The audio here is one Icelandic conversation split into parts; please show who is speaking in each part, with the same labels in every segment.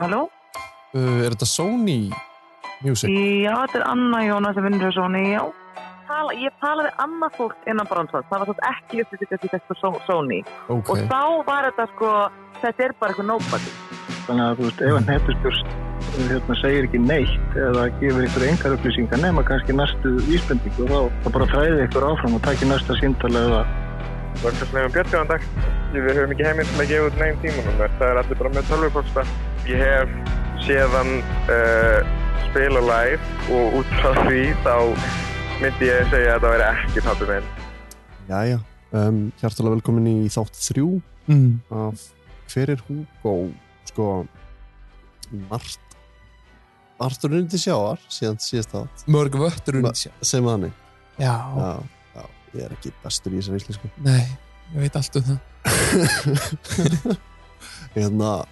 Speaker 1: Halló?
Speaker 2: Uh, er þetta Sony Music?
Speaker 1: Já, þetta er Anna Jóna sem vinnur hjá Sony, já. Tala, ég talaði annað fólk innan Bronsons, það var svo ekki upplýsingast í þetta Só- Sony.
Speaker 2: Ok.
Speaker 1: Og þá var þetta sko, þetta er bara eitthvað nobody.
Speaker 3: Þannig að þú veist, ef að netustjórst hérna, segir ekki neitt eða gefur ykkur engar upplýsingar nema kannski næstu vísbendingu þá, þá bara þræði ykkur áfram og takki næsta síndala eða
Speaker 4: Vörgarslegum Björnjóðandag. Við höfum ekki heimild til að gefa út neginn tímanúmer. Það er allir bara með tölvupósta. Ég hef séðan uh, spila live og út frá því þá myndi ég segja að það væri ekki pabbi minn.
Speaker 5: Jæja, um, hjartalega velkomin í þátt þrjú
Speaker 2: Mm.
Speaker 5: af hver er Hugo sko margt margt rundi sjáar síðan síðast átt
Speaker 2: Mörg vöttur
Speaker 5: Ma-
Speaker 2: undir sér.
Speaker 5: sem þannig
Speaker 2: Já,
Speaker 5: já, já, ég er ekki bestur í þessari íslensku
Speaker 2: nei, ég veit allt um það.
Speaker 5: hérna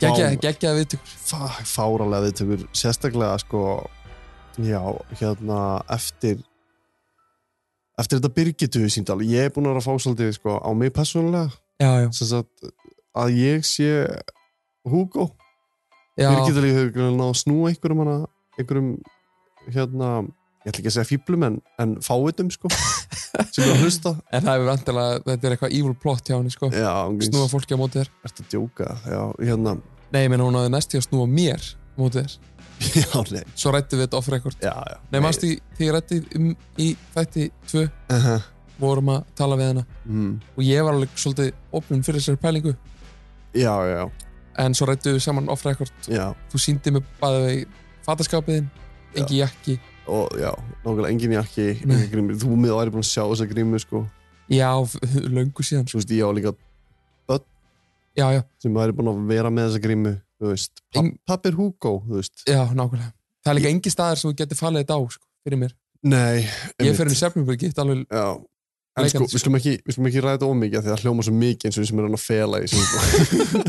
Speaker 2: Gekkja,
Speaker 5: Vá.
Speaker 2: gekkja viðtökur.
Speaker 5: fá- fáralega viðtökur sérstaklega sko já, hérna eftir eftir þetta Birgitu síndal ég er búin að vera að fá svolítið sko á mig persónulega
Speaker 2: Já, já.
Speaker 5: sem sagt að ég sé Hugo
Speaker 2: já.
Speaker 5: Birgitta Líf hefur greinilega náð að snúa einhverjum hana, einhverjum hérna, ég ætla ekki að segja fýblum en, en fáitum sko sem er að hlusta
Speaker 2: En það hefur vantilega, þetta er eitthvað evil plot hjá henni, sko.
Speaker 5: Já,
Speaker 2: Snúa
Speaker 5: ángríns,
Speaker 2: fólki á móti þér.
Speaker 5: ertu að djóka Já, hérna,
Speaker 2: Nei, ég meina hún hafði næst í að snúa mér á móti þér.
Speaker 5: já, nei
Speaker 2: Svo rættu við þetta off-record.
Speaker 5: Já, já
Speaker 2: Nei, mannstu, þegar ég rætti um í þætti 2
Speaker 5: uh
Speaker 2: vorum að tala við henn
Speaker 5: mm,
Speaker 2: og ég var alveg svolítið opnum fyrir þessari pælingu
Speaker 5: Já, já,
Speaker 2: en svo rættu við saman off record
Speaker 5: já
Speaker 2: þú síndi mig bæði við fataskapiðin engi jakki,
Speaker 5: og já, nákvæmlega engin jakki
Speaker 2: Nei.
Speaker 5: engin grímur, þú miður væri búin að sjá þessa grímur sko,
Speaker 2: já, löngu síðan
Speaker 5: þú veist, ég á líka
Speaker 2: já, já,
Speaker 5: sem væri búin að vera með þessa grímu þú veist, papp,
Speaker 2: Eng-
Speaker 5: papp er Hugo þú veist,
Speaker 2: já, nákvæmlega það er líka engi staðar sem þú getur falið þetta á sko, fyrir mér,
Speaker 5: nei
Speaker 2: ég
Speaker 5: einmitt.
Speaker 2: fyrir í Sefnubyrgi, þetta alveg
Speaker 5: Já, en sko,
Speaker 2: Leikandi,
Speaker 5: við skulum ekki, við skulum ekki ræða þetta ómikið því það hljóma svo mikið eins og við sem erum að fela í þessu.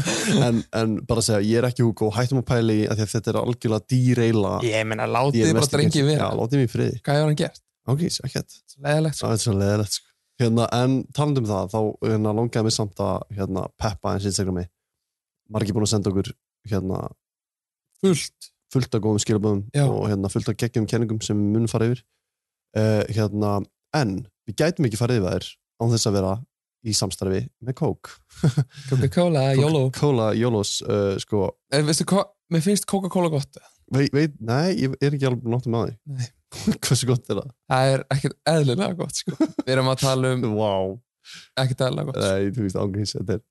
Speaker 5: en, en bara að segja, ég er ekki Hugo, hættum að pæla í því að þetta er algjörlega dýreila
Speaker 2: ég meina,
Speaker 5: Ég
Speaker 2: látið
Speaker 5: er
Speaker 2: bara
Speaker 5: mest í
Speaker 2: drengi
Speaker 5: kynst-
Speaker 2: vera
Speaker 5: Já, látið mér í friði
Speaker 2: hvað hefur hann gert,
Speaker 5: Ok, sækjætt,
Speaker 2: leðilegt sko.
Speaker 5: það er svo leðilegt sko. hérna, En talandi um það, þá hérna, langaði mér samt að hérna, peppa eins Instagrami Margi búin að senda okkur hérna,
Speaker 2: fullt,
Speaker 5: fullt af góðum skilaböðum
Speaker 2: Já.
Speaker 5: og hérna, fullt af geggjum kenningum sem við munum fara yfir uh, hérna, En við gætum ekki farið yfir þær án þess að vera í samstarfi með Coke
Speaker 2: Coca-Cola, YOLO
Speaker 5: Coca-Cola, Jólos, uh, sko
Speaker 2: Eh, veistu hvað, mér finnst Coca-Cola gott
Speaker 5: veit, veit, nei, ég er ekki alveg náttum að
Speaker 2: Nei.
Speaker 5: því hversu gott er það?
Speaker 2: það er ekkert eðlilega gott sko. við erum að tala um
Speaker 5: Vá, wow.
Speaker 2: ekkert eðlilega gott sko.
Speaker 5: nei, þú veist ángríns þetta er,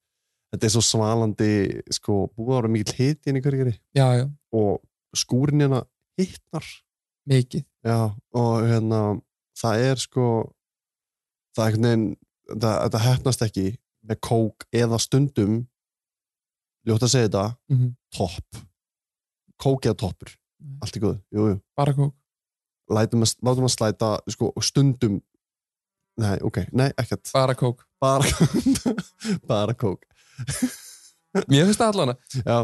Speaker 5: þetta er svo svalandi sko, búið að vera mikill hiti inn í hverjari
Speaker 2: já, já,
Speaker 5: og skúrin hérna hitnar
Speaker 2: mikið
Speaker 5: já, og hérna það er sko það er einhvern veginn, það, þetta hefnast ekki með kók eða stundum ljótt að segja þetta
Speaker 2: Mhm.
Speaker 5: topp kók eða toppur,
Speaker 2: Nei.
Speaker 5: allt í góð jú, jú
Speaker 2: bara kók
Speaker 5: lætum að, látum að slæta sko, stundum nei, ok, nei, ekkert
Speaker 2: bara kók
Speaker 5: bara, bara kók
Speaker 2: mér finnst það allan
Speaker 5: já,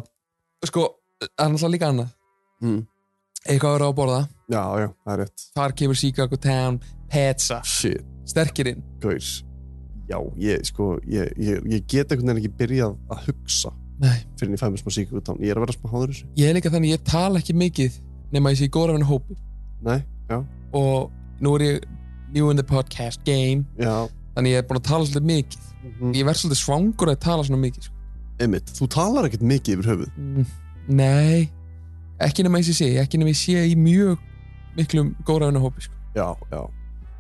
Speaker 2: sko, það er náttúrulega líka annað
Speaker 5: mm.
Speaker 2: eitthvað að vera á að borða,
Speaker 5: já, já, það er rétt
Speaker 2: þar kemur Chicago Town pizza,
Speaker 5: shit,
Speaker 2: sterkirinn
Speaker 5: gaur já, ég, sko, ég, ég, ég get einhvern veginn ekki byrjað að hugsa
Speaker 2: Nei.
Speaker 5: fyrir en ég fæði mér smá síkután, ég er að vera smá háður í þessu
Speaker 2: ég er líka þannig, ég tala ekki mikið nema ég sé í góra vinna hópi
Speaker 5: nei,
Speaker 2: og nú er ég new in the podcast game
Speaker 5: já
Speaker 2: þannig ég er búin að tala svolítið mikið
Speaker 5: mhm.
Speaker 2: ég verð svolítið svangur að tala svona mikið sko.
Speaker 5: einmitt, þú talar ekkert mikið yfir höfuð
Speaker 2: mm, nei, ekki nema ég sé ekki nema ég sé í mjög miklum góra vinna hópi sko.
Speaker 5: já, já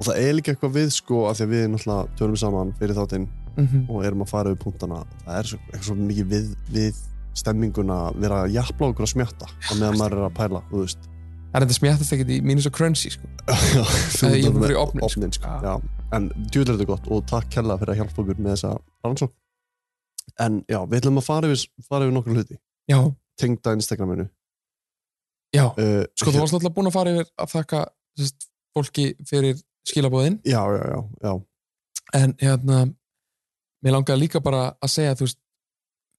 Speaker 5: og það er líka eitthvað við sko að því að við náttúrulega tölum saman fyrir þáttinn
Speaker 2: mm
Speaker 5: og erum að fara við punktana það er svo, eitthvað svo mikið við, við stemminguna að vera að jafnla okkur að smjatta á meðan maður er að pæla þú veist
Speaker 2: það er þetta smjættast ekkert í mínus og crunchy sko.
Speaker 5: þú
Speaker 2: Nei, ég
Speaker 5: ert
Speaker 2: fór fyrir
Speaker 5: með
Speaker 2: ofninn, sko.
Speaker 5: ofninn, sko.
Speaker 2: Ah.
Speaker 5: Já. en djúðlega þetta er gott og takk kella fyrir að hjálpa okkur með þessa rannsók en já, við ætlum að fara yfir, fara yfir nokkur hluti
Speaker 2: já,
Speaker 5: tengda Instagraminu
Speaker 2: já
Speaker 5: uh,
Speaker 2: Sko, þú varst alltaf búin að fara yfir að þakka sérst, fólki fyrir skilabóðin
Speaker 5: já, já, já, já,
Speaker 2: en hérna mér langaði líka bara að segja þú veist,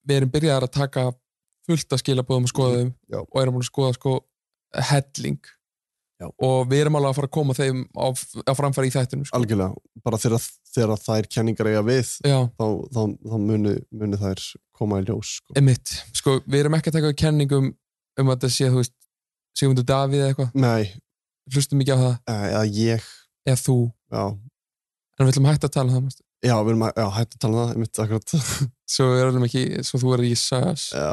Speaker 2: við erum byrjaðar að taka fullt af skilabóðum og skoðum
Speaker 5: Mhm, Já.
Speaker 2: og erum búin að skoða sko helling
Speaker 5: Já.
Speaker 2: og við erum alveg að fara að koma þeim á, á framfæri í þættinu sko.
Speaker 5: algjörlega, bara þegar, þegar þær kenningar eiga við,
Speaker 2: Já,
Speaker 5: þá, þá, þá munu, munu þær koma í ljós sko.
Speaker 2: emitt, sko, við erum ekki að taka kenningum um að þetta sé, þú veist Sigmundur Davíð eða eitthvað,
Speaker 5: Nei,
Speaker 2: hlustum ekki á það
Speaker 5: eh, eða ég
Speaker 2: eða þú,
Speaker 5: já,
Speaker 2: en við ætlum hægt að tala um það manstu.
Speaker 5: já, við erum að já, hættu að tala um það, einmitt akkurat
Speaker 2: svo við erum ekki, svo þú er ekki sas
Speaker 5: já,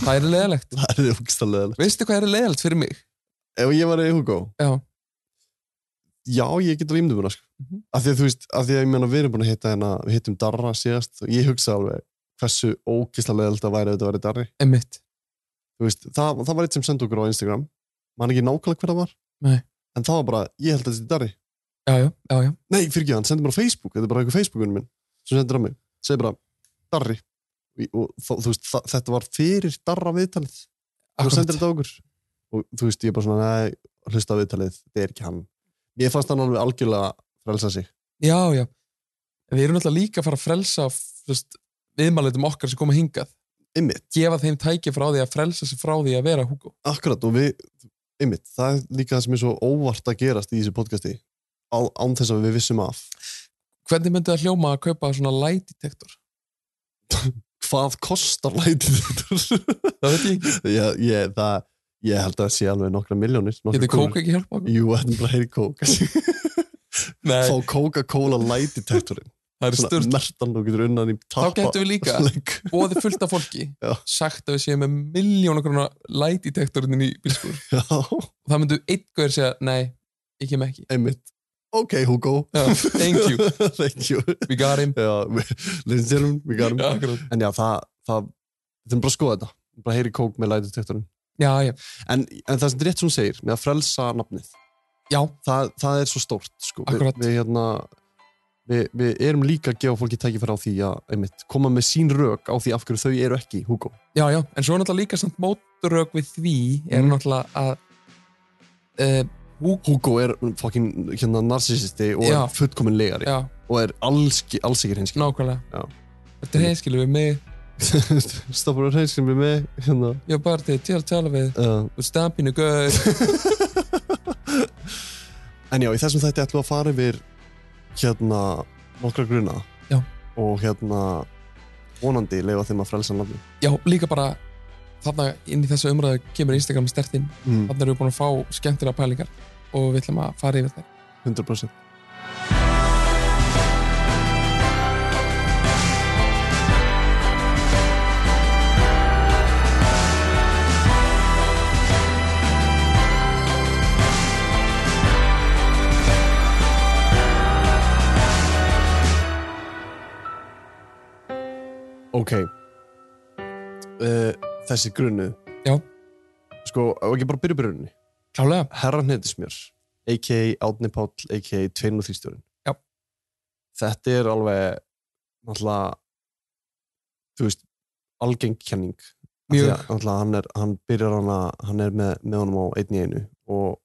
Speaker 2: það er leðalegt,
Speaker 5: það er ógstalega
Speaker 2: veistu hvað er leðalegt fyrir mig
Speaker 5: ef ég var í Hugo
Speaker 2: Já.
Speaker 5: já, ég getur ímdum hérna sko.
Speaker 2: Mhm.
Speaker 5: af því að þú veist, af því að ég meina við erum búin að hitta hérna, við hittum Darra síðast og ég hugsa alveg hversu ógistlega þetta væri ef þetta væri Darri
Speaker 2: emitt,
Speaker 5: Þú veist, það, það var eitt sem sendi okkur á Instagram man ekki nákvæmlega hver það var
Speaker 2: Nei.
Speaker 5: en það var bara, ég held að þetta er Darri
Speaker 2: já, já, já, já
Speaker 5: Nei, fyrir ekki, hann sendir bara á Facebook, þetta er bara eitthvað Facebookunum minn sem sendir á mig, segir bara Darri, Í- og þá- þú veist, þa- þetta var fyrir Darra viðtalið og
Speaker 2: Akkurat.
Speaker 5: sendir þetta á okkur og þú veist, ég er bara svona, nei, hlusta á viðtalið þetta er ekki hann, ég fannst hann alveg algjörlega frelsa sig,
Speaker 2: já, já, En við erum náttúrulega líka að fara að frelsa þú veist, viðmælitum okkar sem koma hingað
Speaker 5: ymmit,
Speaker 2: gefa þeim tæki frá því að frelsa sig frá því að vera Hugo
Speaker 5: akkurat og við, ymmit, það er líka það sem er svo óvart að gerast í þessu podcasti á, án þess að við vissum af
Speaker 2: hvernig myndi það hljóma að kaupa svona light detector
Speaker 5: hvað kostar lætið þetta
Speaker 2: það veit ég ekki,
Speaker 5: ég, ég, það, ég held að það sé alveg nokkra miljónir nokkra
Speaker 2: getur
Speaker 5: krónur.
Speaker 2: kók ekki hjálpa okkur?
Speaker 5: Jú, þetta er bara heyri kók
Speaker 2: Nei,
Speaker 5: Fá Coca-Cola light detektorinn
Speaker 2: það er
Speaker 5: Svona
Speaker 2: stört
Speaker 5: mertan og getur unnan í
Speaker 2: þá
Speaker 5: tappa
Speaker 2: getum við líka bóði fullt af fólki
Speaker 5: Já.
Speaker 2: sagt að við séum með miljónu grunna light detektorinn í bílskur
Speaker 5: Já,
Speaker 2: og það myndu einn guður segja, nei, ég kem ekki
Speaker 5: einmitt Ok, Hugo
Speaker 2: Já, thank you,
Speaker 5: Thank you
Speaker 2: we got him
Speaker 5: Já, lindsjörum, við garum
Speaker 2: Já, akkurat.
Speaker 5: En já, það, það Þetta er bara að skoða þetta Bara heyri kók með light detektorinn
Speaker 2: já, já,
Speaker 5: en, en það sem rétt sem hún segir Með að frelsa nafnið
Speaker 2: já,
Speaker 5: Það, það er svo stórt sko. Við-
Speaker 2: Akkurat.
Speaker 5: Við hérna Við, við erum líka að gefa fólki tækifæra á því að einmitt, koma með sín rök á því af hverju þau eru ekki, Hugo.
Speaker 2: já, já en svo er náttúrulega líka samt móturök við því er
Speaker 5: Mm.
Speaker 2: náttúrulega að uh,
Speaker 5: Hugo er fokkin hérna narcissisti og
Speaker 2: Já.
Speaker 5: er fullkomin legari
Speaker 2: já,
Speaker 5: og er alls, ekki- alls ekki hreinskil Já.
Speaker 2: nákvæmlega þetta er heimskilu við mig,
Speaker 5: stoppar að hreinskil með mig hérna,
Speaker 2: ég bara til til að tala við
Speaker 5: uh.
Speaker 2: og stampinu guður
Speaker 5: en já, í þessum þætti ætlum við að fara yfir hérna nokkra gruna
Speaker 2: Já.
Speaker 5: og hérna vonandi leifa þeim að frelsa nafni
Speaker 2: já, líka bara þarna inn í þessu umræðu kemur Instagram stertinn
Speaker 5: mm.
Speaker 2: þarna erum við búin að fá skemmtilega pælingar og við ætlum að fara yfir þær
Speaker 5: 100% Ok uh, Þessi grunu
Speaker 2: Já.
Speaker 5: Sko, á ekki bara byrja byrjunni
Speaker 2: klálega,
Speaker 5: Herran Hedismjör, a.k.a. Átni Páll, a.k.a. Tvein og Þrýstjórin.
Speaker 2: Já.
Speaker 5: Þetta er alveg, náttúrulega, þú veist, algeng kenning. Af því
Speaker 2: Mjög.
Speaker 5: að, Náttúrulega, hann, er, hann byrjar hana, hann er með, með honum á einn í einu og,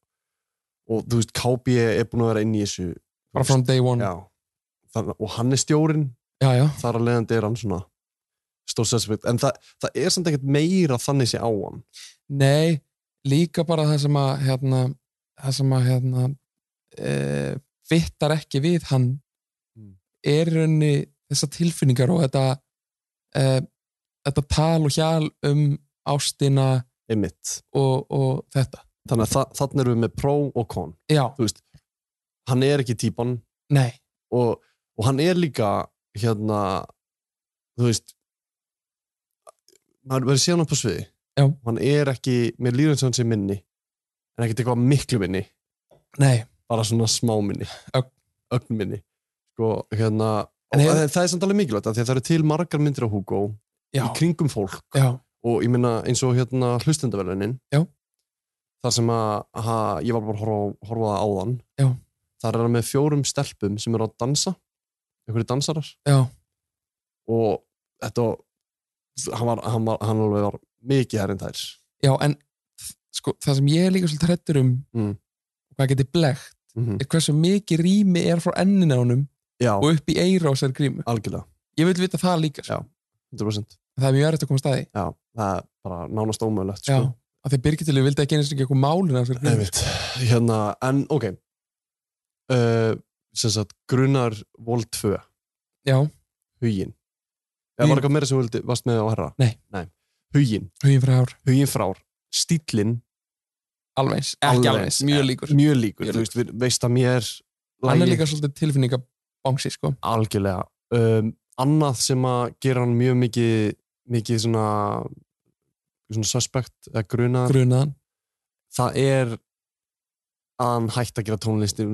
Speaker 5: og þú veist, KB er búin að vera inn í þessu. þú
Speaker 2: bara
Speaker 5: veist.
Speaker 2: from day one
Speaker 5: Já. Þann, og hann er stjórin,
Speaker 2: já, já,
Speaker 5: þar að leiðandi er hann svona stórsessvikt. En það, það er samt ekkert meira þannig sé á hann.
Speaker 2: Nei, líka bara það sem að hérna, það sem að hérna e, vittar ekki við hann
Speaker 5: Mm.
Speaker 2: er í rauninni þessar tilfinningar og þetta e, þetta tal og hjal um ástina
Speaker 5: Einmitt.
Speaker 2: og, og þetta.
Speaker 5: Þannig að þa- þarna erum við með pro og kon.
Speaker 2: Já,
Speaker 5: þú veist, hann er ekki típan
Speaker 2: nei,
Speaker 5: og, og hann er líka hérna þú veist maður verður síðan upp á sviði
Speaker 2: Já.
Speaker 5: Og hann er ekki, mér líður eins og hann sé minni en ekkert eitthvað miklu minni
Speaker 2: nei,
Speaker 5: bara svona smá minni
Speaker 2: Ögn.
Speaker 5: ögn minni sko, hérna,
Speaker 2: En
Speaker 5: og,
Speaker 2: hefur-
Speaker 5: það, það er samt alveg mikilvægt af því að það eru til margar myndir á Hugo
Speaker 2: já,
Speaker 5: í kringum fólk
Speaker 2: já,
Speaker 5: og ég meina eins og hérna hlustendavelunin
Speaker 2: Já.
Speaker 5: þar sem að ha, ég var bara að horfa, horfa á þann
Speaker 2: Já.
Speaker 5: þar er hann með fjórum stelpum sem eru að dansa einhverju dansarar
Speaker 2: já,
Speaker 5: og þetta hann var, hann var, hann alveg var mikið herrin þær
Speaker 2: já, en sko, það sem ég er líka svolítið hrættur um
Speaker 5: Mm.
Speaker 2: og hvað geti blekt
Speaker 5: Mhm.
Speaker 2: er hversu mikið rými er frá enninu á honum
Speaker 5: já,
Speaker 2: og upp í eira á sér grímu.
Speaker 5: algjörlega,
Speaker 2: Ég vil vita það líka, sko.
Speaker 5: Já. 100%
Speaker 2: það er mjög erfitt að koma staði.
Speaker 5: já, það er bara nánast ómögulegt
Speaker 2: Já,
Speaker 5: sko.
Speaker 2: að því að Birgitilju vildi ekki einu sinni eitthvað málina fyrir Guðmund.
Speaker 5: Einmitt. Hérna, en ok uh, sem sagt grunar vol 2,
Speaker 2: Já,
Speaker 5: hugin eða
Speaker 2: Huginn.
Speaker 5: var eitthvað meira sem þú vildi, varst með á herra?
Speaker 2: Nei.
Speaker 5: Nei. Hugin,
Speaker 2: hugin frá ár,
Speaker 5: hugin frár stílinn,
Speaker 2: alveg eins, ekki alveg eins, mjög
Speaker 5: eh,
Speaker 2: líkur
Speaker 5: mjög líkur,
Speaker 2: Mjög
Speaker 5: þú veist, við- veist að mér
Speaker 2: Hann er
Speaker 5: lagið
Speaker 2: líka svolítið tilfinningabangsi, sko
Speaker 5: algjörlega um, annað sem að gera hann mjög mikið mikið svona svona suspect eða grunar
Speaker 2: Grunaðan,
Speaker 5: það er að hann hætti að gera tónlisti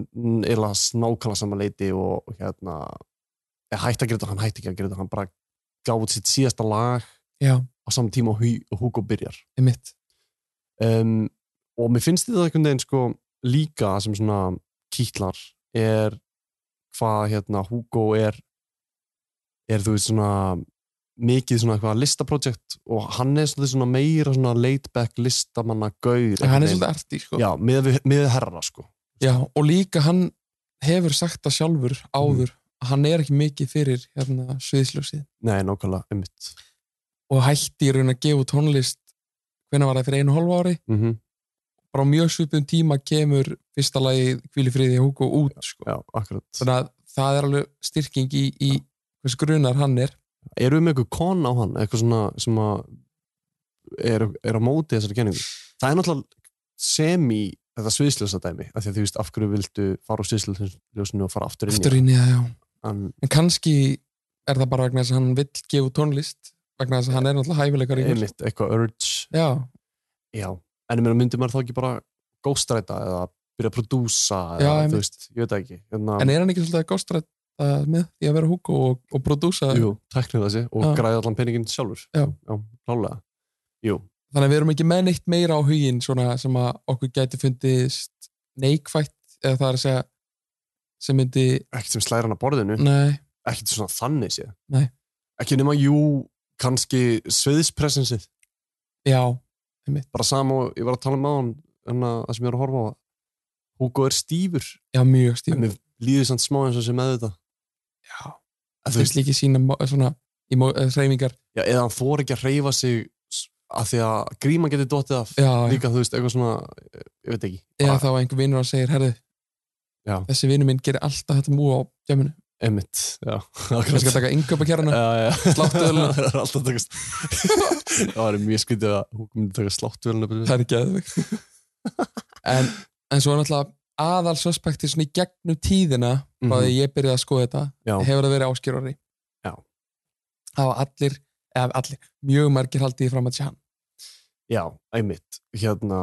Speaker 5: eða snákala saman leiti og hérna eða hætti að gera þetta, hann hætti ekki að gera þetta hann bara gaf út sitt síðasta lag
Speaker 2: já,
Speaker 5: á saman tíma og Hu- og Hugo byrjar
Speaker 2: er mitt
Speaker 5: um, og mér finnst þetta einhvern veginn sko líka sem svona kýtlar er hvað hérna Hugo er er þú veist svona mikið svona eitthvað listaprojekt og hann er svolítið svona meira svona laid back listamanna gaur
Speaker 2: Hann er svolítið arti, sko
Speaker 5: Já, með, með herra sko
Speaker 2: Já, og líka hann hefur sagt það sjálfur áður
Speaker 5: Mm.
Speaker 2: að hann er ekki mikið fyrir hérna, sviðsljósið
Speaker 5: Nei, nákvæmlega, einmitt
Speaker 2: og hætti í raun að gefa út tónlist hvenær var það fyrir einu og hálfu ári
Speaker 5: mm
Speaker 2: bara á mjög svipum tíma kemur fyrsta lagi Kvíli friði Hugo út sko.
Speaker 5: Já, akkurat
Speaker 2: þannig að það er alveg styrking í, í hvers grunar hann er
Speaker 5: Eru við með eitthvað kon á hann? Eitthvað svona sem að er, er á móti þessari kenningu? Það er náttúrulega semi þetta sviðsljósa dæmi af því að þú veist af hverju vildu fara úr sviðsljósinu og fara aftur inn í
Speaker 2: aftur inn í það, já
Speaker 5: það. en,
Speaker 2: en kannski er það bara vegna þess að hann vill gefa út tónlist vegna þess að hann er náttúrulega hæfileikar
Speaker 5: einmitt, eitthvað urge
Speaker 2: já,
Speaker 5: Já, en ég meina myndi maður þá ekki bara ghostræta eða byrja að prodúsa
Speaker 2: Já,
Speaker 5: eða,
Speaker 2: einmitt.
Speaker 5: þú veist, ég veit það ekki Hérna, Þannig
Speaker 2: en er hann ekki svolítið góstrætt með því að vera Hugo og, og prodúsa
Speaker 5: Jú, tæknir þessi og
Speaker 2: Já.
Speaker 5: græði allan peningin sjálfur
Speaker 2: Já.
Speaker 5: Já klálega Jú,
Speaker 2: þannig að við erum ekki með neitt meira á huginn svona sem að okkur gæti fundist neikvætt eða það er að segja sem myndi,
Speaker 5: ekkert sem slæra hann að borðinu
Speaker 2: nei,
Speaker 5: ekkert svona þannig séð
Speaker 2: Nei.
Speaker 5: ekki nema, jú, kannski sviðispresinsið,
Speaker 2: já
Speaker 5: bara sama og ég var að tala um á hann, en að það sem ég er að horfa á Hugo er stífur
Speaker 2: já, mjög
Speaker 5: en
Speaker 2: stífur,
Speaker 5: mér líður samt smá eins og sem með þetta
Speaker 2: já
Speaker 5: En þú
Speaker 2: það
Speaker 5: veist,
Speaker 2: er líki sína mó- svona í mó- eða hreyfingar,
Speaker 5: já, eða hann þor ekki að hreyfa sig s- af því að gríma getur dottið af
Speaker 2: já, já.
Speaker 5: líka, þú veist, eitthvað svona eh, ég veit ekki,
Speaker 2: eða
Speaker 5: bara
Speaker 2: þá einhver vinnur og segir, herðu
Speaker 5: Já.
Speaker 2: þessi vinnur minn gerir alltaf þetta múa á djaminu,
Speaker 5: emitt já,
Speaker 2: það skal
Speaker 5: akkurat
Speaker 2: taka yngöpa kjærana Sláttuvelina.
Speaker 5: það er alltaf að takast það var mjög skytið að hún myndi taka sláttuvelina upp í-
Speaker 2: það er ekki aðeins en, en svo er náttúrulega aðal suspekti svona í gegnum tíðina frá
Speaker 5: Mhm.
Speaker 2: því ég byrjaði að skoða þetta
Speaker 5: Já.
Speaker 2: hefur það verið áskýrari
Speaker 5: Já.
Speaker 2: hafa allir, eða allir mjög margir haldið því fram að sé hann
Speaker 5: já, einmitt, hérna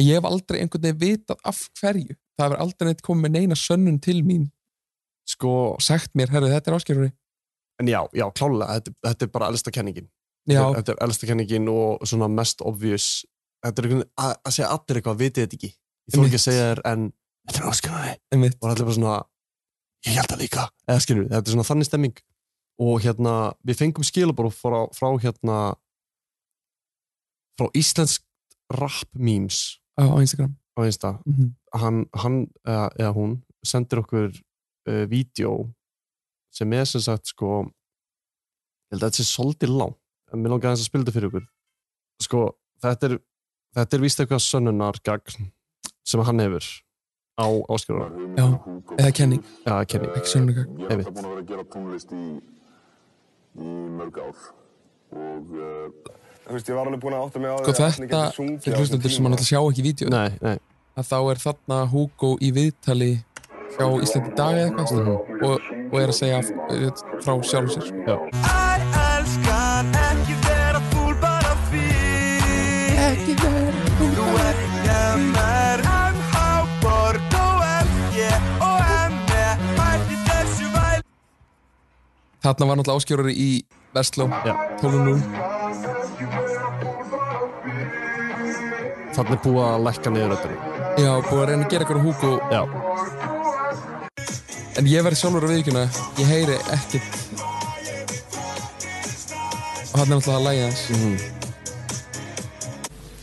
Speaker 2: en ég hef aldrei einhvern veginn vitað af hverju það hefur aldrei neitt komið með neina sönnun til mín
Speaker 5: sko,
Speaker 2: og sagt mér, herru þetta er áskýrari
Speaker 5: En já, já, klálega, þetta, þetta er bara elsta kenningin.
Speaker 2: já,
Speaker 5: Þetta- Þetta er elsta kenningin og svona mest obvious. Þetta er einhvern veginn að, að segja allir eitthvað, vitið þetta ekki. Ég þór ekki að
Speaker 2: Einmitt.
Speaker 5: segja þér en þetta er áskilnaði.
Speaker 2: einmitt
Speaker 5: Og allir bara svona, ég held það líka. Eða skilur, þetta er svona þannig stemming. Og hérna, við fengum skilabóru frá, frá hérna, frá íslensk rap memes
Speaker 2: á, á Instagram
Speaker 5: á einsta.
Speaker 2: mm
Speaker 5: Hann, hann eða, eða hún, sendir okkur uh, vídeo sem er sem sagt sko ég held að þetta sé svolítið lang en mér langaði aðeins að spila þetta fyrir okkur sko, þetta er þetta er víst eitthvað sönnunargagn sem hann hefur á áskjörðan
Speaker 2: já, eða kenning,
Speaker 5: já, kenning,
Speaker 2: ekki sönnungagn
Speaker 6: Ég er
Speaker 5: Einmitt.
Speaker 6: þetta búin að vera að gera tónlist í, í mörg ár og uh,
Speaker 7: Þú veist, ég var alveg búinn að átta mig á
Speaker 2: sko
Speaker 7: því að allir
Speaker 2: þetta,
Speaker 7: geti sungið á
Speaker 2: fyrir
Speaker 7: þessum
Speaker 2: hlustandur sem
Speaker 7: tíma.
Speaker 2: hann alltaf sjá ekki í vídeo
Speaker 5: nei, nei,
Speaker 2: að þá er þarna Hugo í viðtali hjá Íslandi í dag eða eitthvað
Speaker 5: Mhm.
Speaker 2: og, og er að segja eh, frá sjálf sér sko.
Speaker 8: Æ, elskan, ekki vera fúl bara fín Ekki vera fúl Þú ert ég mér MH Borg og FG og ME Mætti E. þessu væl
Speaker 2: þarna var náttúrulega áskjörari í Vestló
Speaker 5: Já.
Speaker 2: 12.0
Speaker 5: þannig er búið að lækka niður öllum
Speaker 2: já, búið að reyna að gera eitthvað á Hugo
Speaker 5: já,
Speaker 2: en ég verð sjálfur að viðkjöna ég heyri ekkert og þarna er náttúrulega að lægja hans
Speaker 5: Mhm.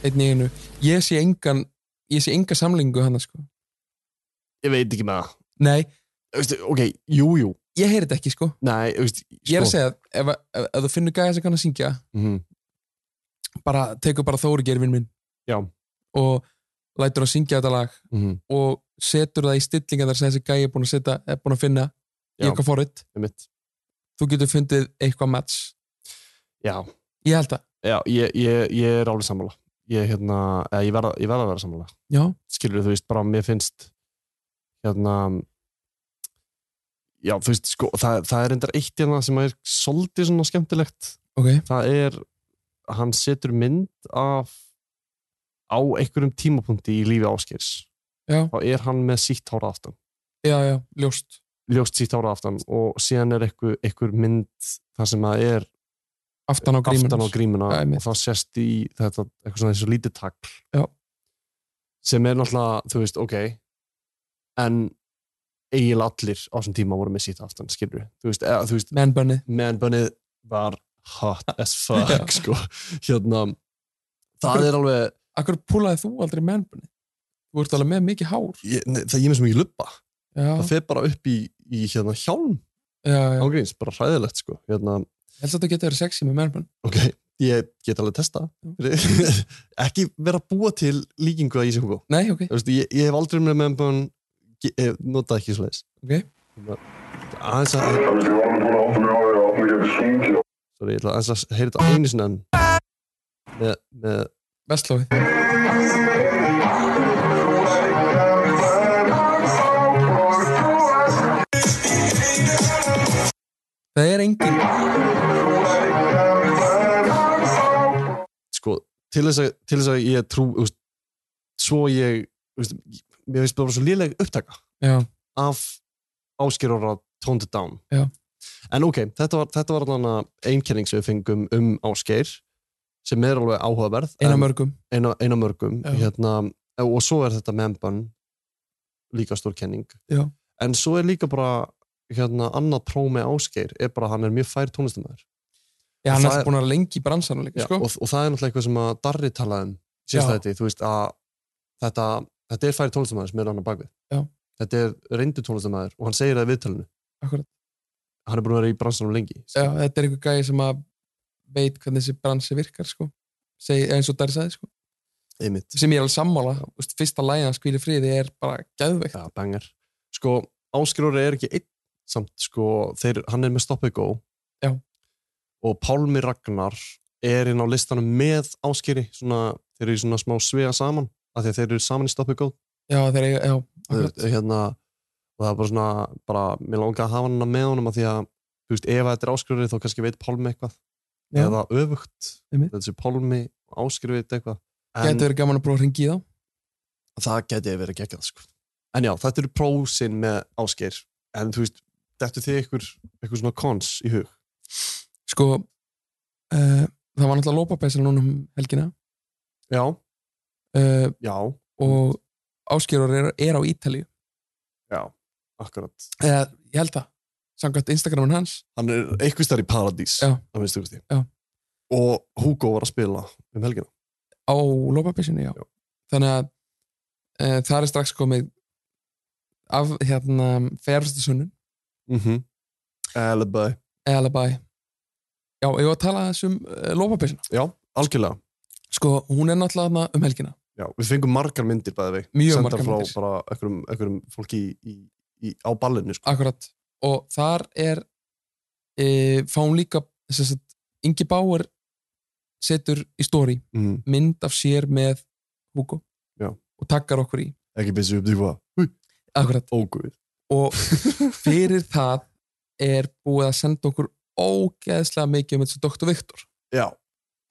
Speaker 2: einn í einu ég sé engan ég sé enga samlingu hann sko
Speaker 5: ég veit ekki með það
Speaker 2: nei,
Speaker 5: Þú veist, ok, jú, jú,
Speaker 2: ég heyri þetta ekki sko
Speaker 5: nei þú veist, sko,
Speaker 2: ég er að segja, ef, ef, ef þú finnur gæja sem kann að syngja
Speaker 5: Mhm.
Speaker 2: bara, tekur bara Þóri gerfin minn
Speaker 5: Já.
Speaker 2: og lætur að syngja þetta lag
Speaker 5: mm -hmm.
Speaker 2: og setur það í stillinga þar sem þessi gæi er búin að, setja, er búin að finna í
Speaker 5: Já.
Speaker 2: eitthvað forrið þú getur fundið eitthvað match
Speaker 5: Já,
Speaker 2: ég held það,
Speaker 5: já ég, ég, ég er alveg sammála ég, hérna, eða ég verð að- ég verð að vera sammála
Speaker 2: já,
Speaker 5: skilur þú veist, bara mér finnst hérna já, þú veist, sko, það, það er endar eitt hérna sem er svolítið svona skemmtilegt
Speaker 2: ok
Speaker 5: það er, hann setur mynd af á einhverjum tímapunkti í lífi áskeirs
Speaker 2: Já.
Speaker 5: þá er hann með sítt hára aftan
Speaker 2: já, já, ljóst
Speaker 5: ljóst sítt hára aftan og síðan er einhver, einhver mynd þar sem það er
Speaker 2: aftan á grímun
Speaker 5: aftan á grímuna
Speaker 2: Já, einmitt.
Speaker 5: um og þá sérst í þetta eitthvað svona eins og lítið takl
Speaker 2: Já.
Speaker 5: sem er náttúrulega, þú veist, ok en eiginlega allir á þessum tíma voru með sítt aftan, skilur þú veist, eða, þú veist,
Speaker 2: mennbönni
Speaker 5: mennbönnið var hot as
Speaker 2: Já.
Speaker 5: fuck, sko hérna, það er alveg
Speaker 2: akkur púlaði þú aldrei mennbönni þú ert alveg með mikið hár
Speaker 5: ég, nei, það ég með sem ekki luppa
Speaker 2: já,
Speaker 5: það fer bara upp í, í hérna hjálm
Speaker 2: já, já.
Speaker 5: ágríns, bara hræðilegt, sko hérna,
Speaker 2: Ég held að þetta getur verið sexy með mennbönni
Speaker 5: ok, ég get alveg testa ekki vera að búa til líkingu að ég sé húkó
Speaker 2: nei, ok,
Speaker 5: Þú veist, ég, ég hef aldrei með membun eh, notað ekki svoleiðis
Speaker 2: Ok.
Speaker 5: aðeins að
Speaker 6: I was running for the open hour, I'll be a change.
Speaker 5: sorry, ég ætla aðeins að heyra þetta einu sinni enn með, með
Speaker 2: vestlófið það er engin
Speaker 5: sko, til þess að, til þess að ég trú þú veist, svo ég þú veist, mér finnst bara svo léleg upptaka
Speaker 2: já,
Speaker 5: af Ásgeir Orra Toned It Down
Speaker 2: Já.
Speaker 5: en ok, þetta var, þetta var þarna einkenning sem við fengum um Ásgeir sem er alveg áhugaverð
Speaker 2: eina
Speaker 5: en-
Speaker 2: mörgum
Speaker 5: eina, eina mörgum
Speaker 2: Já.
Speaker 5: hérna, og svo er þetta memban líka stór kenning
Speaker 2: Já.
Speaker 5: en svo er líka bara hérna, annað próf með Ásgeir er bara að hann er mjög fær tónlistamæður
Speaker 2: já, hann er
Speaker 5: Það
Speaker 2: alltaf
Speaker 5: er-
Speaker 2: búin að vera lengi í bransanum líka, sko
Speaker 5: og, og það er náttúrulega eitthvað sem að Darri talaði um síðast
Speaker 2: Já.
Speaker 5: þetta, þú veist að þetta, þetta er fær tónlistamæður sem er hann að bakvið
Speaker 2: Já.
Speaker 5: þetta er reyndu tónlistamæður og hann segir það í viðtalinu
Speaker 2: Akkúrat.
Speaker 5: hann er búin að vera í bransanum lengi
Speaker 2: já, þetta er einhver gæi sem að veit hvernig þessi bransi virkar, sko Seg, eins og Dari sagði, sko
Speaker 5: einmitt
Speaker 2: sem ég er alveg sammála, þú veist, fyrsta lægin að skvíli friði er bara gæðveikt
Speaker 5: Já, bengar. Sko, Ásker Orri er ekki einn samt, sko, þeir, hann er með Stop and Go
Speaker 2: Já.
Speaker 5: og Pálmi Ragnar er inn á listanum með Áskeri, svona, þeir eru í svona smá svega saman, af því að þeir eru saman í Stop and Go
Speaker 2: já, þeir eiga, já, akkurat
Speaker 5: Þau- hérna, og það er bara svona bara, mér langar að hafa hann með honum af því að, þú veist, ef þetta er Ásker Orri þá kannski veit Pálmi eitthvað,
Speaker 2: Já.
Speaker 5: eða öfugt
Speaker 2: Einmitt.
Speaker 5: þessi Pálmi og Ásker veit eitthvað
Speaker 2: gæti verið gaman að prófa að ringi í þá
Speaker 5: það geti verið geggjað sko. en já, þetta eru prósin með Ásgeir en þú veist, þetta þið ykkur ykkur svona cons í hug
Speaker 2: sko, uh, það var náttúrulega lópapæsina núna um helgina
Speaker 5: já,
Speaker 2: uh,
Speaker 5: já,
Speaker 2: og Áskjörur er, er á Ítalíu
Speaker 5: já, akkurat
Speaker 2: eða ég held það, samkvæmt Instagramin hans
Speaker 5: hann er eitthvað starf í Paradís
Speaker 2: Já.
Speaker 5: að minnstu kosti.
Speaker 2: Já.
Speaker 5: og Hugo var að spila um helgina
Speaker 2: á lópapæsinu, já.
Speaker 5: Já.
Speaker 2: þannig að uh, það er strax komið af hérna ferðustu sunnun,
Speaker 5: mm
Speaker 2: Mhm.
Speaker 5: -hmm. Alibi
Speaker 2: eða bæ já, ég var að tala aðeins um uh, lópapæsina,
Speaker 5: já, algjörlega,
Speaker 2: sko, hún er náttúrulega þarna um helgina,
Speaker 5: já, við fengum margar myndir bæði við,
Speaker 2: Mjög
Speaker 5: Sendar
Speaker 2: margar
Speaker 5: frá
Speaker 2: myndir.
Speaker 5: bara einhverjum, einhverjum fólki í, í, í, á ballinu sko.
Speaker 2: akkurat og þar er e, fá hún líka þess að Ingi Bauer setur í stóri
Speaker 5: mm.
Speaker 2: mynd af sér með Hugo
Speaker 5: Já.
Speaker 2: og takkar okkur í
Speaker 5: ekki byrjuð upp því hvað, Hú,
Speaker 2: akkurat.
Speaker 5: óguð
Speaker 2: og fyrir það er búið að senda okkur ógeðslega mikið um þessu Dr. Viktor
Speaker 5: já,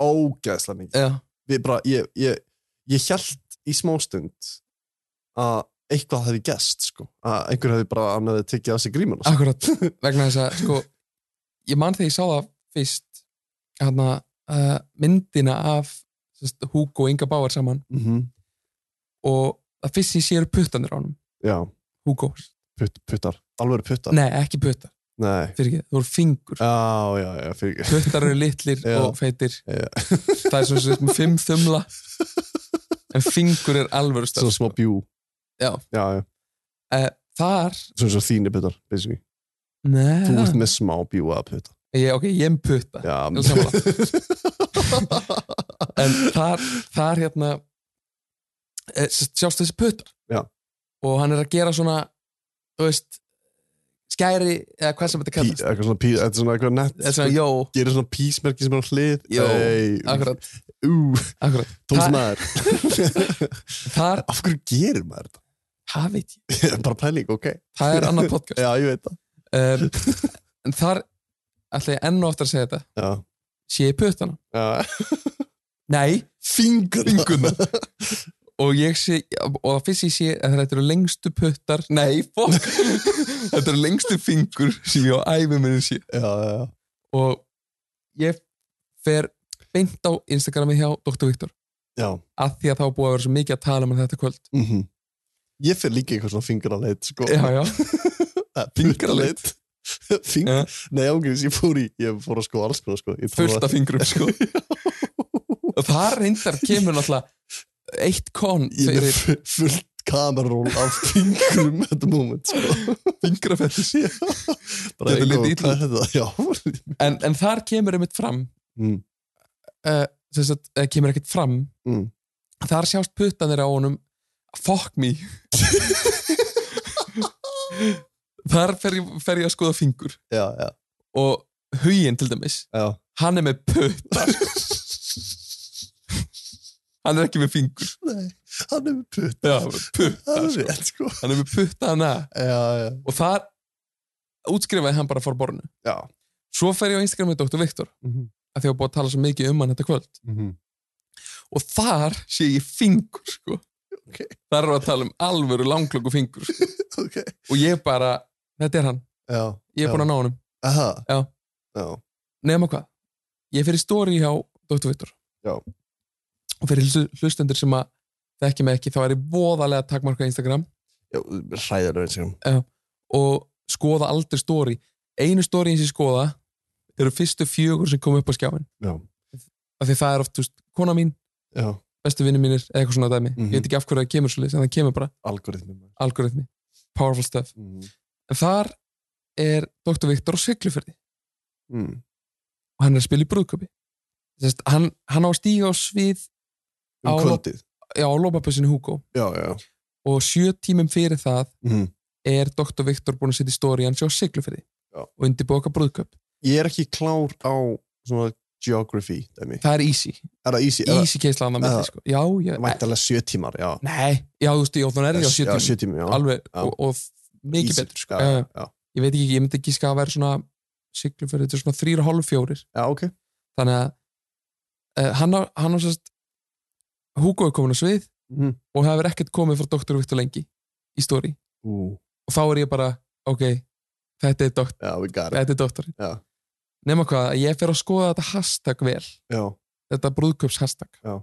Speaker 5: ógeðslega mikið
Speaker 2: Já.
Speaker 5: við bara, ég, ég, ég held í smástund að eitthvað hefði gest sko. að einhver hefði bara annað tekið af sig grímuna sko.
Speaker 2: akkurat, vegna þess að sko, ég man þegar ég sá það fyrst hana, uh, myndina af sest, Hugo og Inga Bauer saman
Speaker 5: mm
Speaker 2: og það fyrst sem ég sé eru puttanir á honum
Speaker 5: já,
Speaker 2: Hugo,
Speaker 5: putt, puttar, alveg puttar
Speaker 2: nei ekki puttar
Speaker 5: Nei.
Speaker 2: fyrir ekki, það voru fingur
Speaker 5: já, já, já, fyrir
Speaker 2: puttar eru litlir
Speaker 5: Já.
Speaker 2: og feitir
Speaker 5: Já.
Speaker 2: það er svona sem með fimm þumla en fingur er alvöru
Speaker 5: svona
Speaker 2: stöð
Speaker 5: smá bjú
Speaker 2: Já.
Speaker 5: já, já.
Speaker 2: þar,
Speaker 5: svona svo þínir puttar basically. þú ert
Speaker 2: neða
Speaker 5: með smá bjú að putta
Speaker 2: ég, ok, ég er putta
Speaker 5: já,
Speaker 2: er sammála. en þar, þar hérna eh, s- sjást þessi puttar
Speaker 5: Já.
Speaker 2: og hann er að gera svona þú veist skæri, eða hvað sem þetta
Speaker 5: Pí, sko-
Speaker 2: kallast
Speaker 5: eitthvað svona pí, þetta er svona eitthvað nett
Speaker 2: eða svona, jó,
Speaker 5: gerir svona písmerki sem er á hlið
Speaker 2: Jó,
Speaker 5: Nei,
Speaker 2: akkurat,
Speaker 5: ú,
Speaker 2: akkurat.
Speaker 5: tónsmaður
Speaker 2: Þar,
Speaker 5: af hverju gerir maður þetta?
Speaker 2: það veit ég,
Speaker 5: Ég er bara pæling, ok
Speaker 2: það er annar podcast
Speaker 5: já, ég veit það
Speaker 2: um, en þar ætla ég enn og aftur að segja þetta
Speaker 5: já,
Speaker 2: sé ég puttana
Speaker 5: já.
Speaker 2: Nei,
Speaker 5: fingurna,
Speaker 2: Fingurna. og ég sé og það fyrst ég sé að þetta eru lengstu puttar nei, fokk þetta eru lengstu fingur sem ég á æfum minni sé
Speaker 5: já, já,
Speaker 2: og ég fer beint á Instagramið hjá Dr. Viktor
Speaker 5: já
Speaker 2: að því að þá er búið að vera svo mikið að tala um þetta kvöld
Speaker 5: mm ég fer líka í eitthvað svona fingraleit sko.
Speaker 2: já, já,
Speaker 5: fingraleit
Speaker 2: fingraleit.
Speaker 5: Fing...
Speaker 2: Já.
Speaker 5: nei, ángriðis, ég fór í ég fór að sko alls konar, sko. Ég fór
Speaker 2: fullt af fingrum sko. og það reyndar kemur náttúrulega eitt kon
Speaker 5: ég er með
Speaker 2: fyrir
Speaker 5: fu- fullt kamerón af fingrum at the moment sko.
Speaker 2: fingrafettis
Speaker 5: Já. bara
Speaker 2: Getur
Speaker 5: eitthvað,
Speaker 2: litið illa
Speaker 5: hvað er þetta? Já.
Speaker 2: en, en þar kemur einmitt fram
Speaker 5: Mm.
Speaker 2: uh, sem sagt, uh, kemur ekkert fram
Speaker 5: Mm.
Speaker 2: þar sjást puttanir á honum fuck me þar fer ég, fer ég að skoða fingur
Speaker 5: já, já,
Speaker 2: og huginn til dæmis
Speaker 5: já
Speaker 2: hann er með puttar hann er ekki með fingur
Speaker 5: nei, hann er með putt
Speaker 2: Já,
Speaker 5: hann
Speaker 2: puttar,
Speaker 5: er
Speaker 2: sko.
Speaker 5: rétt sko
Speaker 2: hann er með puttana
Speaker 5: já, já,
Speaker 2: og þar útskrifaði hann bara fór borinu
Speaker 5: já.
Speaker 2: svo fer ég á Instagram með Dr. Viktor
Speaker 5: Mhm.
Speaker 2: að því að búið að tala svo mikið um hann þetta kvöld og þar sé ég fingur sko.
Speaker 5: Ok.
Speaker 2: þar erum við að tala um alvöru langlöku fingur sko.
Speaker 5: ok,
Speaker 2: og ég bara, þetta er hann
Speaker 5: já,
Speaker 2: ég er búin að ná honum,
Speaker 5: aha
Speaker 2: Já.
Speaker 5: já,
Speaker 2: nema hvað ég fyrir stóri hjá Dr. Viktor
Speaker 5: Já.
Speaker 2: og fyrir hlustu- hlustendur sem að þekki mig ekki, þá er ég voðalega að takmarka Instagram
Speaker 5: já hræðarlega sem
Speaker 2: og skoða aldrei stóri einu stóri sem ég skoða eru fyrstu fjögur sem kom upp á skjáin
Speaker 5: já,
Speaker 2: af því það er oft, þú veist, kona mín
Speaker 5: já,
Speaker 2: bestu vinni mínir, eða eitthvað svona dæmi
Speaker 5: Mhm.
Speaker 2: ég veit ekki af hverju það kemur svolítið, en það kemur bara
Speaker 5: algoritmi
Speaker 2: algoritmi, powerful stuff
Speaker 5: mm.
Speaker 2: en þar er Dr. Viktor á Siglufjörði
Speaker 5: Mm.
Speaker 2: og hann er að spila í brúðköpi Sest, hann, hann á að stíga á svið
Speaker 5: um
Speaker 2: Á-
Speaker 5: kvöldið
Speaker 2: já, á lópapössinu Hugo
Speaker 5: já, já,
Speaker 2: og sjö tímum fyrir það
Speaker 5: mm.
Speaker 2: er Dr. Viktor búin að setja í stóri hans á Siglufjörði
Speaker 5: Já.
Speaker 2: og undirbóka brúðköp
Speaker 5: ég er ekki klár á svona geography dæmi.
Speaker 2: það er easy,
Speaker 5: er það easy, easy.
Speaker 2: easy keisla hann að
Speaker 5: eða-
Speaker 2: milli sko. já, já,
Speaker 5: Væntalega sjö tímar, já.
Speaker 2: nei já, þú veist, já, þannig er ég á sjö
Speaker 5: Já,
Speaker 2: tímum
Speaker 5: sjö tímar, já.
Speaker 2: alveg,
Speaker 5: Já.
Speaker 2: og, og mikið
Speaker 5: Easy,
Speaker 2: betur sko.
Speaker 5: Já,
Speaker 2: Já, já.
Speaker 5: já, já.
Speaker 2: ég veit ekki, ég myndi ekki skaka að vera svona Siglufjörði, þetta er svona þrýra hálf fjórir
Speaker 5: já, ok.
Speaker 2: þannig að uh, hann á, hann á sérst Hugo er komin á svið
Speaker 5: Mhm.
Speaker 2: og það hefur ekkert komið frá Dr. Viktor lengi í stóri
Speaker 5: Ú,
Speaker 2: og þá er ég bara, ok þetta er doktor,
Speaker 5: já, we got it.
Speaker 2: þetta er doktor
Speaker 5: Já.
Speaker 2: nema hvað, að ég fer að skoða þetta hashtag vel,
Speaker 5: Já,
Speaker 2: þetta brúðköps hashtag
Speaker 5: Já.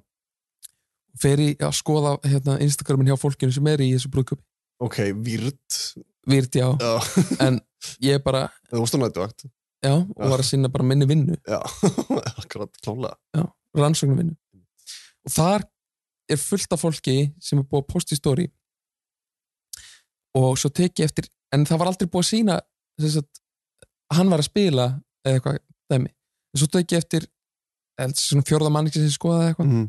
Speaker 2: fer ég að skoða hérna, Instagramin hjá fólkinu sem er í þessu brúðköpi
Speaker 5: ok, výrt.
Speaker 2: virt já,
Speaker 5: Já,
Speaker 2: ég bara,
Speaker 5: það varst á nættuvakt.
Speaker 2: já og
Speaker 5: Já.
Speaker 2: var að sinna bara minni vinnu,
Speaker 5: Já, akkurat, klálega.
Speaker 2: rannsóknarvinnu og þar er fullt af fólki sem er búið að posta í stóri og svo tek ég eftir en það var aldrei búið að sína þess að hann var að spila eða eitthvað dæmi en svo tek ég eftir eða svona fjórða manningi sem ég skoðaði eða eitthvað
Speaker 5: Mm.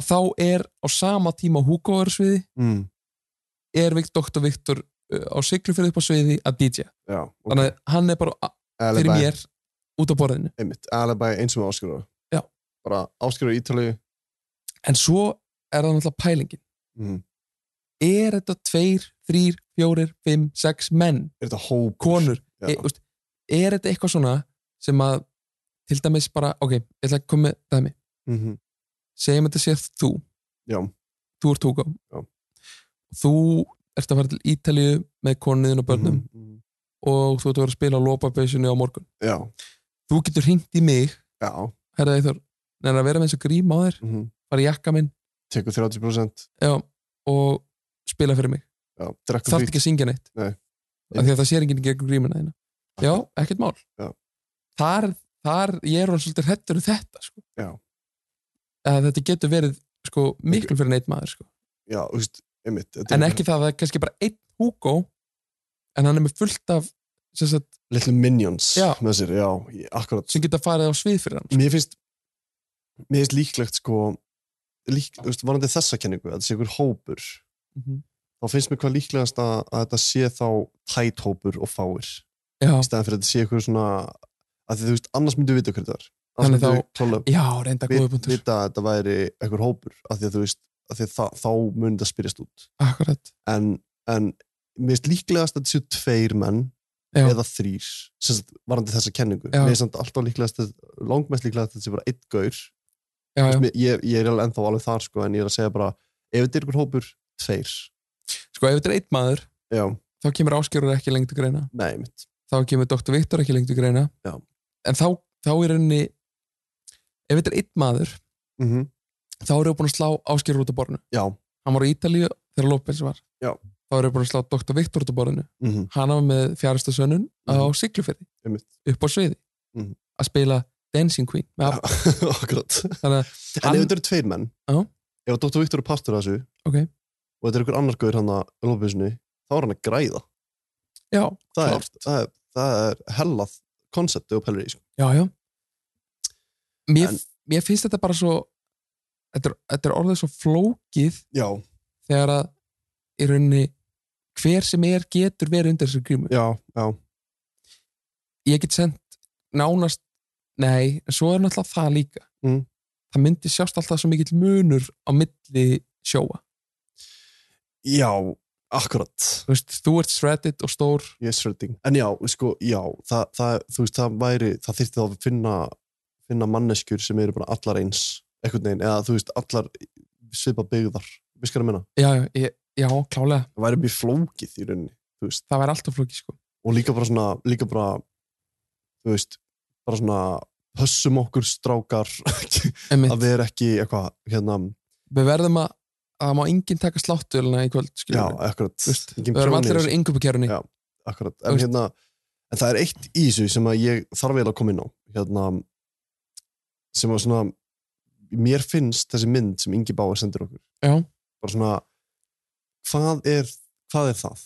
Speaker 2: að þá er á sama tíma á Hugo er á sviði
Speaker 5: Mm.
Speaker 2: er Vikt, Dr. Viktor uh, á Siglufjörði upp á sviði að DJ
Speaker 5: Já, ok.
Speaker 2: þannig að hann er bara a- fyrir
Speaker 5: Alibi,
Speaker 2: mér út á borðinu
Speaker 5: Einmitt, alibi eins og með áskjöru.
Speaker 2: Já.
Speaker 5: Bara áskjöru ítalið.
Speaker 2: en svo er það náttúrulega pælingin
Speaker 5: Mm.
Speaker 2: er þetta tveir, þrýr, fjórir, fimm, sex menn,
Speaker 5: Er þetta hóp?
Speaker 2: konur
Speaker 5: Já.
Speaker 2: e, úst, er þetta eitthvað svona sem að til dæmis bara, ok, ég ætla að koma með dæmi,
Speaker 5: Mm -hmm.
Speaker 2: segjum þetta sé þú
Speaker 5: Já.
Speaker 2: þú ert Hugo
Speaker 5: Já.
Speaker 2: þú ert að fara til Ítalíu með konuðin og börnum
Speaker 5: Mhm.
Speaker 2: og þú ert að vera að spila á lópabeysunni á morgun
Speaker 5: Já,
Speaker 2: þú getur hringt í mig,
Speaker 5: já.
Speaker 2: herða Eithor en að vera með eins og grím á þér,
Speaker 5: Mm -hmm.
Speaker 2: bara í jakka minn
Speaker 5: Tekur 30%.
Speaker 2: já, og spila fyrir mig
Speaker 5: Já, drekkur
Speaker 2: þarf ekki að syngja neitt
Speaker 5: Nei.
Speaker 2: af því að það sér enginn gegn grímuna þína já, ekkert mál
Speaker 5: Já.
Speaker 2: þar, þar, ég er hann svolítið hrettur um þetta sko.
Speaker 5: Já.
Speaker 2: að þetta getur verið sko, miklu fyrir neitt maður sko.
Speaker 5: Já, þú veist, einmitt. þetta
Speaker 2: en
Speaker 5: er-
Speaker 2: ekki það að það er kannski bara einn Hugo en hann er með fullt af sem, sagt,
Speaker 5: Little Minions
Speaker 2: Já.
Speaker 5: með sér, já, ég- akkurat Mm.
Speaker 2: sem geta farið á svið fyrir hann
Speaker 5: Mér finnst, mér finnst líklegt sko lík, þú veist, varandi þessa kenningu að þetta sé einhver hópur
Speaker 2: Mhm.
Speaker 5: þá finnst mér hvað líklegast að, að þetta sé þá tætt hópur og fáir
Speaker 2: já,
Speaker 5: í stæðan fyrir að þetta sé einhver svona að því, þú veist, annars myndu vita hver þetta er
Speaker 2: Þannig
Speaker 5: annars myndu
Speaker 2: þá-
Speaker 5: klálega
Speaker 2: já, reynda góða
Speaker 5: vit-
Speaker 2: punktur
Speaker 5: vita að þetta væri einhver hópur að því að þú veist, að því að þá, þá mun þetta spyrjast út
Speaker 2: akkurat,
Speaker 5: en, en mér finnst líklegast að þetta séu tveir menn
Speaker 2: já,
Speaker 5: eða þrýr sem sagt, varandi þessa kenningu
Speaker 2: Já.
Speaker 5: mér finnst samt alltaf líklegast að- langmest líklegast að þetta sé bara einn gaur
Speaker 2: já, já.
Speaker 5: Mér- ég, ég er alveg ennþá alveg þar sko, en ég er að segja bara ef þetta er einhver hópur, tveir
Speaker 2: sko ef þetta er einn maður
Speaker 5: já,
Speaker 2: þá kemur áskjörur ekki lengt að greina
Speaker 5: nei mitt
Speaker 2: þá kemur Dr. Viktor ekki lengt að greina
Speaker 5: Já.
Speaker 2: en þá, þá er henni ef þetta er einn maður
Speaker 5: mm
Speaker 2: Mhm.
Speaker 5: -hmm.
Speaker 2: þá eru búin að slá áskjörur út af borðinu
Speaker 5: já,
Speaker 2: hann var á Ítalíu þegar López var
Speaker 5: Já.
Speaker 2: þá eru búin að slá Dr. Viktor út af borðinu
Speaker 5: mm -hmm.
Speaker 2: hann var með fjárasta sönnun á
Speaker 5: Mhm.
Speaker 2: Siglufjörði
Speaker 5: Einmitt.
Speaker 2: upp á sviði
Speaker 5: Mhm.
Speaker 2: að spila Dancing Queen með ABBA.
Speaker 5: akkurat
Speaker 2: Þannig að
Speaker 5: en
Speaker 2: hann-
Speaker 5: ef þetta eru tveir menn
Speaker 2: Já.
Speaker 5: ef Dr. Viktor er partur af þessu
Speaker 2: Ok.
Speaker 5: og þetta er einhver annar gaur hann að lófiðsinu, þá er hann að græða
Speaker 2: já,
Speaker 5: það er, það er, það er hellað konceptu og pelri sko.
Speaker 2: já, já mér,
Speaker 5: En-
Speaker 2: mér finnst þetta bara svo þetta er, þetta er orðið svo flókið
Speaker 5: já,
Speaker 2: þegar að í rauninni hver sem er getur verið undir þessu grímu
Speaker 5: já, já
Speaker 2: ég get sendt nánast nei, en svo er náttúrulega það líka
Speaker 5: Mm.
Speaker 2: það myndi sjást alltaf svo mikill munur á milli sjóa
Speaker 5: já, akkurat
Speaker 2: þú veist, þú ert shredded og stór
Speaker 5: Yes, Redding. En já, sko, já, það, það, þú veist, það væri, það þyrfti þá að finna, finna manneskjur sem eru bara allar eins, einhvern veginn, eða þú veist, allar svipa byggðar, við skarum minna.
Speaker 2: já, já, ég- já, klálega,
Speaker 5: Það væri mjög flókið í rauninni, þú veist,
Speaker 2: það væri alltaf flókið sko.
Speaker 5: og líka bara svona, líka bara, þú veist, bara svona, pössum okkur strákar,
Speaker 2: Einmitt,
Speaker 5: að við erum ekki eitthvað, hérna,
Speaker 2: við verðum að það má enginn taka sláttuvelina í kvöld
Speaker 5: já,
Speaker 2: skiljum við,
Speaker 5: akkurat,
Speaker 2: Þú veist,
Speaker 5: engin
Speaker 2: við verðum
Speaker 5: prjóni í
Speaker 2: allir að
Speaker 5: þessu.
Speaker 2: vera yngöpukerunni
Speaker 5: Já. akkurat,
Speaker 2: Þú
Speaker 5: en
Speaker 2: veist-
Speaker 5: hérna en það er eitt í þessu sem að ég þarf eiginlega að koma inn á hérna sem að svona mér finnst þessi mynd sem Ingi Báir sendir okkur
Speaker 2: Já.
Speaker 5: bara svona hvað er, hvað er það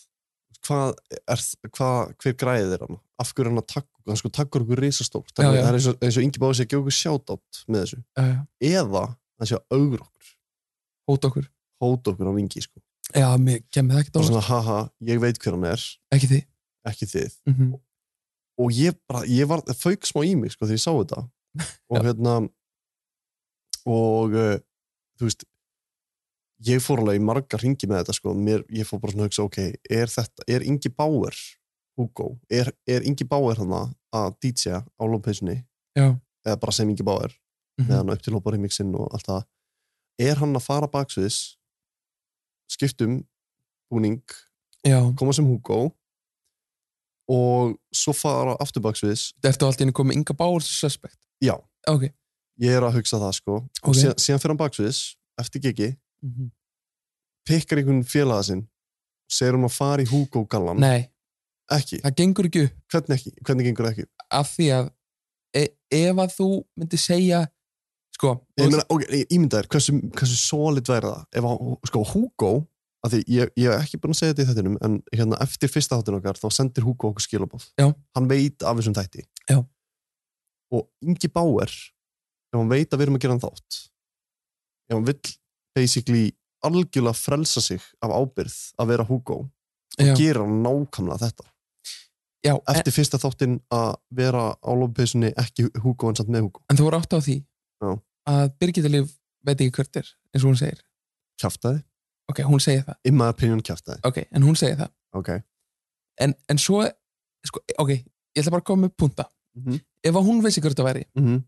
Speaker 5: hvað er, hvað, hver græðið er hann af hverju er hann að takk hann sko takkur okkur risastórt
Speaker 2: Já, já.
Speaker 5: það er eins og, eins og Ingi Báir sé að gefa okkur sjátátt með þessu
Speaker 2: já,
Speaker 5: eða hann sé að augur okkur
Speaker 2: Eh, hóta okkur
Speaker 5: hóta okkur á Ingi sko
Speaker 2: já, mér kemur það ekki
Speaker 5: bara
Speaker 2: dólar,
Speaker 5: svona haha, ég veit hver hann er
Speaker 2: ekki því
Speaker 5: ekki þið
Speaker 2: mm
Speaker 5: og ég bara, ég var, það fauk smá í mig sko þegar ég sá þetta og
Speaker 2: Já.
Speaker 5: hérna og uh, þú veist ég fór alveg í marga ringi með þetta sko mér, ég fór bara svona að hugsa, ok, er þetta er Ingi Bauer, Hugo er, er Ingi Bauer hana að DJ á lómpeisunni
Speaker 2: Já. Mhm.
Speaker 5: eða bara sem Ingi Bauer, með hann upp til lópa remixinn og allt það er hann að fara baksviðs skiptum búning
Speaker 2: já,
Speaker 5: koma sem Hugo og svo fara afturbaksviðs
Speaker 2: eftir allt í henni komið Inga Báur sem suspect
Speaker 5: já,
Speaker 2: ok,
Speaker 5: ég er að hugsa það sko
Speaker 2: Ok.
Speaker 5: og síðan, síðan fyrir hann baksviðs eftir gigi,
Speaker 2: mm
Speaker 5: Mhm. pikkar einhvern félaga sinn segir hann að fara í Hugo gallan
Speaker 2: nei,
Speaker 5: ekki,
Speaker 2: það gengur ekki upp
Speaker 5: hvernig ekki, hvernig gengur það ekki
Speaker 2: af því að e ef að þú myndi segja sko,
Speaker 5: ég meina, ok, ímyndaður, hversu, hversu solid væri það ef að, sko, Hugo að því ég, ég hef ekki búin að segja þetta í þettinum en hérna eftir fyrsta þáttin okkar þá sendir Hugo okkur skilabóð,
Speaker 2: Já.
Speaker 5: hann veit af þessum þætti
Speaker 2: Já.
Speaker 5: og Ingi Bauer ef hann veit að við erum að gera hann þátt ef hann vill basically algjörlega frelsa sig af ábyrð að vera Hugo
Speaker 2: já,
Speaker 5: gera hann nákvæmlega þetta
Speaker 2: já, en,
Speaker 5: eftir fyrsta þáttin að vera á lófpeysunni ekki Hugo en samt með Hugo
Speaker 2: en þú voru átt á því
Speaker 5: Já.
Speaker 2: að Birgitta Líf veit ekki hvert er eins og hún segir,
Speaker 5: kjaftaði,
Speaker 2: ok, hún segir það
Speaker 5: in my opinion kjaftaði
Speaker 2: ok, en hún segir það
Speaker 5: ok,
Speaker 2: en, en svo, sko, ok ég ætla bara að koma með punta
Speaker 5: Mhm.
Speaker 2: ef að hún veist hver þetta væri,
Speaker 5: mhm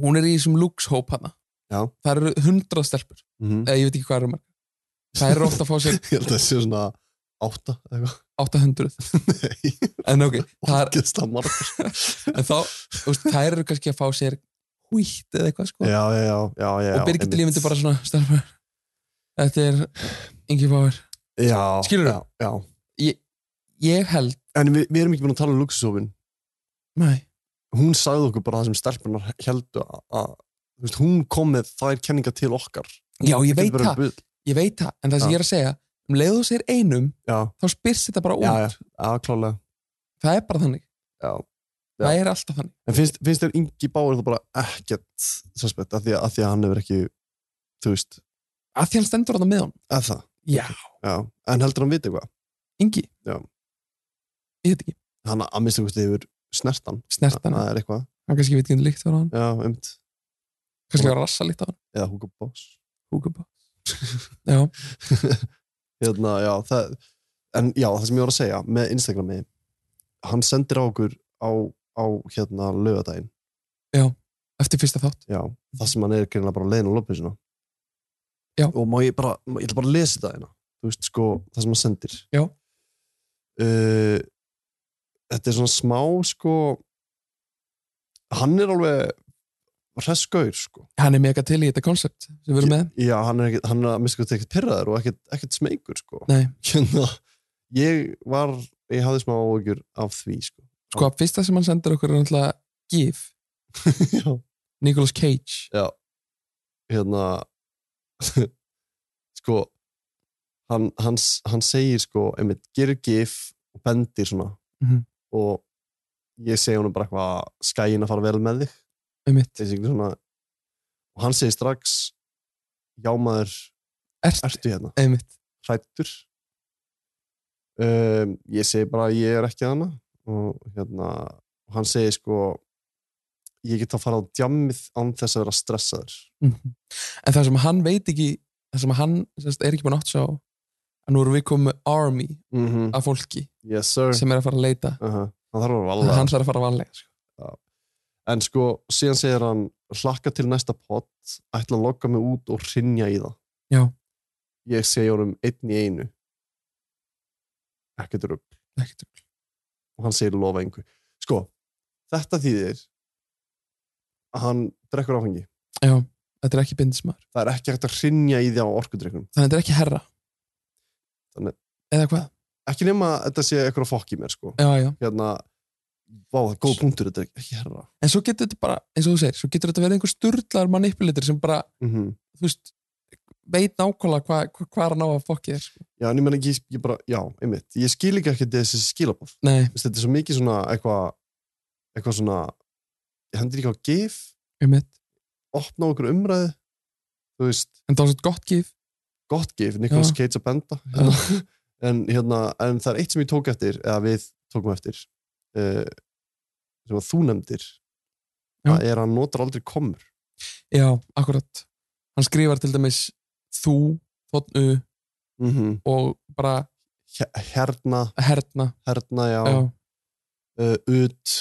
Speaker 2: hún er í þessum lúkshóp hana
Speaker 5: Já.
Speaker 2: það eru hundrað stelpur,
Speaker 5: Mm
Speaker 2: eða ég veit ekki hvað eru margar það eru ofta að fá sér
Speaker 5: Ég held að það sé svona átta eða eitthvað.
Speaker 2: 800
Speaker 5: Nei,
Speaker 2: en ok, það, er,
Speaker 5: ógeðslega margar. sko.
Speaker 2: en þá, þú veist, það eru kannski að fá sér hýtt eða eitthvað sko
Speaker 5: Já, já, já, já, já.
Speaker 2: og Birgitta Líf
Speaker 5: einmitt.
Speaker 2: myndi bara svona stelpur, þetta er Ingi Báir
Speaker 5: Já.
Speaker 2: Skilurðu?
Speaker 5: Já, já.
Speaker 2: ég held,
Speaker 5: En við, við erum ekki búin að tala um luxusofin.
Speaker 2: næ,
Speaker 5: Hún sagði okkur bara það sem stelpunar heldu að, að þú veist, hún kom með þær kenningar til okkar.
Speaker 2: já ég veit
Speaker 5: getur verið
Speaker 2: það
Speaker 5: bull.
Speaker 2: ég veit það, en það sem
Speaker 5: Já.
Speaker 2: ég er að segja um leið þú segir einum,
Speaker 5: Já,
Speaker 2: þá spyrst þetta bara um. út
Speaker 5: já, já, já, klálega.
Speaker 2: það er bara þannig
Speaker 5: Já. Já.
Speaker 2: það er alltaf hann
Speaker 5: En finnst, finnst þér Ingi Báir þá bara ekkert suspect af því að, af því að hann hefur ekki þú veist,
Speaker 2: að því hann stendur hann með hann
Speaker 5: að það
Speaker 2: já,
Speaker 5: já. en heldur hann viti eitthvað
Speaker 2: Ingi
Speaker 5: Já.
Speaker 2: ég veit ekki,
Speaker 5: hann að minnst eitthvað hefur snertan
Speaker 2: snert hann
Speaker 5: það er eitthvað,
Speaker 2: hann kannski veit ekki hvernig líkt var á hann
Speaker 5: já, umt
Speaker 2: kannski var rassa líkt á hann
Speaker 5: eða Hugo Boss
Speaker 2: Hugo Boss já,
Speaker 5: hérna, já, það, en já, það sem ég var að segja með Instagrami hann sendir á okkur á, á hérna lögadaginn,
Speaker 2: eftir fyrsta þátt
Speaker 5: já, það sem hann er greinlega bara leiðin á loppið svona
Speaker 2: Já.
Speaker 5: og má ég bara, ég ætla bara að lesa þetta hérna þú veist, sko, það sem hann sendir
Speaker 2: Já.
Speaker 5: uh, þetta er svona smá, sko hann er alveg hresskaur, sko
Speaker 2: hann er mega til í þetta koncept sem við erum með
Speaker 5: já, hann er, ekkit, hann er að minnst ekki ekkert pyrraður og ekkert, ekkert smeykur, sko
Speaker 2: Nei,
Speaker 5: hérna, ég var ég hafði smá áhugjur af því sko.
Speaker 2: sko að fyrsta sem hann sendur okkur er náttúrulega GIF,
Speaker 5: já.
Speaker 2: Nicolas Cage
Speaker 5: já hérna sko hann, hann, hann segir sko einmitt, gerir gif og bendir svona
Speaker 2: Mhm.
Speaker 5: og ég segi honum bara eitthvað skæin að fara vel með þig
Speaker 2: einmitt,
Speaker 5: Þessi svona, og hann segir strax já maður,
Speaker 2: ert,
Speaker 5: ertu hérna
Speaker 2: einmitt
Speaker 5: hrættur um, ég segi bara að ég er ekki hana og hérna og hann segi sko ég get að fara á djammið án þess að vera stressaður
Speaker 2: Mhm. en það sem hann veit ekki það sem hann sérst, er ekki búin átt sá að nú erum við komið með army
Speaker 5: mm -hmm.
Speaker 2: af fólki
Speaker 5: yes sir
Speaker 2: sem er að fara að leita
Speaker 5: uh -huh. hann þarf að
Speaker 2: hann
Speaker 5: vera valda
Speaker 2: þarf að fara vanlega sko.
Speaker 5: en sko síðan segir hann hlakka til næsta pott ætla að lokka mig út og rinja í það
Speaker 2: Já.
Speaker 5: ég segi honum einn í einu ekkert rugg
Speaker 2: Ekkert rugl.
Speaker 5: og hann segir lofa engu sko, þetta þýðir að hann drekkur áfengi
Speaker 2: já, þetta er ekki bindismar
Speaker 5: það er ekki hægt að hrinja í því á orkudrykkunum
Speaker 2: þannig að þetta er ekki herra
Speaker 5: Þannig-
Speaker 2: eða hvað,
Speaker 5: ekki nema að þetta sé eitthvað fokk í mér sko.
Speaker 2: já já
Speaker 5: hérna, vá það er góð punktur þetta er ekki herra
Speaker 2: en svo getur þetta bara, eins og þú segir, svo getur þetta verið einhver sturlar manipulator sem bara,
Speaker 5: mm
Speaker 2: þú veist veit nákvæmlega hvað hva, hva er að ná að fokki þér sko.
Speaker 5: já, en ég menn ekki, ég, ég bara, já, einmitt ég skil ekki ekki þessi skilabóð
Speaker 2: nei,
Speaker 5: þetta er svo mikið svona eitthvað eitthvað svona, ég hendur ekki á gif
Speaker 2: um mitt,
Speaker 5: opna okkur umræðu þú veist,
Speaker 2: en það var svo gott gif
Speaker 5: gott gif, Nicholas
Speaker 2: Já.
Speaker 5: Cage að benda hérna. en, hérna, en það er eitt sem ég tók eftir eða við tókum eftir uh, sem að þú nefndir
Speaker 2: Já.
Speaker 5: það er að hann notar aldrei komur
Speaker 2: já, akkurat, hann skrifar til dæmis þú, þóttu
Speaker 5: mm -hmm.
Speaker 2: og bara
Speaker 5: herna,
Speaker 2: herna
Speaker 5: herna hérna, já,
Speaker 2: já,
Speaker 5: Uh, ut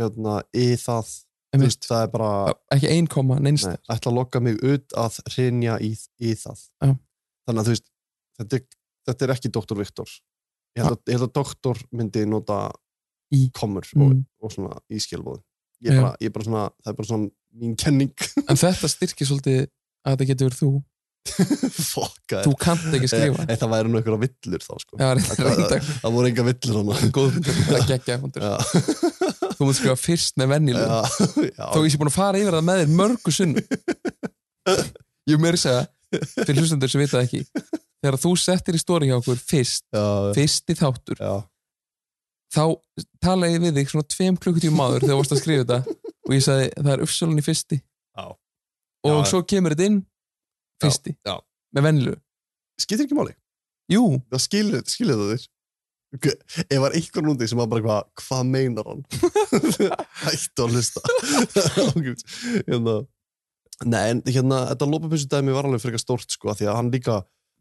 Speaker 5: hérna, í það Þú
Speaker 2: einmitt,
Speaker 5: veist, það er bara,
Speaker 2: ekki ein koma, neinst
Speaker 5: nei, ætla að lokka mig ut að hrinja í, í það
Speaker 2: Já.
Speaker 5: þannig að þú veist þetta er, þetta er ekki Dr. Viktor ég held, að, ég held að doktor myndi nota
Speaker 2: Í.
Speaker 5: komur og,
Speaker 2: mm.
Speaker 5: og svona í skilbóðum ég er
Speaker 2: Já.
Speaker 5: bara, ég er bara svona, það er bara svona mín kenning
Speaker 2: en þetta styrkir svolítið að þetta getur verið þú
Speaker 5: fokka
Speaker 2: þú kannt ekki skrifa
Speaker 5: e, eh, það væri nú einhverja villur þá sko.
Speaker 2: Já, reynda,
Speaker 5: það voru enga villur hann
Speaker 2: góð fundur, það geggja fundur
Speaker 5: já,
Speaker 2: Þú mútt skrifa fyrst með venjulega
Speaker 5: já, já,
Speaker 2: Þó ég sé búin að fara yfir það með þér mörgu sunn Ég meiri segja fyrir hlustendur sem vita það ekki Þegar þú settir í stóri hjá okkur fyrst
Speaker 5: já,
Speaker 2: fyrsti þáttur,
Speaker 5: já,
Speaker 2: þá talaði ég við þig svona tveim klukkutíum áður þegar þú varst að skrifa þetta og ég sagði það er uppsölun í fyrsti
Speaker 5: Já.
Speaker 2: og
Speaker 5: Já.
Speaker 2: svo kemur þetta inn fyrsti,
Speaker 5: já.
Speaker 2: með venjulegu
Speaker 5: skiptir ekki máli
Speaker 2: Jú,
Speaker 5: það skilur, skilur það þér Ok, ef var einhver núndi sem var bara hvað hvað meinar hann hættu að hlusta Ok, hérna nei, en hérna, þetta lópapinsu dæmi var alveg frekar stórt sko, af því að hann líka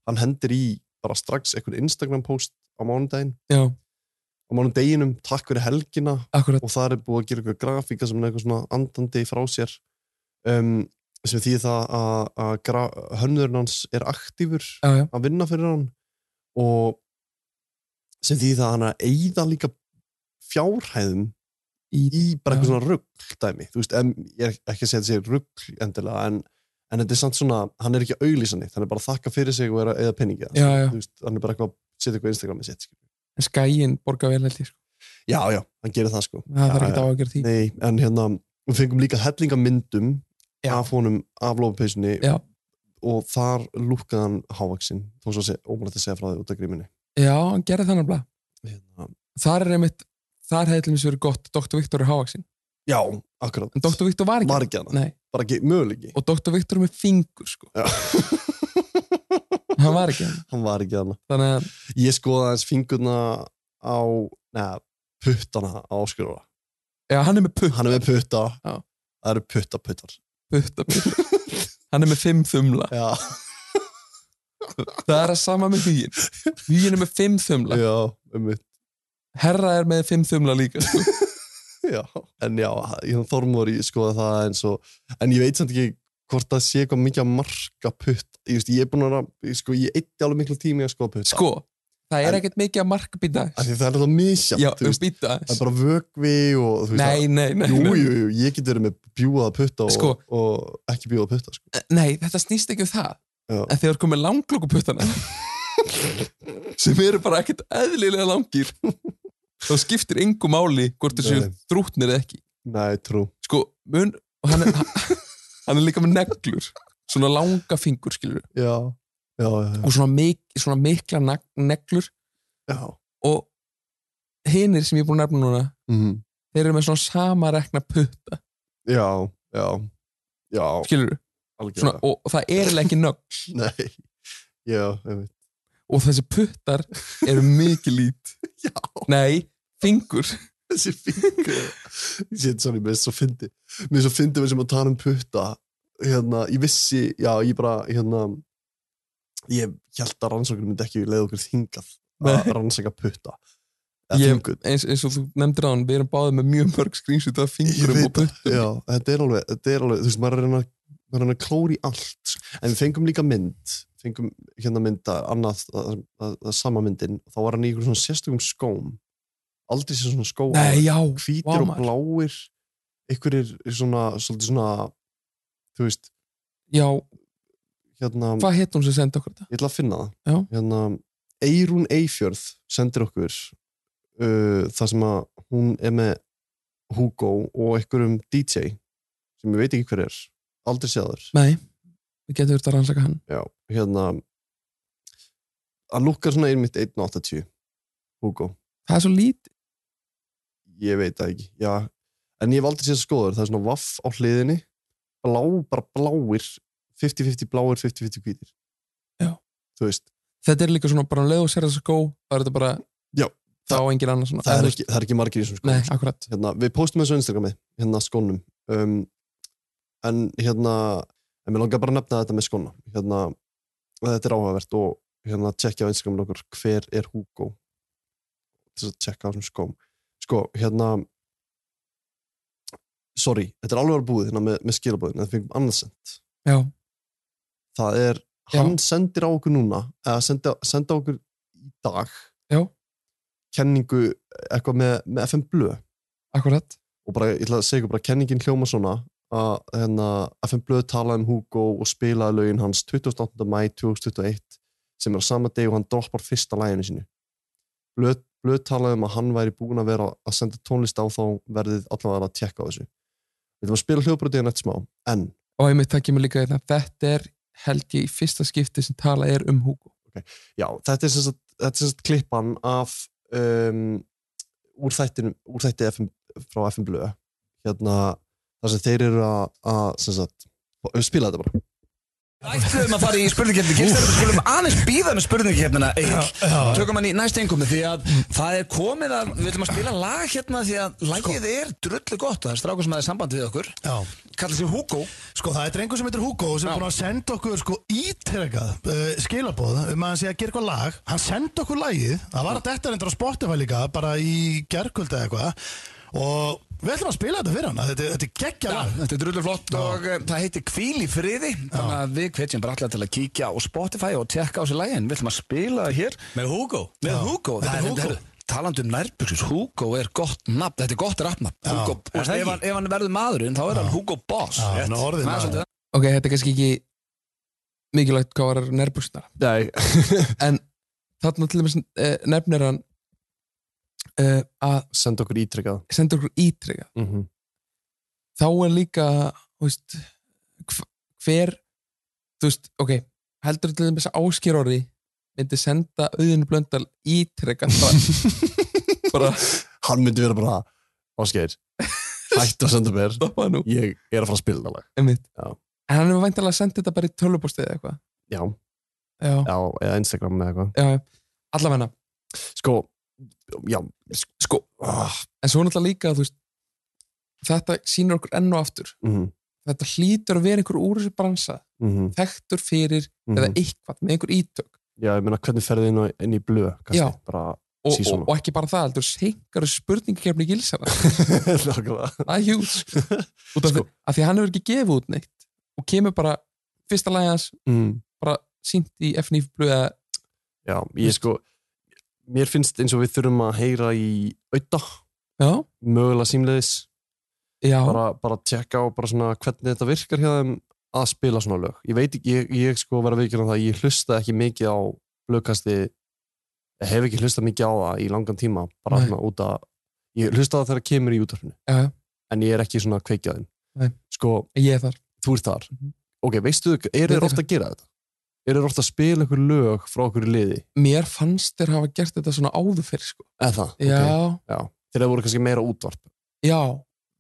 Speaker 5: hann hendir í bara strax einhvern Instagram post á mánudaginn
Speaker 2: já,
Speaker 5: á mánudeginum, takk fyrir helgina
Speaker 2: akkurat
Speaker 5: og það er búið að gera eitthvað grafíka sem er eitthvað svona andandi frá sér um, sem því það að, að gra- hönnurinn hans er aktífur
Speaker 2: Já, já,
Speaker 5: að vinna fyrir hann og sem því það hann er að eyða líka fjárhæðum
Speaker 2: í,
Speaker 5: í bara eitthvað
Speaker 2: Já.
Speaker 5: svona rugg dæmi þú veist, em, ég er ekki að segja þetta sé rugg endilega, en, en þetta er samt svona hann er ekki að auglýsa neitt, hann er bara að þakka fyrir sig og er að eða penningi,
Speaker 2: Já, já.
Speaker 5: þú veist, hann er bara eitthvað að setja eitthvað á Instagramið sitt, skilur.
Speaker 2: en skæin borga vel held ég sko.
Speaker 5: já, já, hann gerir það sko
Speaker 2: það þarf
Speaker 5: Já,
Speaker 2: ekki
Speaker 5: já.
Speaker 2: á að gera því
Speaker 5: Nei, en hérna, við fengum líka hellinga myndum
Speaker 2: Já.
Speaker 5: af honum af lófapeysunni
Speaker 2: Já.
Speaker 5: og þar lúkkaði hann hávaksin þó svo ómulegt að segja frá því út af gríminni
Speaker 2: Já, hann gerði þannig að
Speaker 5: hérna,
Speaker 2: þar er einmitt þar hefði til mér verið gott Dr. Viktor er hávaksin
Speaker 5: Já, akkurat.
Speaker 2: en Dr. Viktor var ekki
Speaker 5: Var ekki hana.
Speaker 2: Nei,
Speaker 5: Bara ekki, mögulegi.
Speaker 2: og Dr. Viktor er með fingur sko.
Speaker 5: Já.
Speaker 2: hann var ekki hann.
Speaker 5: Hann var ekki hana.
Speaker 2: þannig að
Speaker 5: Ég skoða aðeins fingurna á, neða, puttana á Óskar Óla.
Speaker 2: já, hann er með putt,
Speaker 5: Hann er með putta.
Speaker 2: Já.
Speaker 5: Það eru puttaputtar.
Speaker 2: putt, putt. hann er með fimm þumla
Speaker 5: Já.
Speaker 2: það er að sama með hugin hugin er með fimm þumla
Speaker 5: Já, um mitt.
Speaker 2: herra er með fimm þumla líka sko.
Speaker 5: Já. En já, ég hann Þormór, ég skoða það eins og, en ég veit samt ekki hvort það sé eitthvað mikið að marka putt. Ég veist, ég er búin að, vera- ég sko, ég eitti alveg miklu tími að skoða putta.
Speaker 2: sko, það er
Speaker 5: En-
Speaker 2: ekkert mikið að marka býta
Speaker 5: Af því Það er alltaf misjant,
Speaker 2: já,
Speaker 5: þú
Speaker 2: um
Speaker 5: veist,
Speaker 2: býta
Speaker 5: það er bara vögvi og þú veist, það-
Speaker 2: nei, nei, nei,
Speaker 5: Jú,
Speaker 2: nei.
Speaker 5: jú, jú, ég get verið með bjúaða putta og,
Speaker 2: Sko.
Speaker 5: og ekki bjúaða putta sko.
Speaker 2: nei, þetta snýst ekki um það
Speaker 5: Já.
Speaker 2: en þegar komið langklokkuputtana sem eru bara ekkert eðlilega langir þá skiptir engu máli hvort þeir séu
Speaker 5: Nei.
Speaker 2: þrútnir eða ekki
Speaker 5: Nei, trú.
Speaker 2: sko, mun og hann er, hann er líka með neglur svona langa fingur, skilur
Speaker 5: Já, já, já, já.
Speaker 2: og svona, mik, svona mikla nag- neglur
Speaker 5: já.
Speaker 2: og hinir sem ég er búin að nefna núna
Speaker 5: Mm,
Speaker 2: þeir eru með svona sama rekna putta
Speaker 5: já, já, já,
Speaker 2: skilur, svona,
Speaker 5: algjörða.
Speaker 2: og, og það er eiginlega ekki nögl
Speaker 5: Nei, já, einmitt.
Speaker 2: og þessi puttar eru mikið lít
Speaker 5: Já,
Speaker 2: nei, fingur
Speaker 5: þessi fingur. ég sé þetta svona, mér er svo fyndi. Mér er svo fyndi við sem að tala um putta. Hérna, ég vissi, já, ég bara, hérna, ég held að rannsóknum myndi ekki leið okkur þingað að
Speaker 2: Nei.
Speaker 5: rannsaka putta.
Speaker 2: Ég-
Speaker 5: Eða fingur.
Speaker 2: eins, eins og þú nefndir á hann, við erum báðið með mjög mörg skrýnsut af fingurum
Speaker 5: Ég
Speaker 2: og
Speaker 5: veit það,
Speaker 2: puttum
Speaker 5: Já, þetta er alveg, þetta er alveg, þú veist, maður er að reyna- maður er að reyna að klóra í allt. sko. En við fengum líka mynd, fengum hérna mynd að annað, að, að, að sama myndin, og þá var hann í ykkur svona sérstökum skóm. Aldrei sér svona skó.
Speaker 2: Nei, já,
Speaker 5: Hvítir og
Speaker 2: maður.
Speaker 5: bláir, ykkur er svona, svolítið svona, þú veist,
Speaker 2: já,
Speaker 5: hérna,
Speaker 2: hvað hétt hún sem sendi okkur þetta?
Speaker 5: ég ætla að finna það.
Speaker 2: Já.
Speaker 5: Hérna, Eirún Eifjörð sendir okkur uh, það sem að hún er með Hugo og einhverjum DJ sem ég veit ekki hver er, aldrei séður.
Speaker 2: Nei, við getum verið að rannsaka hann
Speaker 5: Já, hérna hann lukkar svona einmitt 1.80 Hugo,
Speaker 2: það er svo lítið,
Speaker 5: ég veit það ekki já, en ég hef aldrei séð skoður það er svona vaff á hliðinni blá, bara bláir 50-50 bláir, 50-50 hvítir
Speaker 2: Já.
Speaker 5: þú veist,
Speaker 2: þetta er líka svona bara um leið og sér þess að skó, það er þetta bara
Speaker 5: Já,
Speaker 2: þá
Speaker 5: það-
Speaker 2: engin annar svona
Speaker 5: það er
Speaker 2: eða þú
Speaker 5: ekki, það er ekki margir í þessum
Speaker 2: veist- Nei,
Speaker 5: skóðum
Speaker 2: akkurat,
Speaker 5: hérna, við postum þessu á Instagrami hérna skónum um, en hérna en mér langar bara að nefna þetta með skóna hérna, og þetta er áhugavert og hérna tjekkja á Instagramin okkur hver er Hugo til þess að tjekka á þessum skóm sko, hérna sorry, þetta er alveg að búið hérna með, með skilabúðin, það fengum annarsend
Speaker 2: já,
Speaker 5: það er,
Speaker 2: Já.
Speaker 5: hann sendir á okkur núna eða sendi, sendi á okkur í dag
Speaker 2: Já.
Speaker 5: kenningu eitthvað með, með FM Blöð
Speaker 2: akkurat
Speaker 5: og bara, ég ætla að segja ykkur bara, kenningin hljóma svona að hérna, FM Blöð talaði um Hugo og spilaði lögin hans 28. mæ 2021 sem er á sama deg og hann droppar fyrsta læginu sínu. Blöð, Blöð talaði um að hann væri búin að vera að senda tónlist á þá verðið allavega að tjekka á þessu. Við ætlum að spila hljóðbröðin eftir smá, en
Speaker 2: og einmitt það kemur líka þetta, þetta er held ég í fyrsta skipti sem tala er um Hugo
Speaker 5: já, þetta er sem sagt, þetta er sem sagt klippan af um, úr þættinu, úr þætti FM, frá FM Blöð hérna, þar sem þeir eru að, að sem sagt, spila þetta bara.
Speaker 9: Ætluðum að fara í spurningkeppni Gilstarður, skulum aðeins býða með spurningkeppnina Egil. Tökum hann í næst einkomi því að það er komið að við ætlum að spila lag hérna því að lagið
Speaker 8: Sko.
Speaker 9: er drullu gott. Það er strákur sem aðeins samband við okkur.
Speaker 10: Já,
Speaker 9: Kallar sig Hugo.
Speaker 10: sko það er drengur sem heitir Hugo sem er búin að senda okkur sko ítrekað uh, skilabóð um að hann sé að gera eitthvað lag hann sendi okkur lagið, það var að þetta reyndar á Spotify líka, bara í gerkvölda eitthvað og við ætlum að spila þetta fyrir hann, þetta, þetta er geggja
Speaker 9: Já,
Speaker 10: lag
Speaker 9: þetta er drullu flott og eh, það heitir Hvíl í friði. Þannig að við hvetjum bara allar til að kíkja á Spotify og tekka á þessu lagi en við ætlum að spila það hér
Speaker 11: Með Hugo
Speaker 9: með
Speaker 10: Já,
Speaker 9: Hugo.
Speaker 10: það er
Speaker 9: Þetta-
Speaker 10: Hugo.
Speaker 9: þetta er- Talandi um nærbyggsins, Hugo er gott nafn, þetta er gott rafnafn. Hugo,
Speaker 11: Er það
Speaker 9: ef
Speaker 11: ekki?
Speaker 9: hann, ef hann verður maðurinn, þá er hann Hugo Boss.
Speaker 10: Já, hann er
Speaker 9: Það er
Speaker 10: orðinn maður.
Speaker 9: svolítið
Speaker 2: ok, þetta er kannski ekki mikilvægt hvað var nærbústunar
Speaker 5: Nei,
Speaker 2: en þarna til dæmis eh, nefnir hann eh, að
Speaker 5: senda okkur ítrekkað
Speaker 2: senda okkur ítrega
Speaker 5: mm -hmm.
Speaker 2: þá er líka þú veist, hv- hver þú veist, ok, heldur til þess að ásker orði myndi senda auðinu blöndal ítrega bara, bara
Speaker 5: hann myndi vera bara Ásgeir, hættu að senda mér ég er að fara að spila þetta lag
Speaker 2: Einmitt.
Speaker 5: Já.
Speaker 2: En hann er væntanlega að senda þetta bara í tölvupostið eða eitthvað.
Speaker 5: já,
Speaker 2: Já.
Speaker 5: já, eða Instagram eða eitthvað
Speaker 2: Já, já. allavegna.
Speaker 5: Sko, já. ah,
Speaker 2: Sko, en svo náttúrulega líka, þú veist, þetta sýnir okkur enn og aftur.
Speaker 5: Mhm.
Speaker 2: Þetta hlýtur að vera einhver úr þessu bransa,
Speaker 5: Mhm.
Speaker 2: þekktur fyrir eða eitthvað, með einhver ítök.
Speaker 5: já, ég meina hvernig ferði inn, á- inn í blöð kannski,
Speaker 2: Já.
Speaker 5: bara
Speaker 2: Og, og,
Speaker 5: sísónu
Speaker 2: og ekki bara það, heldur seinkar spurningakefni gilsana. það er hjúls. Út sko, af því að því að hann hefur ekki gefið út neitt og kemur bara fyrsta lagi hans
Speaker 5: Mhm.
Speaker 2: bara sínt í FNF blöð eða
Speaker 5: já, ég sko mér finnst eins og við þurfum að heyra í auða
Speaker 2: já.
Speaker 5: mögulega símleiðis
Speaker 2: já.
Speaker 5: bara, bara tjekka á bara svona hvernig þetta virkar hjá þeim að spila svona lög ég veit ekki, ég, ég sko var að viðkjöna það að ég hlusta ekki mikið á lögkasti ég hef ekki hlusta mikið á það í langan tíma bara
Speaker 2: Nei.
Speaker 5: svona út að ég hlusta það þegar það kemur í útarfinu
Speaker 2: Já, já.
Speaker 5: en ég er ekki svona að kveikja þeim
Speaker 2: Nei.
Speaker 5: sko,
Speaker 2: ég er þar
Speaker 5: þú ert þar ok, veistu,
Speaker 2: Veit
Speaker 5: eru þeir
Speaker 2: ég
Speaker 5: ofta að gera þetta? eru þeir ofta að spila einhver lög frá okkur liði?
Speaker 2: Mér fannst þér hafa gert þetta svona áður fyrir sko.
Speaker 5: eða það? ok.
Speaker 2: Já.
Speaker 5: já. þegar það voru kannski meira útvarp
Speaker 2: Já,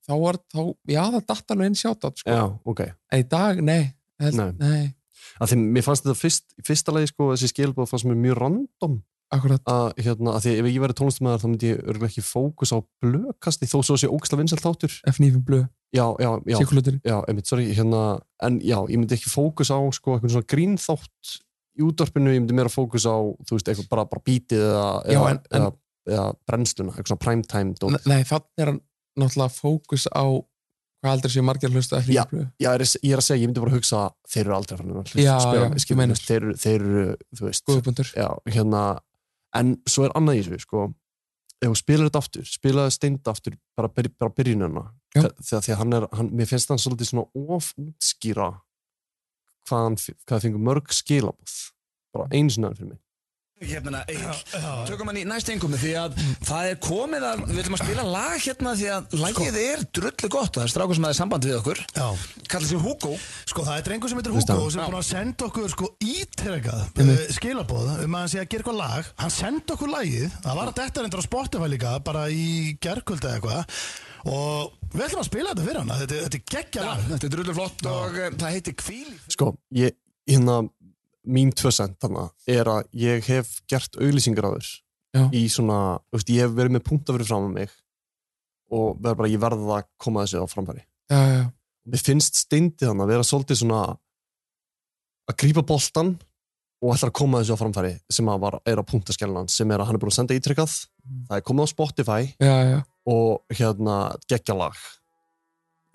Speaker 2: þá var þá, já það datt alveg inn sjátt sko.
Speaker 5: já, ok
Speaker 2: En í dag, nei, held,
Speaker 5: Nei.
Speaker 2: nei. nei
Speaker 5: að því mér fannst þetta fyrst, í fyrsta lagi sko þessi skilbóð fannst mér mjög random
Speaker 2: Akkurat.
Speaker 5: að hérna, að því ef ég verið tónlistamæður þá myndi ég örgulega ekki fókus á blökasti þó svo sé ógislega vinsælt þáttur
Speaker 2: FNF blöð,
Speaker 5: já, já, já,
Speaker 2: Sykurlauturinn.
Speaker 5: já, einmitt, sorry hérna, en já, ég myndi ekki fókus á sko eitthvað svona grínþátt í útvarpinu, ég myndi meira fókus á þú veist, eitthvað bara, bara bítið eða,
Speaker 2: Já,
Speaker 5: eða,
Speaker 2: en- en-
Speaker 5: eða, eða brennsluna, eitthvað svona primetime dót.
Speaker 2: nei þannig er hann náttúrulega fókus á hvað aldrei séu margir að hlusta FNF blöð
Speaker 5: Já, ég er, ég er að segja, ég myndi bara að hugsa þeir eru aldrei að fara að
Speaker 2: Já, já,
Speaker 5: spila
Speaker 2: ég
Speaker 5: skilur,
Speaker 2: meina. Sko,
Speaker 5: þú veist, þeir, eru- þeir eru, þú veist
Speaker 2: Góðbundur
Speaker 5: já, hérna, en svo er annað í þessu sko, ef hún spilar þetta aftur spilaði steind aftur, bara, byr, bara byrjunina
Speaker 2: Já.
Speaker 5: þegar, þegar hann er hann, mér finnst hann svolítið svona of útskýra hvað hann f- hvað fengur mörg skilabóð bara einu sinna fyrir mig
Speaker 12: hérna Egil, tökum hann í næst einkomi því að það er komið að við ætlum að spila lag hérna því að
Speaker 10: Sko.
Speaker 12: lagið er drullu gott það er strákur sem aðeins samband við okkur kallar sig Hugo
Speaker 13: Sko það er drengur sem heitir
Speaker 5: Veist
Speaker 13: Hugo
Speaker 5: það?
Speaker 13: sem er búin að senda okkur sko ítrekað uh,
Speaker 10: eh,
Speaker 5: Einmitt.
Speaker 13: skilabóð um að hann sé að gera eitthvað lag hann sendi okkur lagið, það var að þetta reyndar á Spotify líka bara í gerkvölda eitthvað og við ætlum að spila þetta fyrir hann þetta, þetta er geggja lag
Speaker 12: þetta er drullu flott og eh, það heitir Kvíl
Speaker 5: sko, ég, hérna mín tvösend þarna er að ég hef gert auglýsingar á þér
Speaker 2: Já.
Speaker 5: í svona, þú veist, ég hef verið með punkt að vera fram með mig og verð bara, ég verð að koma þessu á framfæri
Speaker 2: Já, já,
Speaker 5: mér finnst steindi þannig að vera svolítið svona að grípa boltan og ætlar að koma þessu á framfæri sem að var, er á punktaskellan sem er að hann er búin að senda ítrekkað
Speaker 2: Mm.
Speaker 5: það er komið á Spotify
Speaker 2: já, já,
Speaker 5: og hérna geggja lag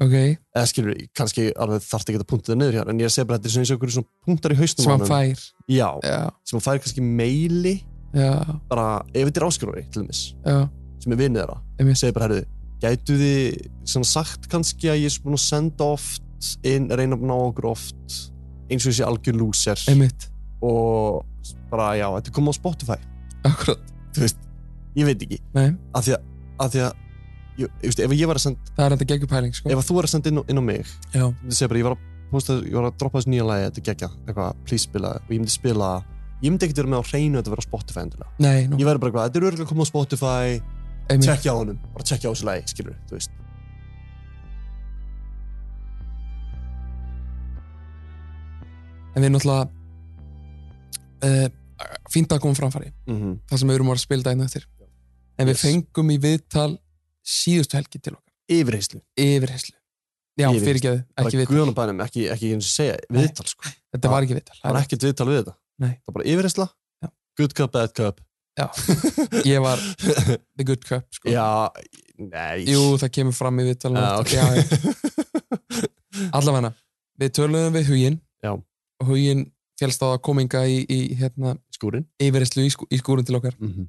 Speaker 2: ok
Speaker 5: eða skilur, kannski alveg þarf ekki að punta það niður hér en ég segi bara þetta er svona eins og einhverju svona punktar í haustum
Speaker 2: Sem
Speaker 5: á
Speaker 2: hann
Speaker 5: honum.
Speaker 2: fær
Speaker 5: Já,
Speaker 2: Já,
Speaker 5: sem hann fær kannski meili
Speaker 2: já,
Speaker 5: bara ef þetta er áskilur til dæmis
Speaker 2: já,
Speaker 5: sem er vinnið þeirra
Speaker 2: Einmitt.
Speaker 5: segir bara, herðu, gætu þið svona sagt kannski að ég er búin að senda oft inn, reyna að ná okkur oft eins og þessi algjör lúser
Speaker 2: einmitt
Speaker 5: og bara, já, þetta er komið á Spotify
Speaker 2: Akkurat,
Speaker 5: þú veist, ég veit ekki
Speaker 2: nei,
Speaker 5: af því að, af því að ég, ég veist, ef ég var að senda,
Speaker 2: það er þetta geggjupæling sko
Speaker 5: ef að þú er að senda inn, á- inn á mig
Speaker 2: Já,
Speaker 5: þú segir bara, ég var að posta, ég var að droppa þessu nýja lagi, þetta er geggja, eitthvað, please spila og ég myndi spila, ég myndi ekkert vera með á hreinu að þetta vera á Spotify endilega,
Speaker 2: nei, nú,
Speaker 5: ég verður bara eitthvað, þetta er örgulega komið á Spotify
Speaker 2: einmitt
Speaker 5: tjekkja á honum, bara tjekkja á þessu lagi, skilur þú veist
Speaker 2: En við náttúrulega uh, Fínt að koma framfæri
Speaker 5: -hmm.
Speaker 2: það sem við erum að fara að spila daginn eftir en við
Speaker 5: Yes.
Speaker 2: fengum í viðtal síðustu helgi til okkar
Speaker 5: yfirheyslu,
Speaker 2: yfirheyslu, já
Speaker 5: Yfirheyrslu.
Speaker 2: fyrirgeðu ekki
Speaker 5: bara
Speaker 2: viðtal,
Speaker 5: guðanabænum ekki, ekki eins og segja,
Speaker 2: Nei.
Speaker 5: viðtal sko
Speaker 2: þetta var ekki viðtal
Speaker 5: það var ekkert viðtal við þetta,
Speaker 2: Nei.
Speaker 5: það var bara yfirheysla
Speaker 2: Já.
Speaker 5: good cup, bad cup
Speaker 2: já, ég var the good cup sko.
Speaker 5: já, nei
Speaker 2: jú það kemur fram í viðtal
Speaker 5: já, ok já,
Speaker 2: já, já. allavega við töluðum við huginn
Speaker 5: Já.
Speaker 2: og huginn félst á að kominga í, í hérna,
Speaker 5: skúrin
Speaker 2: yfirheyslu í, skú, í skúrun til okkar
Speaker 5: mm -hmm.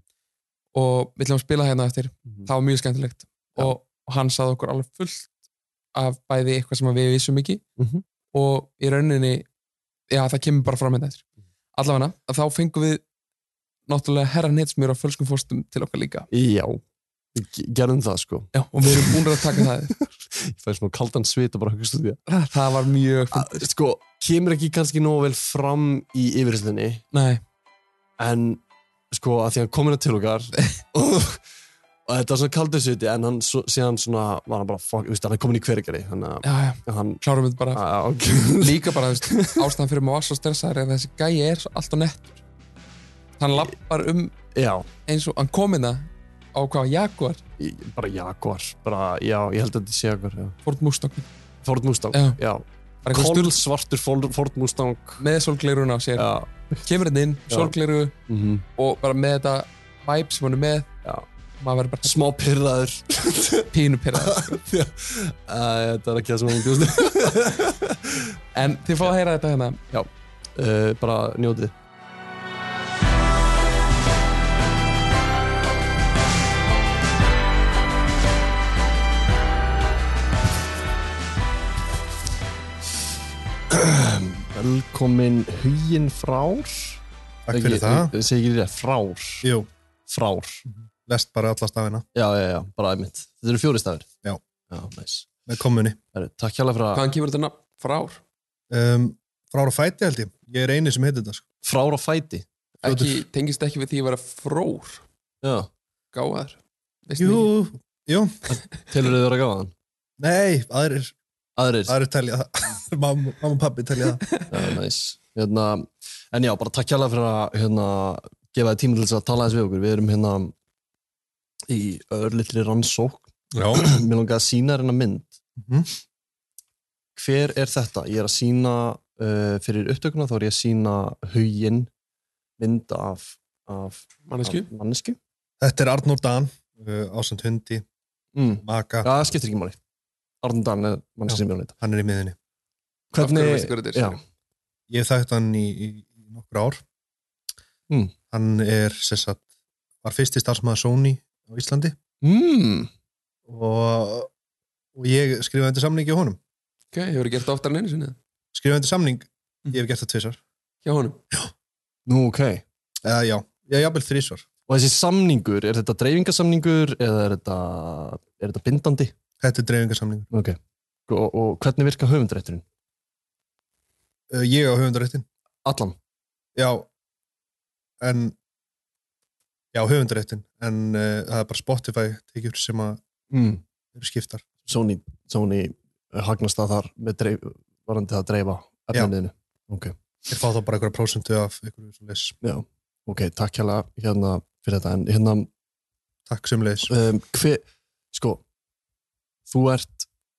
Speaker 2: og við ætlum að spila hérna eftir það var mjög skemmtilegt
Speaker 5: Já.
Speaker 2: og, og hann saði okkur alveg fullt af bæði eitthvað sem við vissum ekki
Speaker 5: Mhm.
Speaker 2: og í rauninni já það kemur bara fram hérna eftir
Speaker 5: Mhm.
Speaker 2: allavega þá fengum við náttúrulega herra netsmjör á fölskum fórstum til okkar líka
Speaker 5: já, Við ge- gerðum það sko
Speaker 2: já, og við erum búin að taka það yfir.
Speaker 5: ég fæði smá kaldan svit og bara hugst út í það
Speaker 2: það, það var mjög fun-
Speaker 5: Að, sko, kemur ekki kannski nógu vel fram í yfirheyslunni
Speaker 2: Ah. nei,
Speaker 5: en sko, að því að hann komin að til okkar hérna og, og þetta var svona kaldur suti en hann svo, síðan svona var hann bara fuck, þú veist, hann er komin í hvergari þannig
Speaker 2: Já, já.
Speaker 5: að hann
Speaker 2: klárum þetta
Speaker 5: Ah.
Speaker 2: bara
Speaker 5: okay.
Speaker 2: líka bara þú veist, ástæðan fyrir maður var svo stressaður er að þessi gæi er svo alltaf nettur hann lappar um
Speaker 5: já.
Speaker 2: eins og hann komina á hvað, Jaguar
Speaker 5: í- bara Jaguar bara, já, ég held að þetta sé Jaguar já.
Speaker 2: Ford Mustang
Speaker 5: Ford Mustang,
Speaker 2: Já.
Speaker 5: já,
Speaker 2: Bara eitthvað
Speaker 5: kól svartur Ford, Ford Mustang
Speaker 2: með solglerun á sér
Speaker 5: já,
Speaker 2: kemur hann inn,
Speaker 5: Já.
Speaker 2: solgleru
Speaker 5: mhm
Speaker 2: og bara með þetta vibe sem hann er með
Speaker 5: Já.
Speaker 2: maður verður bara
Speaker 5: smá pyrraður
Speaker 2: pínu pyrrað
Speaker 5: Æ, þetta er ekki það sem hann bjóðst
Speaker 2: en þið fá að heyra þetta hérna
Speaker 5: uh, bara njótið velkomin hugin frár
Speaker 10: Takk fyrir það.
Speaker 5: ég segi ekki rétt, frár
Speaker 10: Jú,
Speaker 5: frár,
Speaker 10: lest bara alla stafina
Speaker 5: já, já, já, bara einmitt þetta eru fjóri stafir
Speaker 10: Já.
Speaker 5: já, næs
Speaker 10: með kommuni.
Speaker 5: Herru, Takk hjá fyrir að
Speaker 2: hvaðan kemur þetta nafn frár?
Speaker 10: Um, frár og fæti held ég. Ég er eini sem heitir þetta. Sko.
Speaker 5: frára fæti
Speaker 2: Ekki, tengist ekki við því að vera frór
Speaker 5: Já,
Speaker 2: gáðar
Speaker 10: Jú, jú.
Speaker 5: telur þið vera gáðan
Speaker 10: Nei, aðrir,
Speaker 5: Aðrir,
Speaker 10: aðrir telja það. mamma, mamma og pappi telja það.
Speaker 5: Já, næs hérna, En já, bara takk hjá fyrir að hérna, gefa þið tíma til þess að tala eins við okkur Við erum hérna í örlittri rannsókn
Speaker 10: Já.
Speaker 5: Mér langaði að sína hérna mynd
Speaker 10: Mhm.
Speaker 5: Hver er þetta? Ég er að sína uh, fyrir upptökuna þá er ég að sína huginn mynd af, af, af
Speaker 2: mannesku
Speaker 5: mannesku
Speaker 10: Þetta er Arnór Dan, uh, ásand hundi,
Speaker 5: mm.
Speaker 10: maka,
Speaker 5: Já, það skiptir ekki máli Arndan Dan er manneski
Speaker 10: Já.
Speaker 5: sem ég hún heit
Speaker 10: hann er í miðinni.
Speaker 2: Hvernig- Já.
Speaker 5: já,
Speaker 10: Ég hef þekkt hann í, í, í nokkur ár.
Speaker 5: Mm.
Speaker 10: Hann er, sem sagt, var fyrsti starfsmaður Sony á Íslandi
Speaker 2: Hmm.
Speaker 5: mm.
Speaker 10: og, og ég skrifaði undir samningi á honum.
Speaker 2: ok, hefur gert það oftar en einu sinni eða?
Speaker 10: Skrifaði undir samning,
Speaker 5: Hmm.
Speaker 10: ég hef gert það tvisar.
Speaker 2: hjá honum
Speaker 5: Nú, ok
Speaker 10: Uh, já, já, jafnvel þrísvar.
Speaker 5: Og þessi samningur, er þetta dreifingarsamningur eða er þetta, er þetta bindandi?
Speaker 10: Þetta er dreifingarsamningur.
Speaker 5: Ok. Og, og hvernig virka höfundarætturinn?
Speaker 10: Uh, ég á höfundaréttin.
Speaker 5: Allan?
Speaker 10: Já, en já, höfundaréttin. En uh, það er bara Spotify tekjur sem að
Speaker 5: Mm.
Speaker 10: eru skiptar.
Speaker 5: Sony, Sony eh, hagnast það þar með dreif, varandi það að dreifa efniðinu? Ok.
Speaker 10: Ég fá þá bara einhverja prósentu af einhverju svo leys.
Speaker 5: Já. Ok, takk hérna, hérna fyrir þetta. En hérna,
Speaker 10: Takk sem leys.
Speaker 5: um, hver, sko, þú ert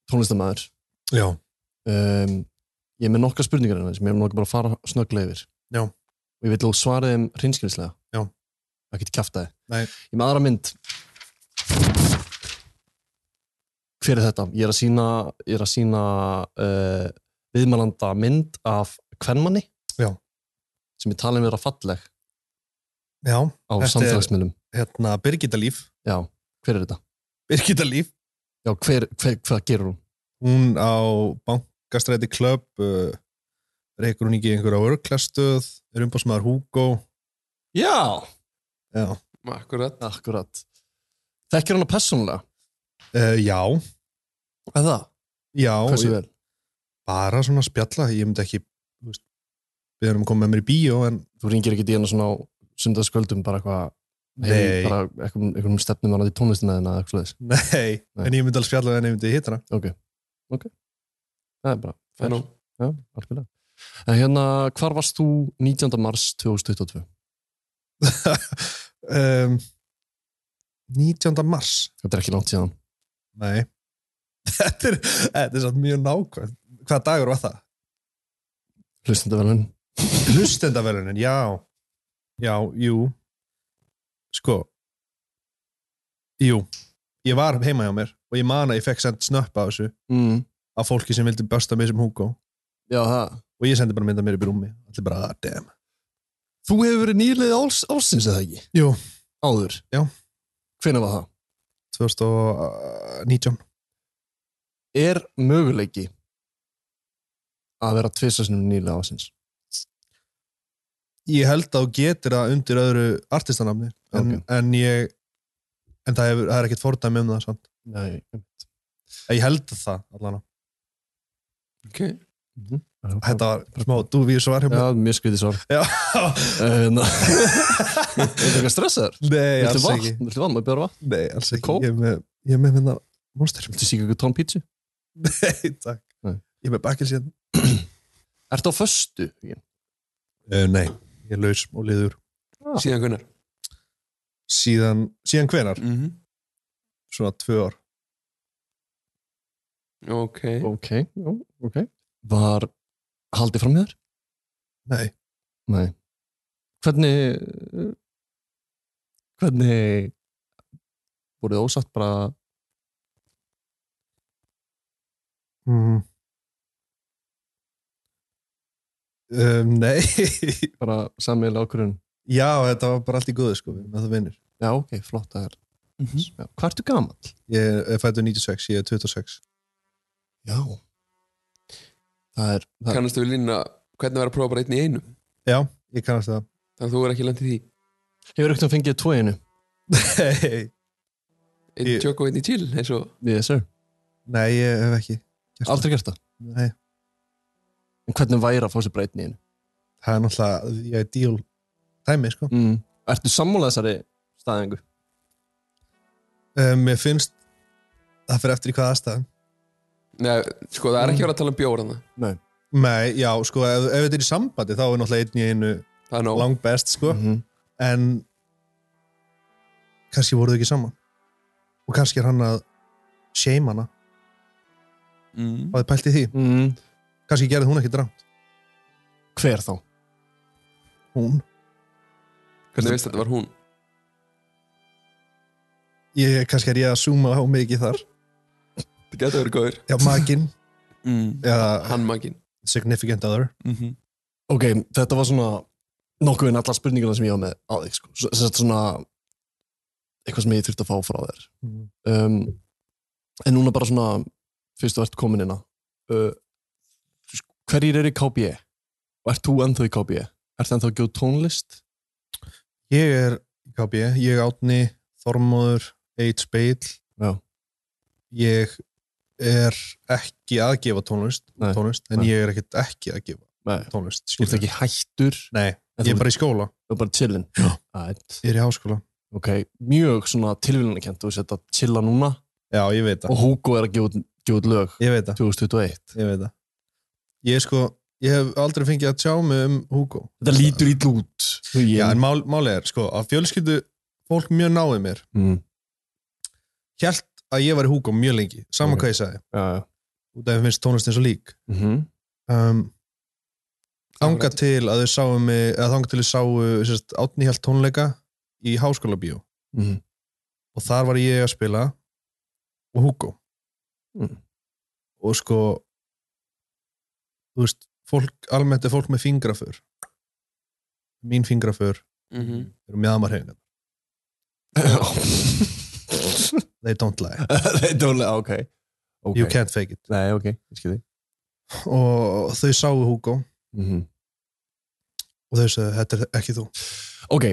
Speaker 5: tónlistamæður.
Speaker 10: Já.
Speaker 5: Um, ég er með nokkra spurningar hérna sem ég er nokkað bara að fara snögglega yfir.
Speaker 10: Já.
Speaker 5: Og ég vil þú svara þeim hrinskilislega.
Speaker 10: Já.
Speaker 5: Það getur kjaftaði.
Speaker 10: Nei.
Speaker 5: Ég er með aðra mynd. Hver er þetta? Ég er að sína, ég er að sína uh, viðmælanda mynd af kvennmanni.
Speaker 10: Já.
Speaker 5: Sem ég talið vera falleg
Speaker 10: Já,
Speaker 5: á
Speaker 10: Þetta er-
Speaker 5: samfélagsmiðlum.
Speaker 10: hérna Birgitta Líf.
Speaker 5: Já. Hver er þetta?
Speaker 10: Birgitta Líf.
Speaker 5: Já, hver, hver, hvað gerur hún?
Speaker 10: Hún á Bankastræti Club, uh, reykur hún ekki í einhverja örklastöð, er umbásmaður Hugo.
Speaker 5: Já.
Speaker 10: Já.
Speaker 2: akkurat
Speaker 5: Akkurat. Þekkir hana persónulega?
Speaker 10: Uh, já,
Speaker 5: Er það?
Speaker 10: já.
Speaker 5: Hversu
Speaker 10: ég-
Speaker 5: vel?
Speaker 10: bara svona spjalla, ég myndi ekki þú veist, við erum að koma með mér í bíó en
Speaker 5: Þú ringir ekki í hana svona á sundarskvöldum bara eitthvað
Speaker 10: nei,
Speaker 5: Hey, bara einhverjum, einhverjum stefnum hann í tónlistina þína eða eitthvað þess.
Speaker 10: nei,
Speaker 5: Nei.
Speaker 10: en ég myndi alveg spjalla við en ég myndi hitt hana
Speaker 5: Það er bara,
Speaker 2: Það er nú.
Speaker 5: já, algjörlega. En hérna, hvar varst þú 19. mars 2022?
Speaker 10: um, 19. mars
Speaker 5: Þetta er ekki langt síðan.
Speaker 10: nei þetta er, þetta er samt mjög nákvæmt hvaða dagur var það?
Speaker 5: Hlustendavelun.
Speaker 10: hlustendavelunin, já já, jú sko jú, ég var heima hjá mér og ég man að ég fekk sendt snöppa á þessu
Speaker 5: Mm.
Speaker 10: af fólki sem vildi börsta mig sem Hugo
Speaker 5: Já, það.
Speaker 10: og ég sendi bara mynda mér upp í rúmi allir bara, ah, damn
Speaker 5: Þú hefur verið nýlið árs, ársins eða ekki?
Speaker 10: Jú.
Speaker 5: Áður?
Speaker 10: Já.
Speaker 5: Hvenær var það?
Speaker 10: 2019
Speaker 5: Er möguleiki að vera tvisarsinum nýlið ársins?
Speaker 10: ég held að þú getur það undir öðru artistanamni en,
Speaker 5: Ok.
Speaker 10: en ég en það, hefur, það er ekkert fordæmi um það samt
Speaker 5: Nei.
Speaker 10: En ég held það allan
Speaker 2: ok,
Speaker 10: Þetta var smá dúvíu svar hjá mér.
Speaker 5: Já, Mhm. mjög skriði svar.
Speaker 10: Já.
Speaker 5: Þetta er eitthvað stressaður?
Speaker 10: Nei,
Speaker 5: Viltu
Speaker 10: alls
Speaker 5: vatn?
Speaker 10: ekki.
Speaker 5: Viltu vann? Má ég bjóra vatn?
Speaker 10: Nei, alls ekki.
Speaker 5: Kók?
Speaker 10: Ég er með, ég er með minna monster.
Speaker 5: Viltu síka ykkur tón pítsu?
Speaker 10: Nei, takk.
Speaker 5: Nei.
Speaker 10: Ég er með bakkið síðan.
Speaker 5: Ertu á föstu? Ég-
Speaker 10: Uh, nei, ég er laus og liður.
Speaker 2: Síðan hvernig?
Speaker 10: Síðan, síðan hvenar?
Speaker 2: Mhm.
Speaker 10: Svona tvö ár.
Speaker 2: Ok.
Speaker 5: Ok, já, ok. Var haldið fram hjá þér?
Speaker 10: Nei.
Speaker 5: Nei. Hvernig, hvernig voruð þið ósatt bara
Speaker 10: Mm. Um, nei.
Speaker 5: bara sammeila ákvörðun
Speaker 10: Já, þetta var bara allt í góðu sko, við erum að það vinnir.
Speaker 5: já ok, flott það er já, hvað ertu gamall?
Speaker 10: Ég er fættur 96, ég er 26.
Speaker 5: já það er, það
Speaker 2: Kannastu við línuna hvernig verður að prófa bara einn í einu?
Speaker 10: Já, ég kannast það.
Speaker 2: Þannig að þú er ekki lendið því.
Speaker 5: hefur ekkert að fengið tvo í einu
Speaker 10: Nei,
Speaker 2: Einn
Speaker 10: Ég-
Speaker 2: tjók og einn í chill, eins og...
Speaker 5: yes sir
Speaker 10: nei, ég hef ekki. Gert
Speaker 5: aldrei gert það
Speaker 10: Nei,
Speaker 5: en hvernig væri að fá sér bara einn í einu
Speaker 10: það er náttúrulega, ég er díl dæmi sko.
Speaker 5: mm. ertu sammála þessari staðingu
Speaker 10: Um, mér finnst, það fyrir eftir í hvað aðstæðan.
Speaker 2: Nei, sko, það er
Speaker 5: Mm.
Speaker 2: ekki verið að tala um bjór hann
Speaker 5: nei
Speaker 10: Nei, já, sko, ef, ef þetta er í sambandi þá er náttúrulega einn í einu
Speaker 2: það. er nóg.
Speaker 10: langbest, sko,
Speaker 5: Mhm.
Speaker 10: en kannski voru þau ekki saman og kannski er hann að shame hana,
Speaker 2: Mm.
Speaker 10: og þið pælt í því
Speaker 5: mm.
Speaker 10: kannski gerði hún ekki drátt,
Speaker 5: hver þá?
Speaker 10: hún
Speaker 2: Hvernig veist þetta var hún?
Speaker 10: ég, kannski er ég að zooma á mikið þar
Speaker 2: Það getur verið góður.
Speaker 10: já, makin,
Speaker 2: Mm.
Speaker 10: eða
Speaker 2: Hann maginn.
Speaker 10: significant other
Speaker 2: Mm -hmm.
Speaker 5: ok, þetta var svona nokkuð en alla spurninguna sem ég var með á þig sko. S- sem sagt svona eitthvað sem ég þurfti að fá frá þér
Speaker 10: Mhm.
Speaker 5: um, en núna bara svona fyrst þú ert komin inn á uh, sk- hverjir eru í KB og ert þú ennþá í KB ert ennþá að gjóð tónlist
Speaker 10: ég er, KB, ég átni Þormóður, Eitt Speil
Speaker 5: Já.
Speaker 10: ég er ekki að gefa tónlist,
Speaker 5: Nei,
Speaker 10: tónlist en
Speaker 5: nei.
Speaker 10: ég er ekkert ekki að gefa
Speaker 5: Nei.
Speaker 10: tónlist,
Speaker 5: þú ert
Speaker 10: skilurðu.
Speaker 5: ekki hættur
Speaker 10: Nei,
Speaker 5: en
Speaker 10: ég er
Speaker 5: þú,
Speaker 10: bara í skóla
Speaker 5: þú er bara chillin
Speaker 10: Já.
Speaker 5: Æt,
Speaker 10: Ég er í háskóla
Speaker 5: ok, mjög svona tilvílunarkent þú sett að chilla núna
Speaker 10: Já, ég veit það
Speaker 5: og Hugo er að gefa gjóð lög
Speaker 10: Ég veit það
Speaker 5: 2021
Speaker 10: Ég veit það Ég er sko Ég hef aldrei fengið að tjá mig um Hugo
Speaker 5: þetta lítur í lút
Speaker 10: Já,
Speaker 5: Mm.
Speaker 10: en mál, máli er sko að fjölskyldu fólk mjög náði mér
Speaker 5: mm.
Speaker 10: Hjælt að ég var í Hugo mjög lengi Saman
Speaker 5: Ok.
Speaker 10: hvað ég sagði
Speaker 5: já, já.
Speaker 10: Út af því finnst tónlist eins og lík
Speaker 5: Mm
Speaker 10: um, Þanga
Speaker 2: Akkurat.
Speaker 10: til að þau sáu mig eða þanga til þau sáu sérst, átni hjælt tónleika í háskóla bíó
Speaker 5: Mhm.
Speaker 10: og þar var ég að spila og Hugo
Speaker 5: Mm.
Speaker 10: og sko þú veist fólk, almennt er fólk með fingraför mín fingraför
Speaker 2: Mm
Speaker 5: Mhm.
Speaker 2: -hmm.
Speaker 10: eru mjöðamarhefingar they don't lie,
Speaker 5: They don't let, ok. okay.
Speaker 10: you can't fake it
Speaker 5: Nei, ok, ég skil þig.
Speaker 10: og þau sáu Hugo
Speaker 5: Mm
Speaker 10: Mhm.
Speaker 5: -hmm.
Speaker 10: og þau sagði, þetta er ekki þú
Speaker 5: Ok,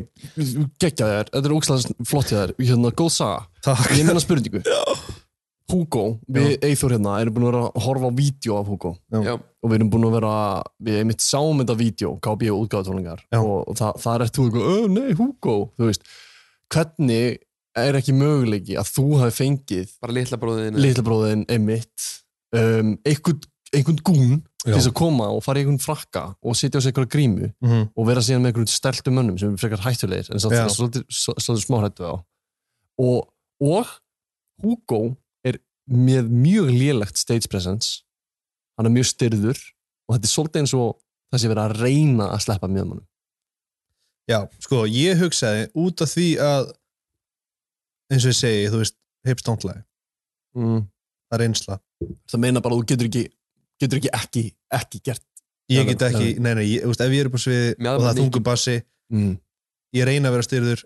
Speaker 5: geggja þér, þetta er ógstlega flott hjá þér. Hérna, góð saga.
Speaker 10: Takk.
Speaker 5: Ég meina spurningu. Hugo, við Eithor hérna, erum búin að vera að horfa á vídeo af Hugo.
Speaker 2: Já.
Speaker 5: Og við erum búin að vera, við einmitt sáum þetta vídeo, KB og útgáðutólingar.
Speaker 10: Já.
Speaker 5: Og, og það, það er þú eitthvað, "Ö, nei, Hugo, þú veist. Hvernig er ekki möguleiki að þú hafi fengið
Speaker 2: Bara litla bróðin.
Speaker 5: litla bróðin einmitt um, einhvern, einhvern gún til
Speaker 10: Já.
Speaker 5: þess að koma og fara í einhvern frakka og sitja á sig einhverja grímu
Speaker 10: Mhm.
Speaker 5: og vera síðan með einhverjum steltum mönnum sem er frekar hættulegir en samt
Speaker 10: Já.
Speaker 5: svolítið, svolítið smáhættu á og, og Hugo er með mjög lélegt stage presence hann er mjög styrður og þetta er svolítið eins og það sé verið að reyna að sleppa mjög mannum
Speaker 10: Já, sko, ég hugsaði út af því að eins og ég segi, þú veist, hips don't lie
Speaker 5: mm.
Speaker 10: það er einsla
Speaker 5: það meina bara að þú getur ekki getur ekki ekki, ekki gert
Speaker 10: ég
Speaker 5: Já,
Speaker 10: get ekki, nei, nei, ég, þú veist, ef ég er upp á sviði
Speaker 2: Mjaðmar
Speaker 10: og það er
Speaker 2: mikið.
Speaker 10: þungur bassi
Speaker 5: mm.
Speaker 10: ég reyna að vera styrður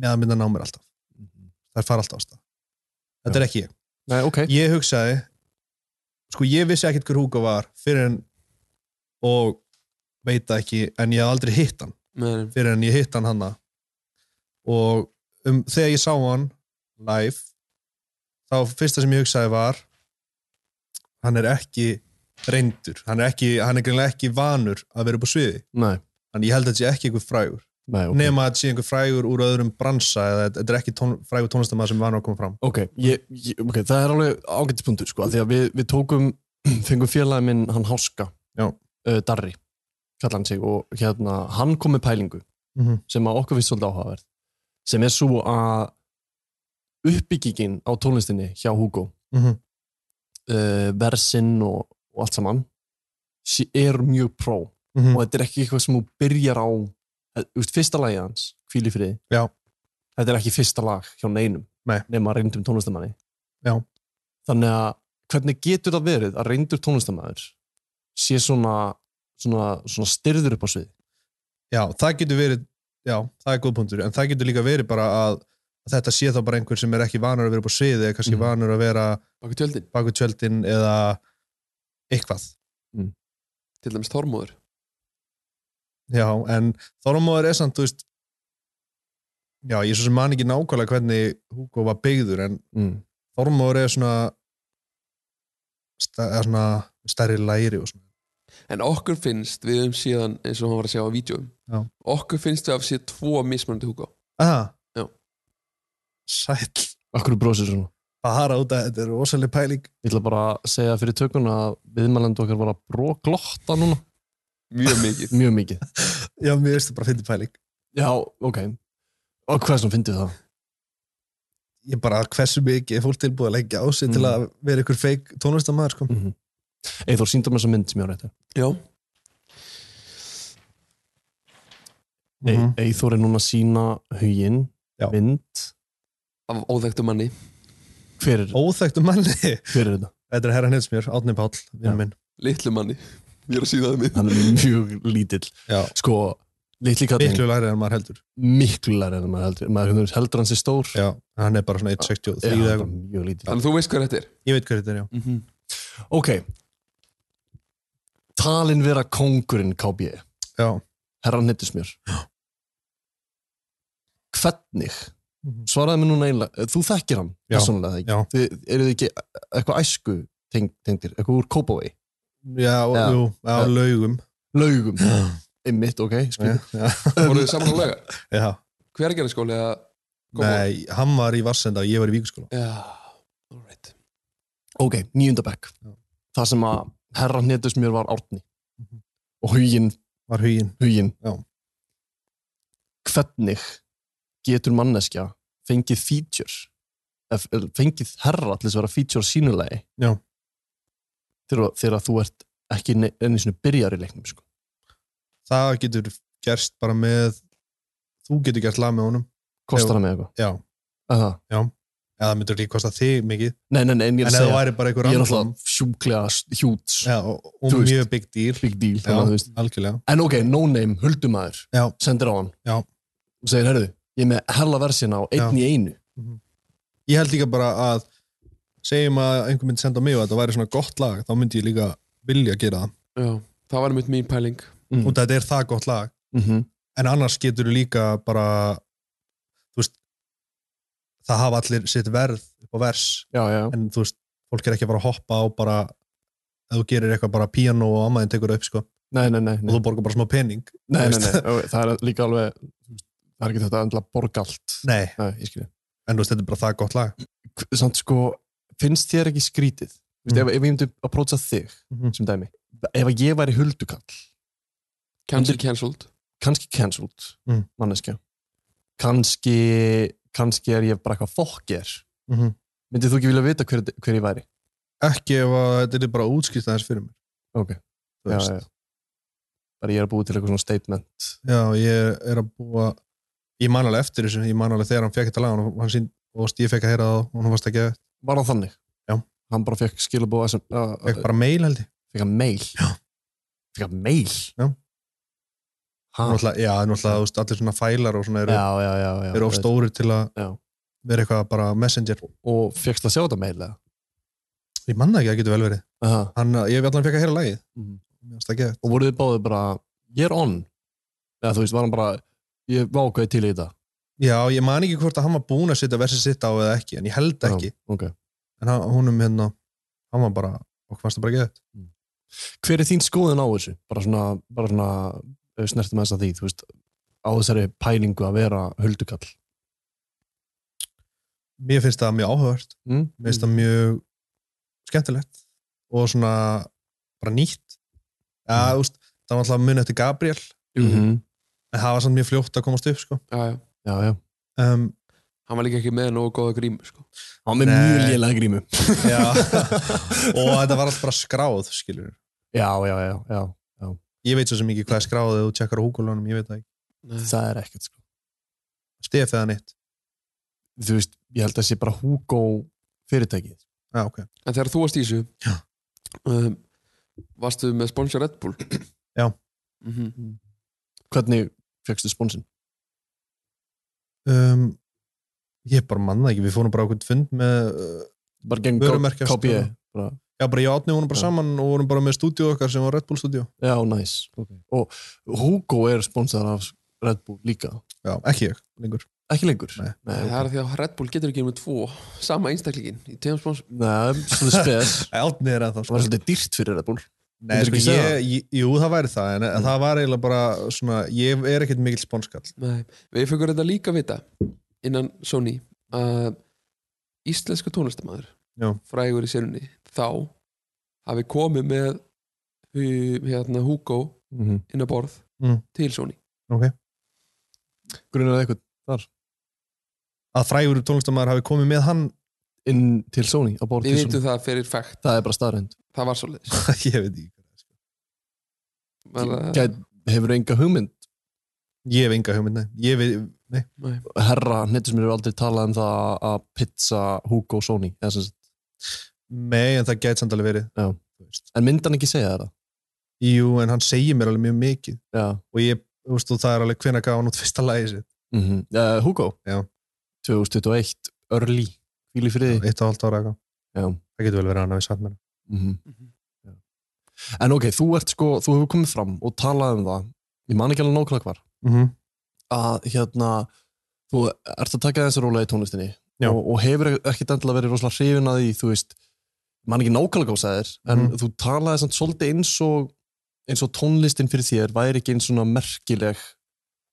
Speaker 10: með að mynda ná mér alltaf það er fara alltaf á stað þetta
Speaker 5: Mhm. Já.
Speaker 10: er ekki ég
Speaker 5: Nei, ok,
Speaker 10: ég hugsaði, sko ég vissi ekkert hver Hugo var fyrir en og veit það ekki en ég hafði aldrei hitt hann
Speaker 2: Nei,
Speaker 10: fyrir en ég hitt hann hanna og um, þegar ég sá hann live þá fyrsta sem ég hugsaði var hann er ekki reyndur hann er, ekki, hann er greinlega ekki vanur að vera upp á sviði
Speaker 5: Nei.
Speaker 10: þannig ég held að þetta sé ekki einhver frægur
Speaker 5: Nei, ok.
Speaker 10: nema að þetta sé einhver frægur úr öðrum bransa eða þetta- þetta er ekki tón, frægur tónlistamæður sem er vanur að koma fram
Speaker 5: Ok, ég, ég, okay það er alveg ágættispunktur sko, af því að við, við tókum fengum félagin minn, hann Háska
Speaker 10: uh,
Speaker 5: Darri, kallar hann sig og hérna, hann kom með pælingu
Speaker 10: Mhm.
Speaker 5: sem að okkur finnst svolítið áhugaverð sem er svo að uppbyggingin á tónlistinni hjá Hugo
Speaker 10: Mhm.
Speaker 5: uh, versinn og, og allt saman sé- er mjög pró
Speaker 10: Mhm.
Speaker 5: og þetta er ekki eitthvað sem þú byrjar á eh, þú veist, fyrsta lagið hans, hvíl í friði
Speaker 10: Já.
Speaker 5: þetta er ekki fyrsta lag hjá neinum
Speaker 10: Nei.
Speaker 5: nema reyndum tónlistamanni
Speaker 10: Já.
Speaker 5: þannig að hvernig getur það verið að reyndur tónlistamæður sé svona, svona, svona styrður upp á svið
Speaker 10: Já, það getur verið, já, það er góð punktur en það getur líka verið bara að, að þetta sé þá bara einhver sem er ekki vanur að vera upp á sviði eða kannski vanur að vera
Speaker 2: baku tjöldin,
Speaker 10: baku tjöldin eða eitthvað
Speaker 2: til dæmis Þormóður
Speaker 10: Já, en Þormóður er samt, þú veist já, ég svo sem man ekki nákvæmlega hvernig Hugo var byggður en
Speaker 5: mm.
Speaker 10: Þormóður er svona sta- eða svona stærri læri og svona
Speaker 2: en okkur finnst við um síðan eins og hann var að sjá á vídjóum
Speaker 10: Já.
Speaker 2: okkur finnst við að sé tvo mismunandi húka
Speaker 10: Aha.
Speaker 2: Já.
Speaker 10: Sæll
Speaker 5: Akkur brósir svona?
Speaker 10: Bara út að þetta er rosaleg pæling
Speaker 5: Ég ætla bara að segja fyrir tökun að viðmælendu okkar var að bróklotta núna
Speaker 2: Mjög mikið
Speaker 5: Mjög mikið
Speaker 10: Já, mér veist það bara fyndi pæling
Speaker 5: Já, ok Og hvað sem fyndið það?
Speaker 10: Ég bara, hversu mikið er fólk tilbúið að leggja á sig til að vera ykkur feik tónlistamæður sko.
Speaker 5: mm -hmm. Eithor, síndar mér þessa mynd sem ég á réttu
Speaker 2: Já
Speaker 5: e
Speaker 10: Mhm.
Speaker 5: Eithor er núna að sína huginn Mynd
Speaker 2: af óþægtum manni
Speaker 5: Hver er,
Speaker 10: Óþægtu manni
Speaker 5: hver er þetta?
Speaker 10: Þetta er herra hnedsmjör, Átni Páll, vinnu minn
Speaker 2: litlu manni, ég er að síða það
Speaker 5: Hann
Speaker 2: minn
Speaker 5: er mjög lítill
Speaker 10: Já.
Speaker 5: Sko, litli kallinn
Speaker 10: Miklu lærið en maður heldur
Speaker 5: Miklu lærið en maður heldur Maður heldur hans er stór
Speaker 10: Já, hann er bara svona
Speaker 5: Já,
Speaker 10: 1.63 eða
Speaker 5: hann er
Speaker 10: eitthvað.
Speaker 5: mjög lítill
Speaker 2: þannig að þú veist hvað þetta er
Speaker 10: Ég veit hver þetta er, já
Speaker 2: mm -hmm.
Speaker 5: Ok Talin vera kóngurinn KB
Speaker 10: Já.
Speaker 5: Herran hittis mér Hvernig Svaraði mér núna einlega Þú þekkir hann
Speaker 10: Mhm. Já,
Speaker 5: persónulega ekki
Speaker 10: já.
Speaker 5: Þið eru þið ekki eitthvað æsku tengd- tengdir Eitthvað úr Kópavei
Speaker 10: Já, og,
Speaker 5: Já.
Speaker 10: Jú, á
Speaker 5: Já.
Speaker 10: laugum
Speaker 5: Laugum Einmitt, ok
Speaker 10: Já,
Speaker 5: skrýtið.
Speaker 10: já.
Speaker 2: voruð þið saman á lauga,
Speaker 10: já.
Speaker 2: hver gerði skóli að
Speaker 10: Nei, hann var í Vassenda og ég var í Víkuskóla
Speaker 2: já, all right
Speaker 5: Ok, nýjöndabæk
Speaker 10: Já.
Speaker 5: Það sem að herran hittis mér var árni Og huginn
Speaker 10: Var huginn
Speaker 5: huginn
Speaker 10: Mhm. Já.
Speaker 5: hvernig getur manneskja fengið feature ef- er- fengið herra til þess að vera feature sínulegi
Speaker 10: Já.
Speaker 5: þegar, þegar þú ert ekki ne- einu sinni byrjar í leiknum sko.
Speaker 10: Það getur gerst bara með Þú getur gert lag með honum
Speaker 5: kostar
Speaker 10: Ef-
Speaker 5: það með eitthvað
Speaker 10: Já,
Speaker 5: Er það?
Speaker 10: eða það myndur líka kosta þig mikið
Speaker 5: nei, nei, nei, en ég er
Speaker 10: En ef
Speaker 5: að
Speaker 10: það
Speaker 5: segja
Speaker 10: væri bara einhver
Speaker 5: ég er
Speaker 10: random-
Speaker 5: náttúrulega sjúklega hjúts
Speaker 10: Já, og, og
Speaker 5: Þú veist.
Speaker 10: mjög big deal
Speaker 5: big deal
Speaker 10: Já,
Speaker 5: þannig, að þú veist.
Speaker 10: algjörlega
Speaker 5: en ok, no name, huldumæður
Speaker 10: Já.
Speaker 5: sendir á hann
Speaker 10: Já.
Speaker 5: og segir, herðu, ég er með hella versina á einn í einu
Speaker 10: ég held líka bara að segjum að einhver myndi senda á mig og þetta væri svona gott lag þá myndi ég líka vilja gera það
Speaker 2: já, það var mitt mín pæling
Speaker 5: Mm.
Speaker 10: og þetta er það gott lag
Speaker 5: mm -hmm.
Speaker 10: en annars getur þú líka bara þú veist það hafa allir sitt verð upp á vers
Speaker 5: já, já,
Speaker 10: en þú veist, fólk er ekki að fara að hoppa á bara ef þú gerir eitthvað bara piano og ammaðin tekur það upp sko
Speaker 5: nei, nei, nei,
Speaker 10: og
Speaker 5: nei.
Speaker 10: þú borgar bara smá pening
Speaker 5: Nei,
Speaker 10: Þú
Speaker 5: nei,
Speaker 10: veist?
Speaker 5: nei, og það er líka alveg það er ekki þetta að endla borga allt
Speaker 10: nei,
Speaker 5: Nei, ég skilja
Speaker 10: en þú veist, þetta er bara það gott lag
Speaker 5: K- Samt sko, finnst þér ekki skrítið mm.
Speaker 10: Mm.
Speaker 5: ef, ef ég myndi að prótsa þig
Speaker 10: Mhm.
Speaker 5: sem dæmi, ef að ég væri huldukall
Speaker 2: cancel, cancelled
Speaker 5: kannski cancelled
Speaker 10: Mm.
Speaker 5: manneskja kannski, kannski er ég bara eitthvað fokker
Speaker 10: Mhm.
Speaker 5: myndið þú ekki vilja vita hver, hver ég væri
Speaker 10: ekki ef að þetta er bara útskýrt aðeins fyrir mér
Speaker 5: ok,
Speaker 10: þú
Speaker 5: já,
Speaker 10: veist.
Speaker 5: já, já bara ég er að búið til eitthvað svona statement
Speaker 10: Já, ég er að búa ég man alveg eftir þessu, ég man alveg þegar hann fekk þetta lag og hann sín, og ég fekk að heyra það og hann varst ekki að,
Speaker 5: var það þannig?
Speaker 10: Já.
Speaker 5: hann bara fekk skilabóð sem, uh,
Speaker 10: fekk bara mail held ég
Speaker 5: fekk hann mail já. fekk hann mail
Speaker 10: Já.
Speaker 5: ha,
Speaker 10: náttúrulega, já, náttúrulega, þú veist, allir svona fælar og svona eru,
Speaker 5: Ah. já, já, já, já
Speaker 10: eru of stórir til að
Speaker 5: Já.
Speaker 10: vera eitthvað bara messenger
Speaker 5: og fegst að sjá þetta mail eða?
Speaker 10: ég man það ekki að getur vel verið
Speaker 5: Aha.
Speaker 10: hann, ég allan fekk að heyra lagið
Speaker 5: Mhm.
Speaker 10: Mér fannst það geðveikt.
Speaker 5: og voruð þið báðið bara ég er on eða þú veist, var hann bara ég vákaði til í þetta
Speaker 10: já, ég man ekki hvort að hann var búinn að setja versið sitt á eða ekki, en ég held ekki
Speaker 5: Já, ok.
Speaker 10: um en hann, húnum hérna, hann var bara og hvað fannst það bara geðið
Speaker 5: Hver er þín skoðun á þessu? Bara svona, bara svona ef við snertum þess að því, þú veist, á þessari pælingu að vera huldukall.
Speaker 10: mér finnst það mjög áhört
Speaker 5: mm.
Speaker 10: mér finnst það mjög skemmtilegt og svona bara nýtt ja, úst, það var alltaf mun eftir Gabriel
Speaker 5: Mm. Mhm.
Speaker 10: en það var samt mjög fljótt að komast upp sko.
Speaker 5: já, já, já.
Speaker 10: Um,
Speaker 2: hann var líka ekki með nógu góða grímu sko.
Speaker 5: hann var með mjög lélega grímu
Speaker 10: já. og þetta var alltaf bara skráð skilur
Speaker 5: já, já, já, já, já.
Speaker 10: ég veit svo sem ekki hvað er skráð eða þú tjekkar á húkulunum, ég veit það
Speaker 5: ekki það er ekkert sko
Speaker 10: stef eða neitt
Speaker 5: þú veist, ég held að sé bara Hugo fyrirtækið
Speaker 10: já, ok
Speaker 2: en þegar þú varst í þessu um, varstu með sponsor Red Bull
Speaker 10: já
Speaker 2: Mhm.
Speaker 5: Mm. hvernig fegstu sponsin?
Speaker 10: um, ég bara manna ekki, við fórum bara okkur fund með uh,
Speaker 5: bara geng
Speaker 10: vörumerkja
Speaker 5: KB
Speaker 10: sko. já, bara ég átni honum bara saman og vorum bara með stúdíu okkar sem var Red Bull stúdíu
Speaker 5: já, næs okay. og Hugo er sponsor af Red Bull líka
Speaker 10: já, ekki ég, lengur
Speaker 5: ekki lengur? Nei,
Speaker 2: það er því að Red Bull getur ekki með tvo sama einstaklingin í tegum sponsor
Speaker 5: Nei, svona spes
Speaker 10: Átni er ennþá
Speaker 5: Það var svolítið dýrt fyrir Red Bull
Speaker 10: Nei,
Speaker 5: Myndirðu
Speaker 10: sko,
Speaker 5: sko. ekki segja Mm. það?
Speaker 10: ég, ég, jú, það væri það en það var eiginlega bara svona, ég er ekkert mikill spónskall
Speaker 2: Nei, við fengum þetta líka að vita innan Sony að íslensku tónlistamæður
Speaker 10: Já.
Speaker 2: frægur í sérunni þá hafi komið með hu- hérna Hugo
Speaker 5: Mhm.
Speaker 2: inn á borð
Speaker 10: Mhm.
Speaker 2: til Sony
Speaker 10: Ok.
Speaker 5: Grunar eitthvað þar?
Speaker 10: Að frægur tónlistamæður hafi komið með hann
Speaker 5: inn til Sony á borð
Speaker 2: Við
Speaker 5: til
Speaker 2: vitum það fyrir fakt
Speaker 5: Það er bara staðrænd
Speaker 2: það var svolítið
Speaker 10: ég veit ekki
Speaker 2: Bara-
Speaker 5: Hefur enga hugmynd?
Speaker 10: Ég hef enga hugmynd, nei, ég veit, nei.
Speaker 2: Nei.
Speaker 5: Herra, hnettis mér hefur aldrei talað um það að pizza Hugo Sony eða sem sagt.
Speaker 10: Nei, en það gæti samt alveg verið
Speaker 5: Já. En myndi hann ekki segja þér það?
Speaker 10: Jú, en hann segir mér alveg mjög mikið
Speaker 5: Já.
Speaker 10: og ég, þú veist, og það er alveg hvenær gaf hann út fyrsta lagi sitt
Speaker 5: mm -hmm. uh, Hugo?
Speaker 10: Já.
Speaker 5: 2021, early Hvíli friði
Speaker 10: Eitt og halvt ára eitthvað
Speaker 5: Já.
Speaker 10: Það getur vel verið að hann hafi sagt mér það.
Speaker 5: mm
Speaker 10: Mhm.
Speaker 5: En ok, þú ert sko, þú hefur komið fram og talað um það, ég man ekki alveg nákvæmlega hvar
Speaker 10: Mhm.
Speaker 5: að hérna þú ert að taka þessu róla í tónlistinni
Speaker 10: Já.
Speaker 5: og, og hefur ekkert endilega verið rosalega hrifin að því, þú veist ég man ekki nákvæmlega hvað þú sagðir, en
Speaker 10: Mhm.
Speaker 5: þú talaði samt svolítið eins og eins og tónlistin fyrir þér væri ekki eins svona merkileg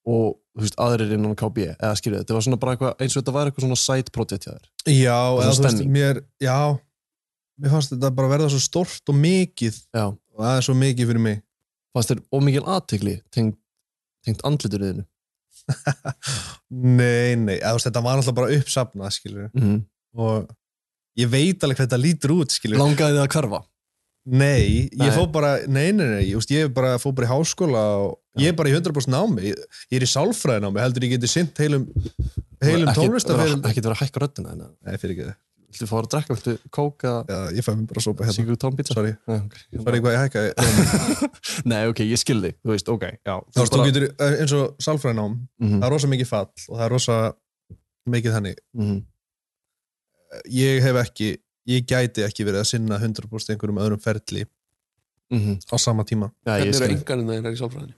Speaker 5: og þú veist, aðrir innan KB eða skiljuð, þetta var svona bara eitthvað eins og þetta var eitthvað svona side project hjá þér
Speaker 10: Já,
Speaker 5: Og
Speaker 10: eða
Speaker 5: svona
Speaker 10: þú veist,
Speaker 5: stemning.
Speaker 10: mér, já Mér fannst þetta bara verða svo stórt og mikið
Speaker 5: Já.
Speaker 10: og það er svo mikið fyrir mig
Speaker 5: fannst þér ómikil aðtegli tengt, tengt andlitur í þinu
Speaker 10: Nei, nei, eða, þú veist, þetta var alltaf bara uppsafnað, skilur
Speaker 5: Mhm.
Speaker 10: og ég veit alveg hvað þetta lítur út, skilur
Speaker 5: Langaði þið að hverfa?
Speaker 10: Nei, ég
Speaker 5: Nei.
Speaker 10: fó bara, nei, nei, nei, ég, veist, ég bara fó bara í háskóla og ég er bara í 100% námi, ég, ég er í sálfræði námi, heldur ég geti sint heilum, heilum
Speaker 5: Ekkert-
Speaker 10: tónlistafeyril.
Speaker 5: vera- Ekkert verið að hækka röddina þina
Speaker 10: Nei, fyrir ekki það.
Speaker 5: Viltu fara að drekka, viltu kóka
Speaker 10: Já, ég fæ mér bara sopa hérna.
Speaker 5: Sigur tónpítsa
Speaker 10: Sorry,
Speaker 5: Nei, okay.
Speaker 10: sorry hvað ég hækkaði.
Speaker 5: Nei, ok, ég skildi, þú veist, ok já,
Speaker 10: Þá veist, þú getur, eh, eins og sálfræði nám,
Speaker 5: Mhm.
Speaker 10: það er rosa mikið fall og það er rosa mikið þannig.
Speaker 5: Mhm.
Speaker 10: Ég hef ekki, ég gæti ekki verið að sinna 100% einhverjum öðrum ferli
Speaker 5: Mhm.
Speaker 10: á sama tíma.
Speaker 5: Já, ég
Speaker 2: hvernig eru
Speaker 5: skildi
Speaker 2: enganinn þeirra í sálfræðinni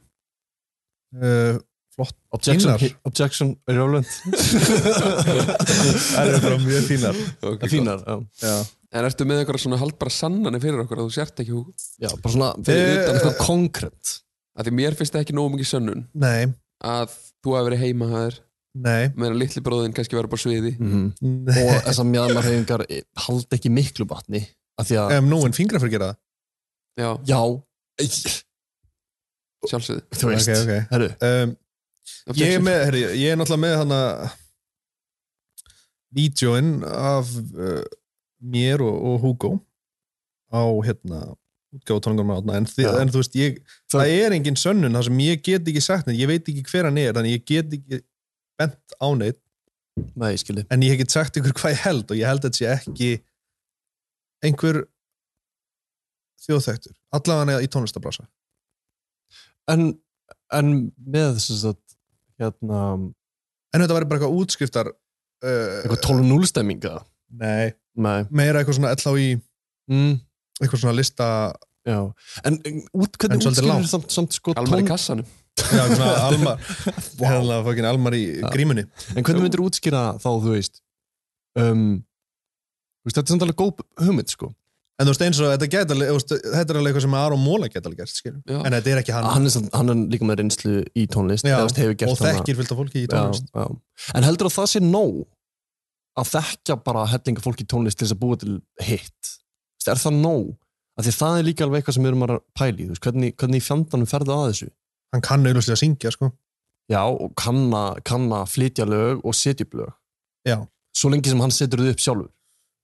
Speaker 5: Eh,
Speaker 10: Uh, flott.
Speaker 5: Objection,
Speaker 10: Fínar.
Speaker 5: objection irrelevant
Speaker 10: Það eru bara mjög fínar.
Speaker 2: Ok,
Speaker 5: Fínar, já.
Speaker 10: Já.
Speaker 2: en ertu með eitthvað svona haldbara sannanir fyrir okkur að þú sért ekki Hugo
Speaker 5: já, bara svona fyrir
Speaker 10: Eh,
Speaker 5: utan svona konkrétt
Speaker 2: að því mér finnst það ekki nógu mikið sönnun
Speaker 10: Nei,
Speaker 2: að þú hafi verið heima að þér
Speaker 10: nei,
Speaker 2: meðan litli bróðin kannski verið bara á sviði
Speaker 5: Mhm.
Speaker 10: nei.
Speaker 5: og þessar mjadmarhefingar haldi ekki miklu batni af því að,
Speaker 10: Ef nóinn fingra fyrir gera það.
Speaker 2: já,
Speaker 5: já ey,
Speaker 2: sjálfsögðu
Speaker 5: þú veist,
Speaker 10: Ok, ok.
Speaker 5: herru
Speaker 10: Um, ég, er með, herri, ég er náttúrulega með hana vídjóin af uh, mér og, og Hugo á hérna útgáðutónungum átna en, þi-
Speaker 5: Já.
Speaker 10: en þú veist, ég,
Speaker 5: Það-
Speaker 10: það, er engin sönnun það sem ég get ekki sagt neitt, ég veit ekki hver hann er þannig ég get ekki bent á neitt
Speaker 5: Nei, ég skildi
Speaker 10: en ég hef ekki sagt ykkur hvað ég held og ég held að þetta sé ekki einhver þjóðþektur allavega í tónlistabrasa
Speaker 5: en, en með sem sagt hérna,
Speaker 10: en þetta var bara eitthvað útskriftar uh,
Speaker 5: eitthvað 12-0 stemminga
Speaker 10: nei,
Speaker 5: Nei,
Speaker 10: meira eitthvað svona allá í
Speaker 5: mm,
Speaker 10: eitthvað svona lista
Speaker 5: já en en út,
Speaker 10: En
Speaker 5: hvernig
Speaker 10: svolítið
Speaker 5: útskýrir
Speaker 10: langt.
Speaker 5: samt, samt sko
Speaker 2: almar í
Speaker 5: tón-
Speaker 2: kassanum
Speaker 10: já, svona almar hérna fokkin almar í grímunni
Speaker 5: En hvernig myndir útskýra þá, þú veist um, þú veist, Þetta er samt alveg góð hugmynd, sko
Speaker 10: En þú veist eins og þetta gæti alveg, þú veist, þetta er alveg eitthvað sem Aron Móla gæti alveg gert, skiljum. En þetta er ekki hann.
Speaker 5: hann er, samt- hann er líka með reynslu í tónlist
Speaker 10: Já,
Speaker 5: eða, þú veist, hefur gert
Speaker 10: og
Speaker 5: hana.
Speaker 10: þekkir fullt af fólki í
Speaker 5: Já,
Speaker 10: tónlist.
Speaker 5: já. en heldur að það sé nóg að þekkja bara hellinga fólki í tónlist til þess að búa til hitt Þú veist, er það nóg? Af því að það er líka alveg eitthvað sem við erum að pæli veist, hvernig, hvernig í fjandanum ferðu að þessu
Speaker 10: hann kann auðvitað að syngja sko.
Speaker 5: já og kann að- kann að flytja lög og setja upp lög
Speaker 10: Já.
Speaker 5: svo lengi sem hann setur þau upp sjálfur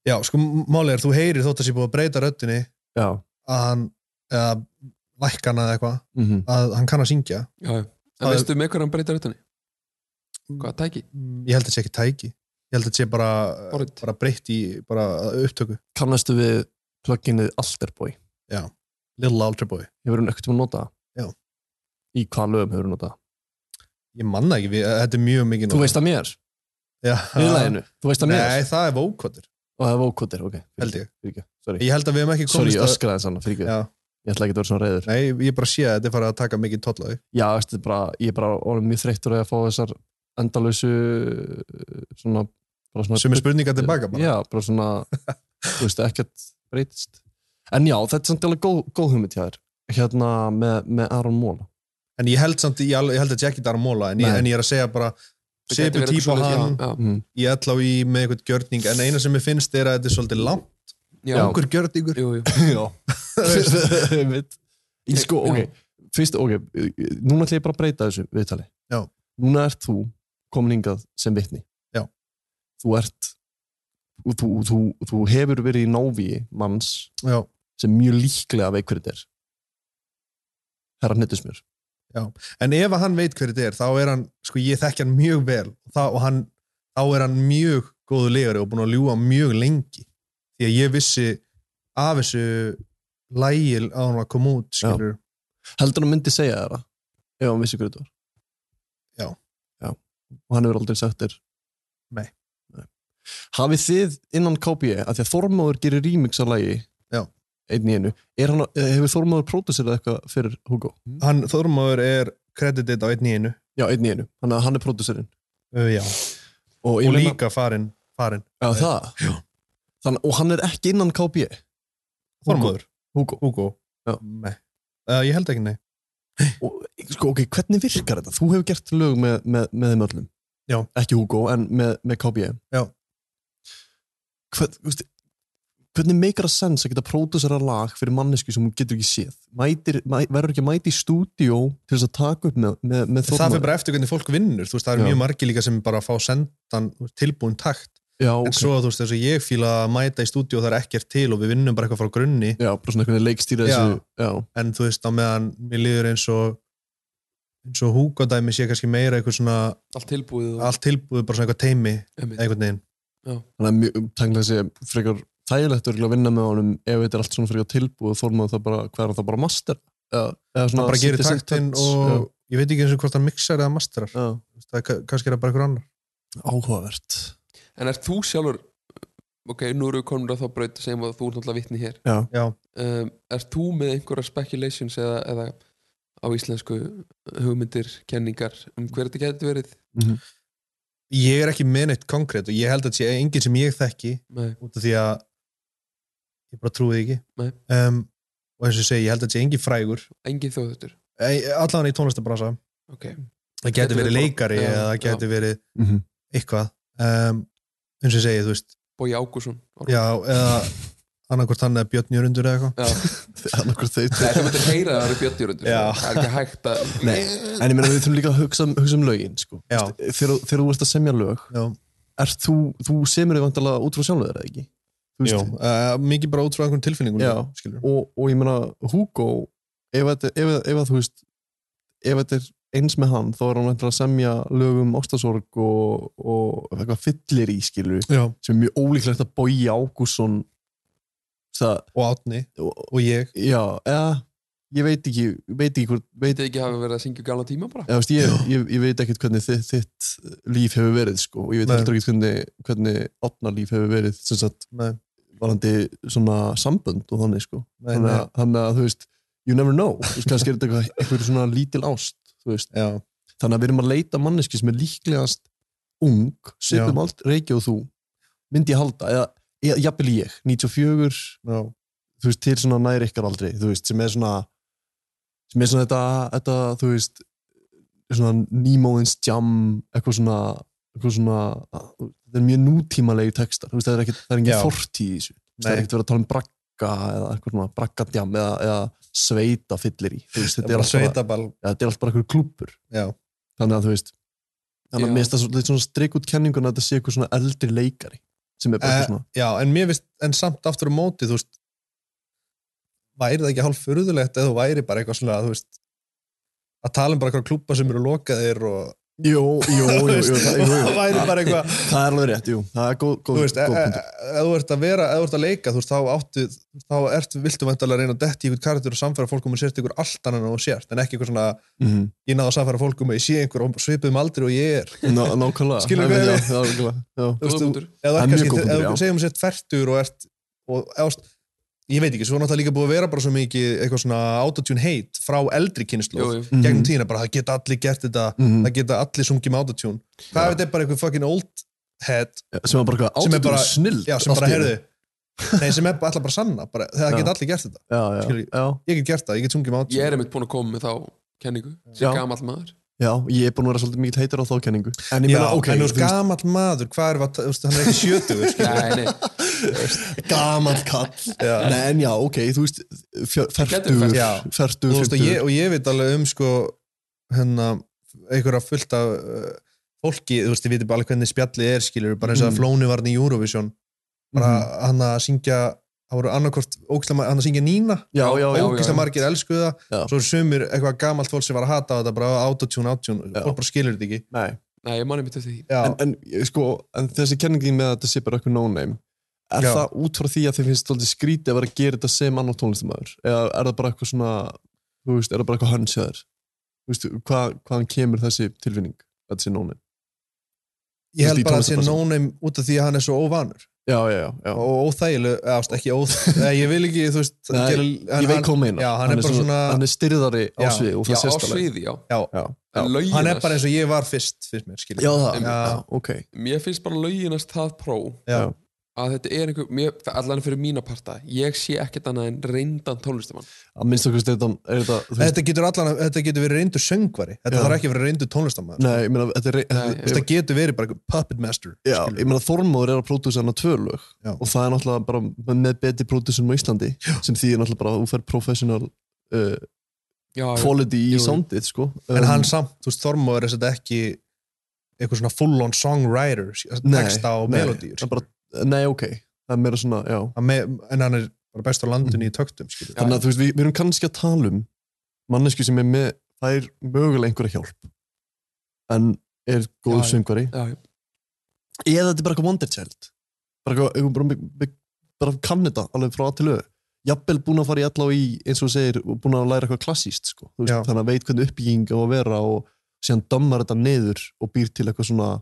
Speaker 10: Já, sko, málið er, þú heyrir þótt að sé búið að breyta röddinni
Speaker 5: já.
Speaker 10: að hann, eða lækana eða eitthvað,
Speaker 5: Mhm.
Speaker 10: að hann kann að syngja.
Speaker 2: Já, já. En
Speaker 10: Það er-
Speaker 2: veistu með hvað hann breytir röttinni? Hvað tæki?
Speaker 10: Mm, Ég held að þetta sé ekki tæki. Ég held að þetta sé bara, bara breytt í bara upptöku.
Speaker 5: kannastu við pluginið Alterboy
Speaker 10: já, Little Alterboy
Speaker 5: hefur hann ekkert um að nota það?
Speaker 10: Já.
Speaker 5: í hvaða lögum hefur hann notað það?
Speaker 10: Ég manna ekki, við, þetta er mjög mikið
Speaker 5: þú veist að mér
Speaker 10: Já.
Speaker 5: viðlæginu, þú veist að mér
Speaker 10: Nei, það er vókotir.
Speaker 5: og það er vókotir, ok
Speaker 10: Held ég.
Speaker 5: Fyrirgef, sorry.
Speaker 10: Ég held að við hefum ekki komist
Speaker 5: sorry, ég
Speaker 10: að-
Speaker 5: öskraði þess annað, fyrirgef
Speaker 10: Já.
Speaker 5: ég ætla ekki að vera svona reyður
Speaker 10: Nei, ég bara sé að þetta er farið að taka mikið tollaði.
Speaker 5: já, veistu, bara, ég er bara orðin mjög þreyttur á því að fá þessar endalösu svona, bara svona
Speaker 10: Sumir spurningar tilbaka bara.
Speaker 5: já, bara svona, þú veist, ekkert breytist en já, þetta er samt alveg góð, góð hugmynd hjá þér hérna með, með Aron Móla
Speaker 10: En ég held samt, ég, al- ég held að þetta sé ekki þar að móla, en ég,
Speaker 5: Nei.
Speaker 10: en ég er að segja bara,
Speaker 5: Það gæti
Speaker 10: sepu
Speaker 5: verið
Speaker 10: típa
Speaker 5: eitthvað
Speaker 10: hann,
Speaker 5: svoleiðis, já, já.
Speaker 10: í allá í með eitthvað gjörning, en eina sem mér finnst er að þetta er svolítið langt,
Speaker 5: Já.
Speaker 10: langur gjörningur.
Speaker 2: Jú, jú.
Speaker 5: já, Einmitt. Ég sko, ok, fyrst, ok núna ætla ég bara að breyta þessu viðtali
Speaker 10: Já.
Speaker 5: núna ert þú komin hingað sem vitni
Speaker 10: Já.
Speaker 5: þú ert þú, þú, þú, þú hefur verið í návíi manns
Speaker 10: Já.
Speaker 5: sem mjög líklega veit hverju þetta er herra hnettusmjör
Speaker 10: Já. En ef að hann veit hver þetta er, þá er hann, sko ég þekki hann mjög vel, og, það, og hann, þá er hann mjög góðu legari og búin að ljúa mjög lengi. Því að ég vissi af þessu lægil á hann að koma út, skilur.
Speaker 5: heldur hann myndi segja þér það ef hann vissi hverju þetta var
Speaker 10: Já.
Speaker 5: já og hann hefur aldrei sagt þér
Speaker 10: Nei.
Speaker 5: hafið þið innan KBE að því að Þormáður gerir remix á lagi
Speaker 10: Já.
Speaker 5: einn í einu er hann, að- hefur Þormáður pródusirað eitthvað fyrir Hugo
Speaker 10: Hann, Þormáður er kreditið á einn í einu.
Speaker 5: já, einn í einu, hann, hann er pródusirinn
Speaker 10: Uh, já.
Speaker 5: og,
Speaker 10: Og
Speaker 5: ég meina-
Speaker 10: líka farin, farin.
Speaker 5: já, það Þann, og hann er ekki innan E. KBE
Speaker 10: Þormóður.
Speaker 5: Hugo.
Speaker 10: Hugo. Nei. Uh, ég held ekki nei.
Speaker 5: sko, ok, hvernig virkar þetta? Þú hefur gert lög með, með, með þeim öllum
Speaker 10: Já.
Speaker 5: ekki Hugo, en með, með KBE
Speaker 10: Já.
Speaker 5: Hvern, veist, hvernig meikar það sens að geta pródusera lag fyrir mannesku sem hún getur ekki séð Mætir, mæ, verður ekki að mæti í stúdíó til þess að taka upp með, með, með
Speaker 10: það
Speaker 5: Þormóði?
Speaker 10: fyrir bara eftir hvernig fólk vinnur þú veist, það eru
Speaker 5: Já.
Speaker 10: mjög margi líka sem bara fá sendan tilbúin takt
Speaker 5: Já,
Speaker 10: en
Speaker 5: ok.
Speaker 10: svo þú veist, þess að ég fíla að mæta í stúdíu og það er ekkert til og við vinnum bara eitthvað frá grunni
Speaker 5: já, bara svona eitthvað leikstýra þessu já.
Speaker 10: en þú veist, á meðan mér líður eins og eins og húkadæmi sé kannski meira eitthvað svona
Speaker 2: allt tilbúið,
Speaker 10: allt tilbúið bara svona eitthvað teimi
Speaker 2: Einmitt.
Speaker 10: einhvern veginn
Speaker 5: þannig að mjög tenglega sé frekar þægilegt örugglega að vinna með honum ef þetta er allt svona frekar tilbúið þormaðu það bara, hvað er hann það bara master eða, eða
Speaker 10: hann bara gerir
Speaker 5: setja sitt
Speaker 10: taktinn
Speaker 5: touch,
Speaker 10: og
Speaker 5: já.
Speaker 10: ég veit ekki eins og hvort hann mixar eða masterar
Speaker 5: já.
Speaker 10: það er, ka- kannski er það bara eitthvað annar
Speaker 5: áhugavert
Speaker 2: En er þú sjálfur ok, nú eru við komin að þá braut sem að þú er náttúrulega vitni hér
Speaker 5: Já.
Speaker 10: Já.
Speaker 2: um, Er þú með einhverja speculations eða, eða á íslensku hugmyndir, kenningar um hver þetta getur verið
Speaker 5: Mhm.
Speaker 10: ég er ekki með neitt konkrétt og ég held að þetta sé enginn sem ég þekki
Speaker 2: Nei.
Speaker 10: út af því að ég bara trúi því
Speaker 2: Nei.
Speaker 10: ekki um, og eins og ég segi, ég held að þetta sé engin frægur
Speaker 2: engin þjóðhættur
Speaker 10: allan í tónlistabrasa
Speaker 2: okay.
Speaker 10: það geti verið leikari
Speaker 2: Já,
Speaker 10: eða það geti verið
Speaker 5: Mhm.
Speaker 10: eitthvað um, eins og ég segi, þú veist
Speaker 2: Bói Ágússon
Speaker 10: já, eða annarkvort hann eða Björn Jörundur eða eitthvað
Speaker 5: annarkvort þeir
Speaker 2: Nei, þú myndir heyra að það eru bjöttjörundur
Speaker 10: Já.
Speaker 2: það er ekki hægt að
Speaker 5: Nei, en ég meina við þurfum líka að hugsa, um- hugsa um lögin sko.
Speaker 10: Já.
Speaker 5: Veist, þegar, þegar þú ert að semja lög
Speaker 10: Já.
Speaker 5: ert þú, þú semur þig vantilega út frá sjálfur eða ekki Þú
Speaker 10: Jú,
Speaker 5: veist-
Speaker 10: uh, mikið bara út frá einhvern tilfinningum
Speaker 5: Já,
Speaker 10: skilur.
Speaker 5: og, og ég meina Hugo ef, þetta- ef, ef, að þú veist ef þetta er eins með hann þá er hann eitthvað að semja lögum ástasorg og, og eitthvað fyllir í skilu
Speaker 10: Já.
Speaker 5: sem er mjög ólíklegt að Bogi Ágússon það,
Speaker 10: og Átni
Speaker 5: og,
Speaker 10: og ég
Speaker 5: já, eða ég veit ekki, veit ekki hvort veit,
Speaker 2: Þetta ekki hafi verið að syngja gala tíma bara
Speaker 5: eða, veist, ég, ég, ég veit ekkert hvernig þitt, þitt líf hefur verið sko, og ég veit
Speaker 10: Nei.
Speaker 5: heldur ekkert hvernig, hvernig átna líf hefur verið sem sagt
Speaker 10: Nei.
Speaker 5: varandi svona sambönd og þannig sko
Speaker 10: Nei,
Speaker 5: þannig
Speaker 10: nei.
Speaker 5: að, þannig að þú veist you never know, þú veist kannski er þetta eitthvað- einhver svona lítil ást, þú veist
Speaker 10: Já.
Speaker 5: þannig að við erum að leita manneski sem er líklegast ung,
Speaker 10: Já.
Speaker 5: svipum allt reiki og þú myndi ég halda, eða, eða jafnvel ég, 94
Speaker 10: Já.
Speaker 5: þú veist, til svona nær ykkar aldrei, þú veist, sem er svona sem er svona þetta, þetta þú veist, svona nýmóðins jam, eitthvað svona eitthvað svona, þetta er mjög nútímalegi textar, þú veist, það er ekki, það er
Speaker 10: Já.
Speaker 5: engin fortíð í þessu, þú veist, það
Speaker 10: Nei.
Speaker 5: er ekkert verið að tala um bragga eða eitthvað svona braggadjam eða, eða sveita fyllir í, þú veist,
Speaker 10: Það er bara
Speaker 5: allt bara-
Speaker 10: sveitaball.
Speaker 5: Já, þetta er allt bara eitthvað klúpur
Speaker 10: Já.
Speaker 5: þannig að þú veist þannig
Speaker 10: Já.
Speaker 5: að mér finnst það svolítið svona strik út kenninguna að þetta sé eitthvað svona eldri leikari sem er bara eitthvað
Speaker 10: Eh,
Speaker 5: svona
Speaker 10: já, en mér finnst, en samt aftur á móti, þú veist, væri það ekki hálf furðulegt eða þú væri bara eitthvað svona, þú veist, að tala um bara eitthvað klúpa sem eru lokaðir og...
Speaker 5: Jú, jú, jú, jú, það- jú, jú.
Speaker 10: það væri bara eitthvað...
Speaker 5: það er alveg rétt, jú, það er góð, góð,
Speaker 10: þú veist,
Speaker 5: góð
Speaker 10: e-
Speaker 5: punktur
Speaker 10: e- ef þú ert að vera, ef þú ert að leika þú veist, þá áttu, þá ertu, viltu vantarlega reyna að detti í einhvern karakter og samfæra fólk um að sért ykkur allt annan en þú sért, en ekki eitthvað svona
Speaker 5: Mhm.
Speaker 10: ég náðu að samfæra fólk um að ég sé einhver og svipum aldrei og ég er
Speaker 5: Ná- nákvæmlega.
Speaker 10: skilur
Speaker 5: Það
Speaker 10: hvað
Speaker 5: er-
Speaker 10: ég
Speaker 5: já, já,
Speaker 10: við
Speaker 5: nákvæmlega. Já.
Speaker 10: Þú veist,
Speaker 5: Góður
Speaker 10: þú-
Speaker 5: punktur. Það
Speaker 10: ef þú
Speaker 5: er mjög
Speaker 10: ert kannski-
Speaker 5: góður punktur,
Speaker 10: ef þú
Speaker 5: já.
Speaker 10: segjum sért færtur og ert og eðast, ég veit ekki, svo er náttúrulega líka búið að vera bara svo mikið eitthvað svona autotune hate frá eldri kynnslóð,
Speaker 5: Jú, jú.
Speaker 10: um gegnum
Speaker 5: Mhm.
Speaker 10: tína bara það geta allir gert þetta,
Speaker 5: Mhm.
Speaker 10: það geta allir sungið með autotune, hvað ef þetta er bara einhver fucking old head
Speaker 5: sem er bara eitthvað
Speaker 10: sem er
Speaker 5: autotune
Speaker 10: bara,
Speaker 5: er snilld
Speaker 10: já, sem
Speaker 5: allt í
Speaker 10: bara
Speaker 5: einu.
Speaker 10: herðu nei, sem er bara alltaf bara að sanna bara, það
Speaker 2: Já.
Speaker 10: geta allir gert þetta
Speaker 5: já,
Speaker 2: já,
Speaker 10: já. ég get gert það, ég get sungið mát
Speaker 2: Ég er einmitt búinn að koma með þá kenningu sem
Speaker 5: Já.
Speaker 2: gamall maður
Speaker 5: já, ég er búin að vera svolítið mikið heitar á þá kenningu en ég
Speaker 10: já,
Speaker 5: meina, ok,
Speaker 10: en þú
Speaker 5: þú
Speaker 10: veist, gamall maður hvað er, þú veist, hann er ekki sjötugur
Speaker 2: Nei, nei.
Speaker 5: gamall kall
Speaker 10: Já.
Speaker 5: Nei, en já, ok, þú veist fjör- fertugur,
Speaker 10: Já.
Speaker 5: fertugur,
Speaker 10: Þú veist, og, ég,
Speaker 5: fimmtugur.
Speaker 10: og ég veit alveg um sko hérna, einhverja fullt af uh, fólki, þú veist, ég veit bara alveg hvernig spjallið er, skilur, bara eins og
Speaker 5: Mhm.
Speaker 10: að Flóni var hann í Eurovision bara hann að syngja það voru annarkort, ógislega margir, hann að syngja Nína
Speaker 5: Já, já, já,
Speaker 10: ógislega
Speaker 5: já.
Speaker 10: margir elskuðu það svo eru sumir eitthvað gamalt fólk sem var að hata þetta bara autotune, autotune, fólk bara skilur þetta ekki
Speaker 5: Nei.
Speaker 2: Nei, ég manni mitt eftir því
Speaker 5: en, en, eh, sko, en þessi kenningin með að þetta sé bara eitthvað no-name er
Speaker 2: Já.
Speaker 5: það út frá því að þið finnst svolítið skrítið að vera að gera þetta sem annar tónlistamæður eða er það bara eitthvað svona þú veist, er það bara eitthvað hans hjá þér Þú veist, hvað, hvaðan kemur þessi tilfinning að þetta sé no-name
Speaker 10: ég held
Speaker 5: Þú veist, í
Speaker 10: bara að sé
Speaker 5: tónlistarbransanum.
Speaker 10: no-name út af því að hann er svo óvanur
Speaker 5: já, já, já, já.
Speaker 10: og óþægileg, eða ást, ekki óþægileg ég vil ekki, þú veist
Speaker 5: Nei,
Speaker 10: gera-
Speaker 5: ég veit hvað þú meinar.
Speaker 10: já, hann,
Speaker 5: Hann
Speaker 10: er
Speaker 5: er
Speaker 10: bara
Speaker 5: svona-
Speaker 10: svona
Speaker 5: hann er styrðari á
Speaker 10: Já.
Speaker 5: sviði og það Já, sést á alveg. sviði, já. Já, já. En lögin
Speaker 10: hann er
Speaker 2: hans-
Speaker 10: bara eins og ég var fyrst fyrst mér, skilur
Speaker 5: Já,
Speaker 10: við.
Speaker 5: það- já, ok.
Speaker 2: Mér finnst bara löginast það pró
Speaker 10: Já.
Speaker 2: að þetta er einhver, mér, allan fyrir mína parta ég sé ekkert annað en reyndan tónlistamann
Speaker 5: að minnst okkur styrðan er þetta, þú veist-
Speaker 10: þetta getur allan, að- þetta getur verið reyndur söngvari þetta
Speaker 5: Já.
Speaker 10: þarf ekki að vera reyndur tónlistamæður
Speaker 5: Nei, ég meina, þetta er Nei,
Speaker 10: þetta getur verið bara einhver puppet master
Speaker 5: Já, ég meina Þormóður er að pródúsa hann að tvö lög og það er náttúrulega bara með betri pródúsun á Íslandi sem því er náttúrulega bara að þú fær professional uh,
Speaker 2: Já, já.
Speaker 5: quality í
Speaker 10: Jú, jú.
Speaker 5: soundið sko.
Speaker 10: en hann samt, þú veist, Þormóður er þetta ekki eitthvað svona full on songwriter
Speaker 5: Nei,
Speaker 10: texta og
Speaker 5: nei,
Speaker 10: melodíur
Speaker 5: það er bara, Nei, ok, það er meira svona, já
Speaker 10: Hann me- en hann er bara best á landinu í töktum skilur.
Speaker 5: Þannig að þú veist, við, við erum kannski að tala um mannesku sem er með, það er mögulega einhverja hjálp en er góð
Speaker 10: Já, já.
Speaker 5: söngvari
Speaker 2: já, já.
Speaker 5: eða þetta er bara eitthvað wonder child bara, eitthvað- eitthvað bara, bara, bara kann þetta alveg frá að til öðu jafnvel búin að fara í allá í eins og þú segir og búin að læra eitthvað klassíst sko. Þú veist,
Speaker 10: Já.
Speaker 5: þannig að veit hvernig uppbygging á að vera og síðan dömmar þetta niður og býr til eitthvað svona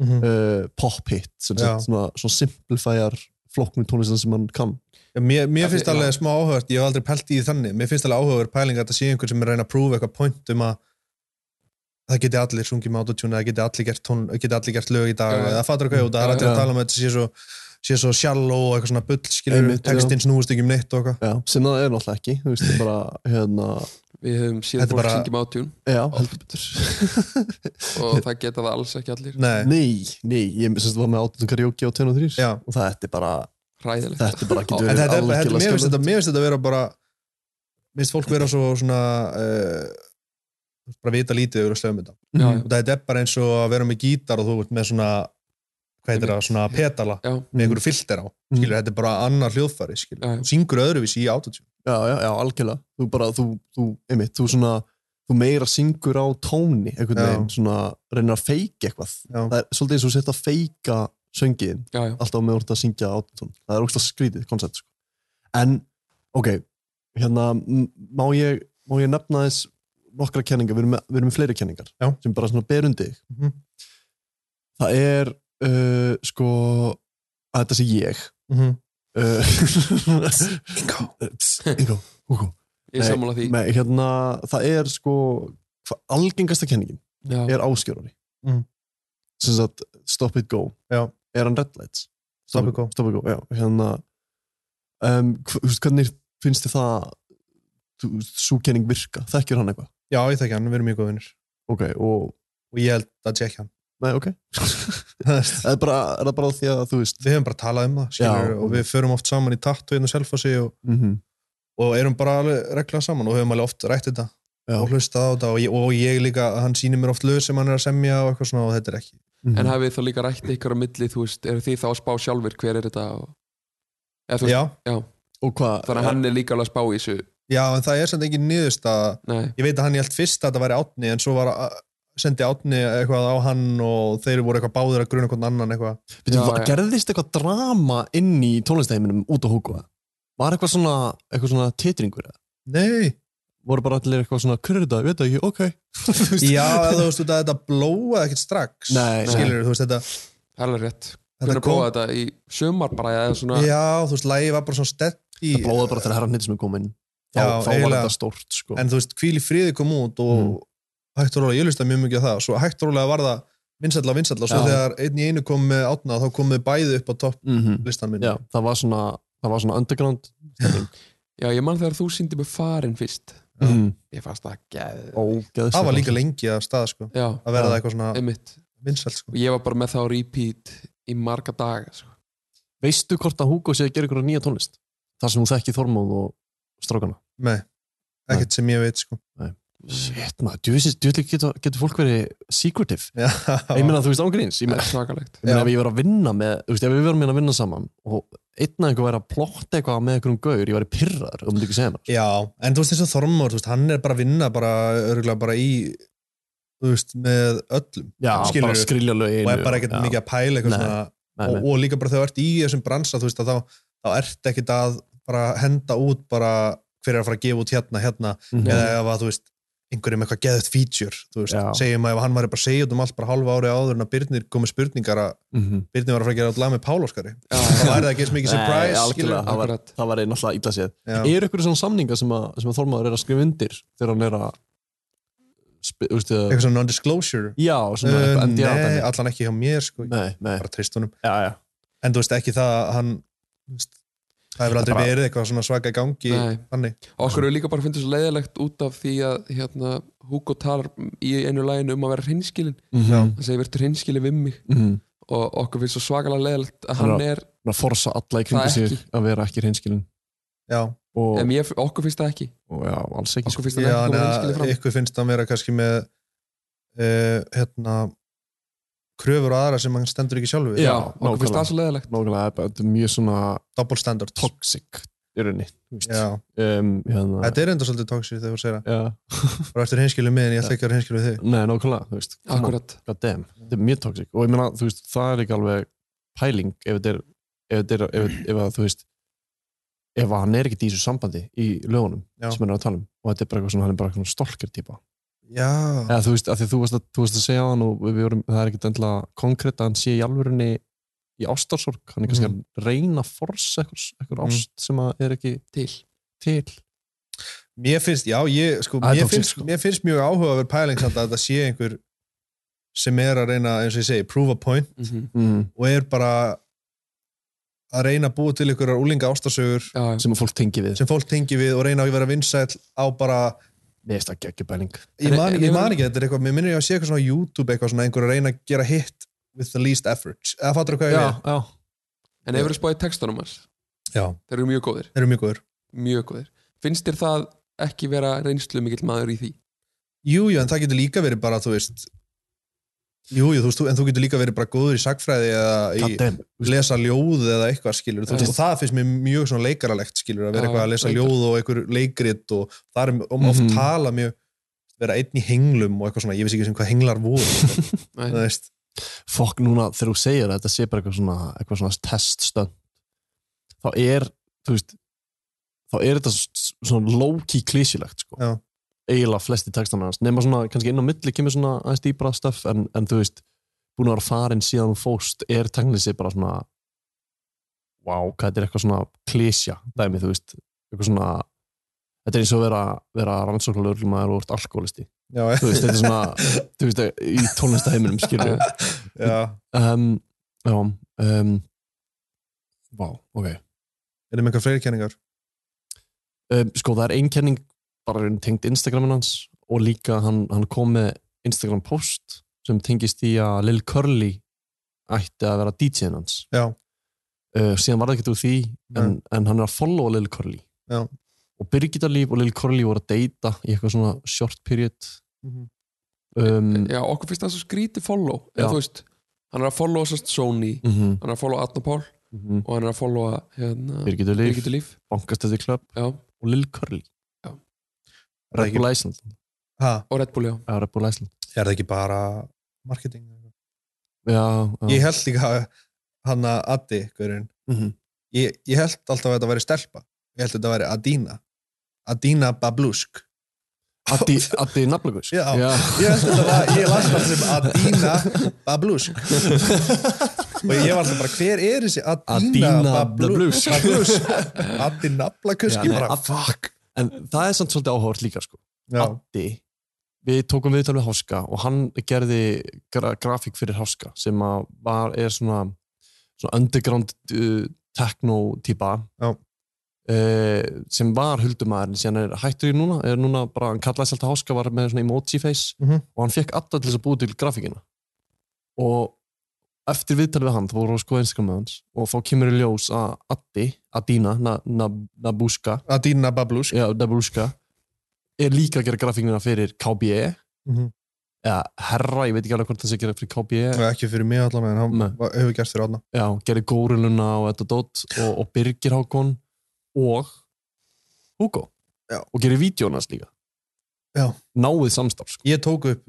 Speaker 10: Mhm.
Speaker 5: uh, pop hit sem
Speaker 10: Já.
Speaker 5: sagt, svona, svona simplifæjar flokknum tónlistan sem hann kann
Speaker 10: Já, mér, mér
Speaker 5: Af því-
Speaker 10: finnst alveg smá áhugast, ég hef aldrei pælt í því þannig mér finnst alveg áhugaverð pæling að þetta sé einhver sem er að reyna að prúfa eitthvað point um að það geti allir sungið með autotune eða geti allir gert, tón, geti allir gert lög í dag
Speaker 5: Já.
Speaker 10: eða fattur hvað ég út, það er
Speaker 5: Já,
Speaker 10: allir að
Speaker 5: já.
Speaker 10: tala um að þetta sé svo, sé svo shallow og eitthvað svona bull skilur,
Speaker 5: Einmitt, já.
Speaker 10: textinn snúist ekki um neitt og eitthvað
Speaker 5: Já, sem það er náttúrulega ekki þú veist, það er bara, hérna
Speaker 2: Við höfum séð
Speaker 5: Þetta er
Speaker 2: fólk
Speaker 5: bara-
Speaker 2: syngjum átjún
Speaker 5: Já, heldur betur
Speaker 2: og það geta það alls ekki allir
Speaker 5: Nei, nei, ég sem sagt var með átunum karaoke á 10 og 3
Speaker 10: Já.
Speaker 5: og það þetta er bara
Speaker 2: Hræðilegt.
Speaker 5: Þetta er bara
Speaker 10: en
Speaker 5: getur
Speaker 10: þetta, er- þetta,
Speaker 5: algjörlega
Speaker 10: þetta, mér finnst
Speaker 5: skelfilegt.
Speaker 10: þetta mér finnst þetta vera bara mér finnst fólk vera svo svona uh, bara vita lítið yfir að slöfum þetta
Speaker 5: Já, já.
Speaker 10: og þetta er bara eins og að vera með gítar og þú ert með svona hvað heitir það, svona petala
Speaker 2: já.
Speaker 10: með einhverju filter á, skilur, þetta er bara annar hljóðfæri, skilur,
Speaker 2: já.
Speaker 10: syngur öðruvísi í autotune
Speaker 5: já, já, já, algjörlega þú bara, þú, þú, einmitt, þú svona þú meira syngur á tóni einhvern
Speaker 10: Já.
Speaker 5: veginn, svona reynir að feika eitthvað
Speaker 10: já.
Speaker 5: það er svolítið eins og þú sett að feika söngiðin,
Speaker 2: já, já.
Speaker 5: alltaf með orðið að syngja á tón, það er ógst skrítið koncept sko. en, ok hérna, m- má ég, má ég nefna þess nokkra kenningar, við erum með, við erum með fleiri kenningar
Speaker 10: já.
Speaker 5: sem bara svona berundi
Speaker 10: Mhm.
Speaker 5: það er uh, sko að þetta sé ég
Speaker 10: Mhm.
Speaker 5: Ingo Ingo, Hugo
Speaker 2: Ég er
Speaker 5: Nei,
Speaker 2: sammála því.
Speaker 5: nei, hérna, Það er sko hva- algengasta kenningin
Speaker 2: Já.
Speaker 5: er áskjörunni
Speaker 10: Mhm.
Speaker 5: sem sagt stop it go
Speaker 10: Já.
Speaker 5: er hann red lights
Speaker 10: Stop it go.
Speaker 5: stop it go já, hérna, um, hv- þú veist, hvernig finnst þið það súkenning virka, þekkjur hann eitthvað
Speaker 10: Já, ég þekki hann, við erum mjög góð vinnir
Speaker 5: ok, og,
Speaker 10: og ég held að Jack hann
Speaker 5: Nei, ok er, bara, er það bara því að þú veist
Speaker 10: Við hefum bara talað um það, skilur,
Speaker 5: Já.
Speaker 10: og við förum oft saman í takt og einu selfasi og,
Speaker 5: Mhm.
Speaker 10: og erum bara alveg regla saman og höfum alveg oft rætt þetta
Speaker 5: Já.
Speaker 10: og hlustað á þetta og ég, og ég líka, hann sýnir mér oft lög sem hann er að semja og eitthvað svona og þetta er ekki
Speaker 2: En hafið þá líka rætt ykkur á milli, þú veist, eru þið þá að spá sjálfur hver er þetta? Og... Eða, þú veist, já.
Speaker 5: Og hvað?
Speaker 2: Þannig að hann er líka alveg að spá í þessu.
Speaker 10: Já, en það er samt engin niðurst að
Speaker 2: Nei.
Speaker 10: ég veit að hann ég held fyrst að þetta væri átni en svo var að sendi átni eitthvað á hann og þeir voru eitthvað báðir að gruna hvernig annan eitthvað
Speaker 5: Býtum, var, gerðist eitthvað drama inn í tónlistaheiminum út á Hugo var eitthvað svona, eitthvað svona titringur eða?
Speaker 10: nei
Speaker 5: voru bara allir eitthvað svona kurrita, ég veit það ekki, ok Þú veist?
Speaker 10: Já, þú veist, þetta, þetta blóaði ekkert strax
Speaker 5: Nei, nei.
Speaker 10: skilur, þú veist, þetta
Speaker 2: Það er alveg rétt.
Speaker 10: Þetta
Speaker 2: Hvernig
Speaker 10: kom-
Speaker 2: bóða þetta í sömar bara eða svona...
Speaker 10: Já, þú veist, lægi var bara svona stett í
Speaker 5: það blóði bara þegar herran hittis með komin þá,
Speaker 10: Já,
Speaker 5: þá var
Speaker 10: eiginlega.
Speaker 5: þetta stórt sko.
Speaker 10: en þú veist, hvíl í friði kom út og
Speaker 5: Mm.
Speaker 10: hægt og rólega, ég hlusta mjög mikið á það svo hægt og rólega var það vinsætla vinsætla og svo
Speaker 5: Já.
Speaker 10: þegar einn í einu kom með átna þá komið bæði upp á topp
Speaker 5: Mhm.
Speaker 10: listan minni
Speaker 5: Já, það var svona, það var svona underground
Speaker 2: Já, ég man þegar þú síndi mig farin fyrst.
Speaker 5: Mhm.
Speaker 2: Ég fannst það geð...
Speaker 5: Ógeðslega.
Speaker 10: það var líka lengi að staða sko
Speaker 2: Já.
Speaker 10: að verða eitthvað svona
Speaker 2: Einmitt.
Speaker 10: vinsælt sko
Speaker 2: Og ég var bara með það á repeat í marga daga, sko.
Speaker 5: veistu hvort að Hugo sé að gera ykkur nýja tónlist þar sem hún þekki Þormóð og strákana
Speaker 10: Nei, ekkert sem ég veit sko
Speaker 5: Nei. Shit maður, djúvisins, djúvillig getur, getur fólk verið secretive
Speaker 10: Já.
Speaker 5: Ég meina þú veist ángríns Ég meina,
Speaker 2: Svakalegt.
Speaker 5: ég meina
Speaker 2: Já.
Speaker 5: ef ég verið að vinna með, þú veist, ef við verðum hérna að vinna saman og einn að einhver væri að plotta eitthvað með einhverjum gaur, ég væri pyrrar og myndi ekki segja mér
Speaker 10: Já, en þú veist eins og Þormór, þú veist, hann er bara að vinna bara örgulega bara í þú veist, með öllum
Speaker 5: Já,
Speaker 10: Skilurðu?
Speaker 5: bara skrilja lögin
Speaker 10: og er bara ekkert mikið að pæla eitthvað
Speaker 5: Nei,
Speaker 10: svona
Speaker 5: nei, nei.
Speaker 10: Og, og líka bara þegar þú ert í þessum bransa þú veist að þá, þá ert ekkert að bara henda út bara hver er að fara að gefa út hérna, hérna
Speaker 5: Mhm.
Speaker 10: eða ef að þú veist einhverjum eitthvað geðut feature, þú veist,
Speaker 5: Já.
Speaker 10: segjum að ef hann var bara að segja út um allt bara halva ári áður en að Byrnir komið spurningar að
Speaker 5: Mhm.
Speaker 10: Byrnir var að fara að gera út lag með Pál Óskari þá væri það ekki eins mikið surprise
Speaker 5: Nei,
Speaker 10: skilur.
Speaker 5: algjörlega, það var, það var einn alltaf illa séð
Speaker 10: Já.
Speaker 5: Eru ykkur svona samninga sem að, sem að Þormóður er að skrifa undir þegar hann er að spi- þú veist, að-
Speaker 10: eitthvað svona non-disclosure
Speaker 5: Já, svona
Speaker 10: uh,
Speaker 5: eitthvað NDA
Speaker 10: Nei,
Speaker 5: dæmi.
Speaker 10: allan ekki hjá mér sko.
Speaker 5: nei, nei.
Speaker 10: bara trist honum
Speaker 5: já, já.
Speaker 10: en þú veist ekki það að hann þú veist, það hefur aldrei verið eitthvað svona svaka í gangi
Speaker 2: Nei.
Speaker 10: þannig
Speaker 2: Okkur hefur líka bara fundið svo leiðilegt út af því að hérna, Hugo talar í einu læginu um að vera hreinskilin
Speaker 5: Mhm.
Speaker 2: hann segir verður hreinskilin við mig
Speaker 5: Mhm.
Speaker 2: og okkur finnst svo svakalega leiðilegt að hann er
Speaker 5: að forsa alla í kringu
Speaker 2: Það
Speaker 5: sér
Speaker 2: ekki.
Speaker 5: að vera ekki hreinskilin
Speaker 10: já,
Speaker 5: og,
Speaker 2: en ég, okkur finnst það ekki
Speaker 5: og já, alls ekki
Speaker 2: okkur finnst það
Speaker 10: já
Speaker 2: ekki
Speaker 10: en
Speaker 2: komið
Speaker 10: að
Speaker 2: hreinskilin fram
Speaker 10: eh, ykkur finnst hann vera kannski með uh, hérna kröfur og aðra sem hann stendur ekki sjálfur
Speaker 5: Já,
Speaker 2: okkur finnst
Speaker 5: nákvæmlega.
Speaker 2: það svo leiðilegt
Speaker 5: nákvæmlega, þetta er mjög svona
Speaker 10: double standard
Speaker 5: toxic í rauninni þú veist.
Speaker 10: Já.
Speaker 5: um, hérna,
Speaker 10: þetta er enda svolítið tóksið þegar þú segir
Speaker 5: já,
Speaker 10: það bara eftir hinskilu mig en ég ætla ekki að vera hinskilu þig
Speaker 5: nei, nákvæmlega, þú veist come on,
Speaker 2: akkurat,
Speaker 5: god damn, þetta er mjög toxic og ég meina, þú veist, það er ekki alveg pæling ef þetta er ef, þetta er, ef, ef að, þú veist ef að hann er ekki í þessu sambandi í lögunum
Speaker 10: Já.
Speaker 5: sem hann er að tala um og þetta er bara eitthvað svona, hann er bara eitthvað stalker típa
Speaker 10: já,
Speaker 5: eða þú veist, að því þú varst að, þú varst að segja hann og við vorum, það er ekkert endilega konkrétt að hann sé í alvörunni í ástarsorg, hann er kannski
Speaker 10: Mm.
Speaker 5: að reyna að forsa eitthvað, eitthvað
Speaker 10: Mm.
Speaker 5: ást sem að er ekki
Speaker 2: til
Speaker 5: til
Speaker 10: mér finnst, já, ég sko,
Speaker 5: Það er
Speaker 10: mér
Speaker 5: tóxic,
Speaker 10: finnst,
Speaker 5: sko.
Speaker 10: mér finnst mjög áhuga að vera pæling samt að þetta sé einhver sem er að reyna, eins og ég segi, prove a point
Speaker 2: Mhm.
Speaker 5: mm.
Speaker 10: og er bara að reyna að búa til einhverjar úlinga ástarsögur
Speaker 2: já, já.
Speaker 5: sem að fólk tengi við
Speaker 10: sem fólk tengi við og reyna að vera vinsæl á bara,
Speaker 5: Mér finnst það ekki ekki bæling
Speaker 10: ég
Speaker 2: En-
Speaker 10: man,
Speaker 2: en-
Speaker 10: ég
Speaker 2: en-
Speaker 10: man ekki þetta er eitthvað, mér minnir ég að sé eitthvað svona á YouTube eitthvað svona einhver að reyna að gera hit with the least effort, eða fattur þú hvað ég
Speaker 5: já,
Speaker 2: en hefur þú spáðið textunum hans
Speaker 10: við já,
Speaker 2: þeir eru mjög góðir,
Speaker 10: þeir eru mjög góður
Speaker 2: mjög góðir finnst þér það ekki vera reynslu mikill maður í því
Speaker 10: jú, jú, en það getur líka verið bara, þú veist jú, jú, þú veist, þú- en þú getur líka verið bara góður í sagfræði eða
Speaker 5: god
Speaker 10: í
Speaker 5: damn
Speaker 10: lesa ljóð eða eitthvað skilur þú
Speaker 2: Já.
Speaker 10: veist, og það finnst mér mjög svona leikaralegt skilur að
Speaker 2: Já,
Speaker 10: vera eitthvað að lesa
Speaker 2: reyndar.
Speaker 10: ljóð og einhver leikrit og það er um oft
Speaker 5: Mhm.
Speaker 10: tala mjög vera einn í henglum og eitthvað svona, ég veist ekki sem hvað henglar voru
Speaker 2: Nei.
Speaker 10: þú veist,
Speaker 5: fokk núna þegar þú segir að þetta sé bara eitthvað svona, eitthvað svona teststönd þá er þú veist þá er þetta s- s- svona low-key klísilegt sko.
Speaker 10: Já.
Speaker 5: eiginlega flesti textan hans nema svona kannski inn á milli kemur svona aðeins dýbra stöf en, en þú veist búin að vera farin síðan hún fóst er teknisir bara svona wow, hvað þetta er eitthvað svona klísja dæmi þú veist eitthvað svona þetta er eins og að vera, vera rannsóknulegur maður og ert alkoholisti
Speaker 10: já,
Speaker 5: þú veist, þetta er svona þú veist, í tónlistaheiminum skilur
Speaker 10: já
Speaker 5: Ehm, um, já um, Vá, ehm, ok
Speaker 10: Er það með eitthvað fleiri kenningar?
Speaker 5: um, sko það er ein kenning bara raun tengd Instagramin hans og líka hann, hann kom með Instagram post sem tengist í að Lil Curly ætti að vera DJ-in hans
Speaker 10: Já.
Speaker 5: uh, síðan var það ekkert úr því en, en hann er að followa Lil Curly
Speaker 10: Já.
Speaker 5: og Birgitta Líf og Lil Curly voru að deyta í eitthvað svona short period
Speaker 10: Mhm.
Speaker 5: um,
Speaker 2: Já, okkur finnst það svo skrítið follow eða
Speaker 5: Já.
Speaker 2: þú veist, hann er að followa sérst Sony,
Speaker 5: Mhm.
Speaker 2: hann er að followa Adna Pál
Speaker 5: Mhm.
Speaker 2: og hann er að followa hérna,
Speaker 5: Birgitta Líf,
Speaker 2: Birgitta Líf.
Speaker 5: Bankastæði Club
Speaker 2: Já.
Speaker 5: og Lil Curly
Speaker 2: Já.
Speaker 5: Red Bull Iceland
Speaker 10: Ha?
Speaker 2: og Red Bull, já
Speaker 5: Já, Red Bull Iceland
Speaker 10: Er það ekki bara marketing?
Speaker 5: Já, já.
Speaker 10: Ég held líka að hann að Addi, hverjum
Speaker 5: Mhm.
Speaker 10: ég, ég held alltaf að þetta væri stelpa Ég held að þetta væri Adina Adina Bablusk
Speaker 5: Addi, Addi Nablagus
Speaker 10: Já, ég held þetta var, ég las það sem Adina Bablusk og ég var alltaf bara, hver er þessi Adina,
Speaker 5: Adina
Speaker 10: Bablusk
Speaker 5: Bablusk.
Speaker 10: Bablusk, Adina Bablusk ég bara,
Speaker 5: fuck En það er samt svolítið áhugavert líka sko.
Speaker 10: ah, Já.
Speaker 5: Addi, við tókum viðtal við Háska og hann gerði gra grafík fyrir Háska sem að var, er svona, svona underground uh, techno-típa
Speaker 10: Já.
Speaker 5: Eh, sem var huldumæðurinn síðan er hættur í núna, er núna bara, hann kallaði sér alltaf Háska, var með svona emoji face
Speaker 10: Mhm.
Speaker 5: og hann fekk alltaf til þess að búi til grafíkina og eftir viðtal við hann, þá voru að skoða Instagram með hans og þá kemur í ljós að Addi, Adina, Na, Na, Nabuska
Speaker 10: Adina Bablusk
Speaker 5: já, Nabuska er líka að gera grafíkina fyrir KBE
Speaker 10: Mhm.
Speaker 5: eða Herra, ég veit ekki alveg hvort það sé að gera fyrir KBE
Speaker 10: ekki fyrir mig allan en hann var- hefur gert fyrir allan
Speaker 5: já, gerir Góruluna og þetta dót og, og Birgir Hákon og Hugo
Speaker 10: já.
Speaker 5: og gerir vídjónas líka
Speaker 10: Já.
Speaker 5: náið samstarf sko.
Speaker 10: ég tók upp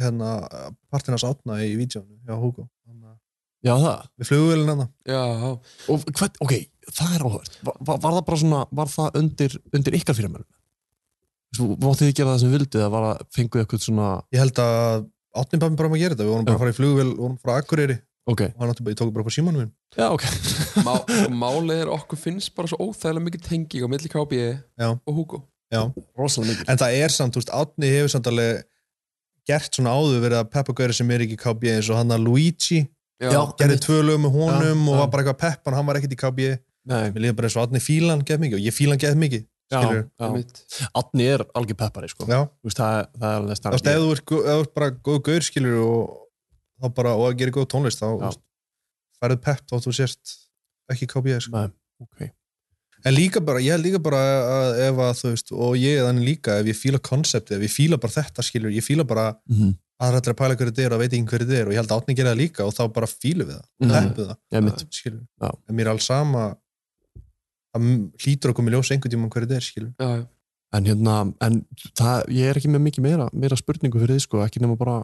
Speaker 10: hérna partinars átna í vídjónu hjá Hugo
Speaker 5: já, það
Speaker 10: við hérna. flugvölinn hann
Speaker 2: Já,
Speaker 5: og hvern, ok, það er áhugavert var, var, var það bara svona, var það undir, undir ykkar fyrirmælum? Máttið þið gera það sem vildið að var að fenguð eitthvað svona
Speaker 10: ég held að átni bæmi bara um að gera þetta við vorum bara að fara í flugvél, við vorum frá Akureyri
Speaker 5: okay.
Speaker 10: og hann átti bara, ég tók bara upp á símanum minn
Speaker 5: Já, ok
Speaker 2: Má, Málið er okkur finnst bara svo óþægilega mikið tenging á milli KB
Speaker 10: Já.
Speaker 2: og Hugo
Speaker 10: Já. en það er samt, þú veist, Átni hefur samt alveg gert svona áður verið að peppa gauri sem er ekki í KB eins og hann að Luigi
Speaker 2: Já.
Speaker 10: gerði tvö lög með honum
Speaker 5: Já,
Speaker 10: og
Speaker 5: já.
Speaker 10: var bara eitthvað að peppa hann, hann var ekkert í KB
Speaker 5: Nei.
Speaker 10: mér líður bara eins og Átni fílan gett mikið og ég fílan gett mikið skilurðu.
Speaker 5: já. Adni er algjör peppari sko.
Speaker 10: Já.
Speaker 5: Þú veist, það, er- það er alveg
Speaker 10: Þú veist, ef þú ert gó- ef þú ert bara góð gaur skilur og þá bara, og að gera góð tónlist þá þú veist, færðu pepp þótt þú sért ekki KB sko.
Speaker 5: Nei, okay.
Speaker 10: en líka bara, ég held líka bara að ef að þú veist, og ég er þannig líka ef ég fíla konceptið, ef ég fíla bara þetta skilur ég fíla bara
Speaker 5: Mhm.
Speaker 10: aðra allir að pæla hverju þetta er og veit ekki hverju þetta er og ég held að átni gera það líka og þá bara fílu við það,
Speaker 5: Mhm.
Speaker 10: peppu það
Speaker 5: Já, mitt.
Speaker 10: skilur,
Speaker 5: Já.
Speaker 10: en mér er alls sama það m- hlýtur að koma í ljós einhvern tímann hverju þetta er skilur
Speaker 2: Já, já.
Speaker 5: En hérna, en það, ég er ekki með mikið meira, meira spurningu fyrir því, sko, ekki nema bara,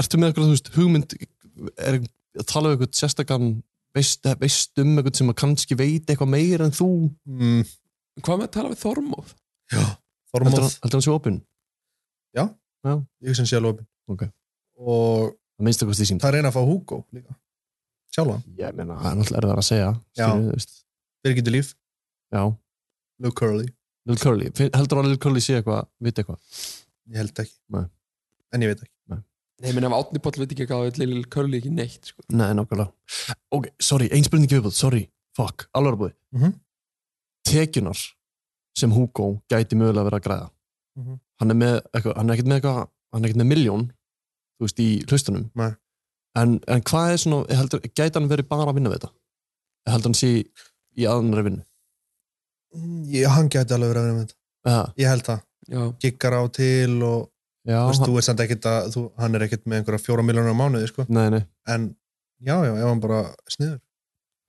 Speaker 5: ertu með eitthvað, þú veist, hugmynd, er að tala um eitthvað sérstakann, veist, veist um eitthvað sem að kannski veit eitthvað meira en þú?
Speaker 10: Mm.
Speaker 2: Hvað með að tala við Þormóð?
Speaker 10: Þormóð-
Speaker 5: Heldur hann- heldur hann sér opinn?
Speaker 10: Já,
Speaker 5: Já.
Speaker 10: ég hugsa hann sé alveg opinn
Speaker 5: Ok.
Speaker 10: og
Speaker 5: Það minnst eitthvað því sín.
Speaker 10: það er reyna að fá Hugo líka sjálfan,
Speaker 5: Ég meina, það er náttúrulega erðar að segja,
Speaker 10: Já.
Speaker 5: skilur, þú veist,
Speaker 10: Birgitur Líf,
Speaker 5: já,
Speaker 10: Luke Curly
Speaker 5: Lil Curly, Fin- heldur hann að Lil Curly sé eitthvað, viti eitthvað?
Speaker 10: ég held ekki,
Speaker 5: Nei.
Speaker 10: en ég veit ekki
Speaker 2: Nei, menn ef Átni Páll veit ekki hvað við Lil Curly ekki neitt sko.
Speaker 5: Nei, nákvæmlega. Ok, sorry, ein spurning viðbúð, sorry, fuck, alveg búið.
Speaker 10: Mhm.
Speaker 5: Tekjunar sem Hugo gæti mögulega verið að græða.
Speaker 10: Mhm.
Speaker 5: hann, er með, eitthvað, hann er ekkert með eitthvað, hann er ekkert með miljón, þú veist, í hlustunum.
Speaker 10: Nei.
Speaker 5: En, en hvað er svona, heldur, gæti hann verið bara að vinna við þetta? Heldur hann sé í aðanri vinnu?
Speaker 10: Mm, ég, hann gæti alveg verið að vera með þetta
Speaker 5: Eða,
Speaker 10: ég held það,
Speaker 2: Já,
Speaker 10: giggar á til og
Speaker 5: já,
Speaker 10: þú veist,
Speaker 5: hann,
Speaker 10: þú er samt ekkert að þú, hann er ekkert með einhverja fjóra miljónur á mánuði sko.
Speaker 5: nei, nei,
Speaker 10: en já, já, ef hann bara sniður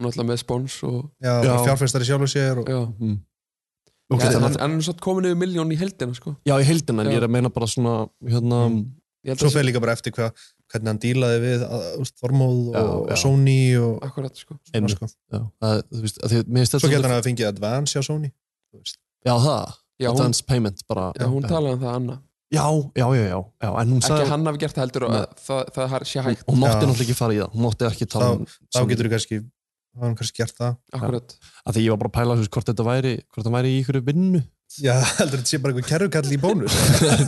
Speaker 2: náttúrulega með spons og
Speaker 10: já,
Speaker 5: Já.
Speaker 10: já. fjárfæstari sjálfur sér og,
Speaker 2: Já,
Speaker 5: ok,
Speaker 2: en
Speaker 5: þannig
Speaker 2: hann
Speaker 5: að,
Speaker 2: hann er svo komin yfir miljón í heldina sko.
Speaker 5: já, í heildina, en
Speaker 2: Já.
Speaker 5: ég er að meina bara svona, hérna,
Speaker 2: Ég held að
Speaker 10: svo
Speaker 2: sé-
Speaker 10: fer líka bara eftir hvað hvernig hann dílaði við að, úst, Þormóð og,
Speaker 5: Já, já.
Speaker 10: og Sony og,
Speaker 2: Akkurat, sko.
Speaker 10: svona,
Speaker 5: einmitt,
Speaker 10: sko.
Speaker 5: já, það, þú veist, að því, mér finnst
Speaker 10: svo
Speaker 5: þetta
Speaker 10: getur
Speaker 5: svolítið-
Speaker 10: hann að fengið advance hjá Sony þú veist.
Speaker 5: já, það,
Speaker 2: Já, hún,
Speaker 5: advance payment bara,
Speaker 2: já, hún talaði um það Anna
Speaker 5: já, já, já, já, já, en hún
Speaker 2: Ekki
Speaker 5: sagði,
Speaker 2: að hann hafi gert það heldur að
Speaker 5: Nei.
Speaker 2: það, það har- sé hægt
Speaker 5: hún mátti
Speaker 10: Já.
Speaker 5: náttúrulega ekki fara í það, hún mátti ekki tala um,
Speaker 10: þá getur þú kannski þá hann kannski gert það
Speaker 2: Akkurat
Speaker 5: að því ég var bara að pæla, þú veist, hvort þetta væri, hvort það væri í ykkur vinnu,
Speaker 10: já, heldur þetta sé bara einhver kerrukall í bónus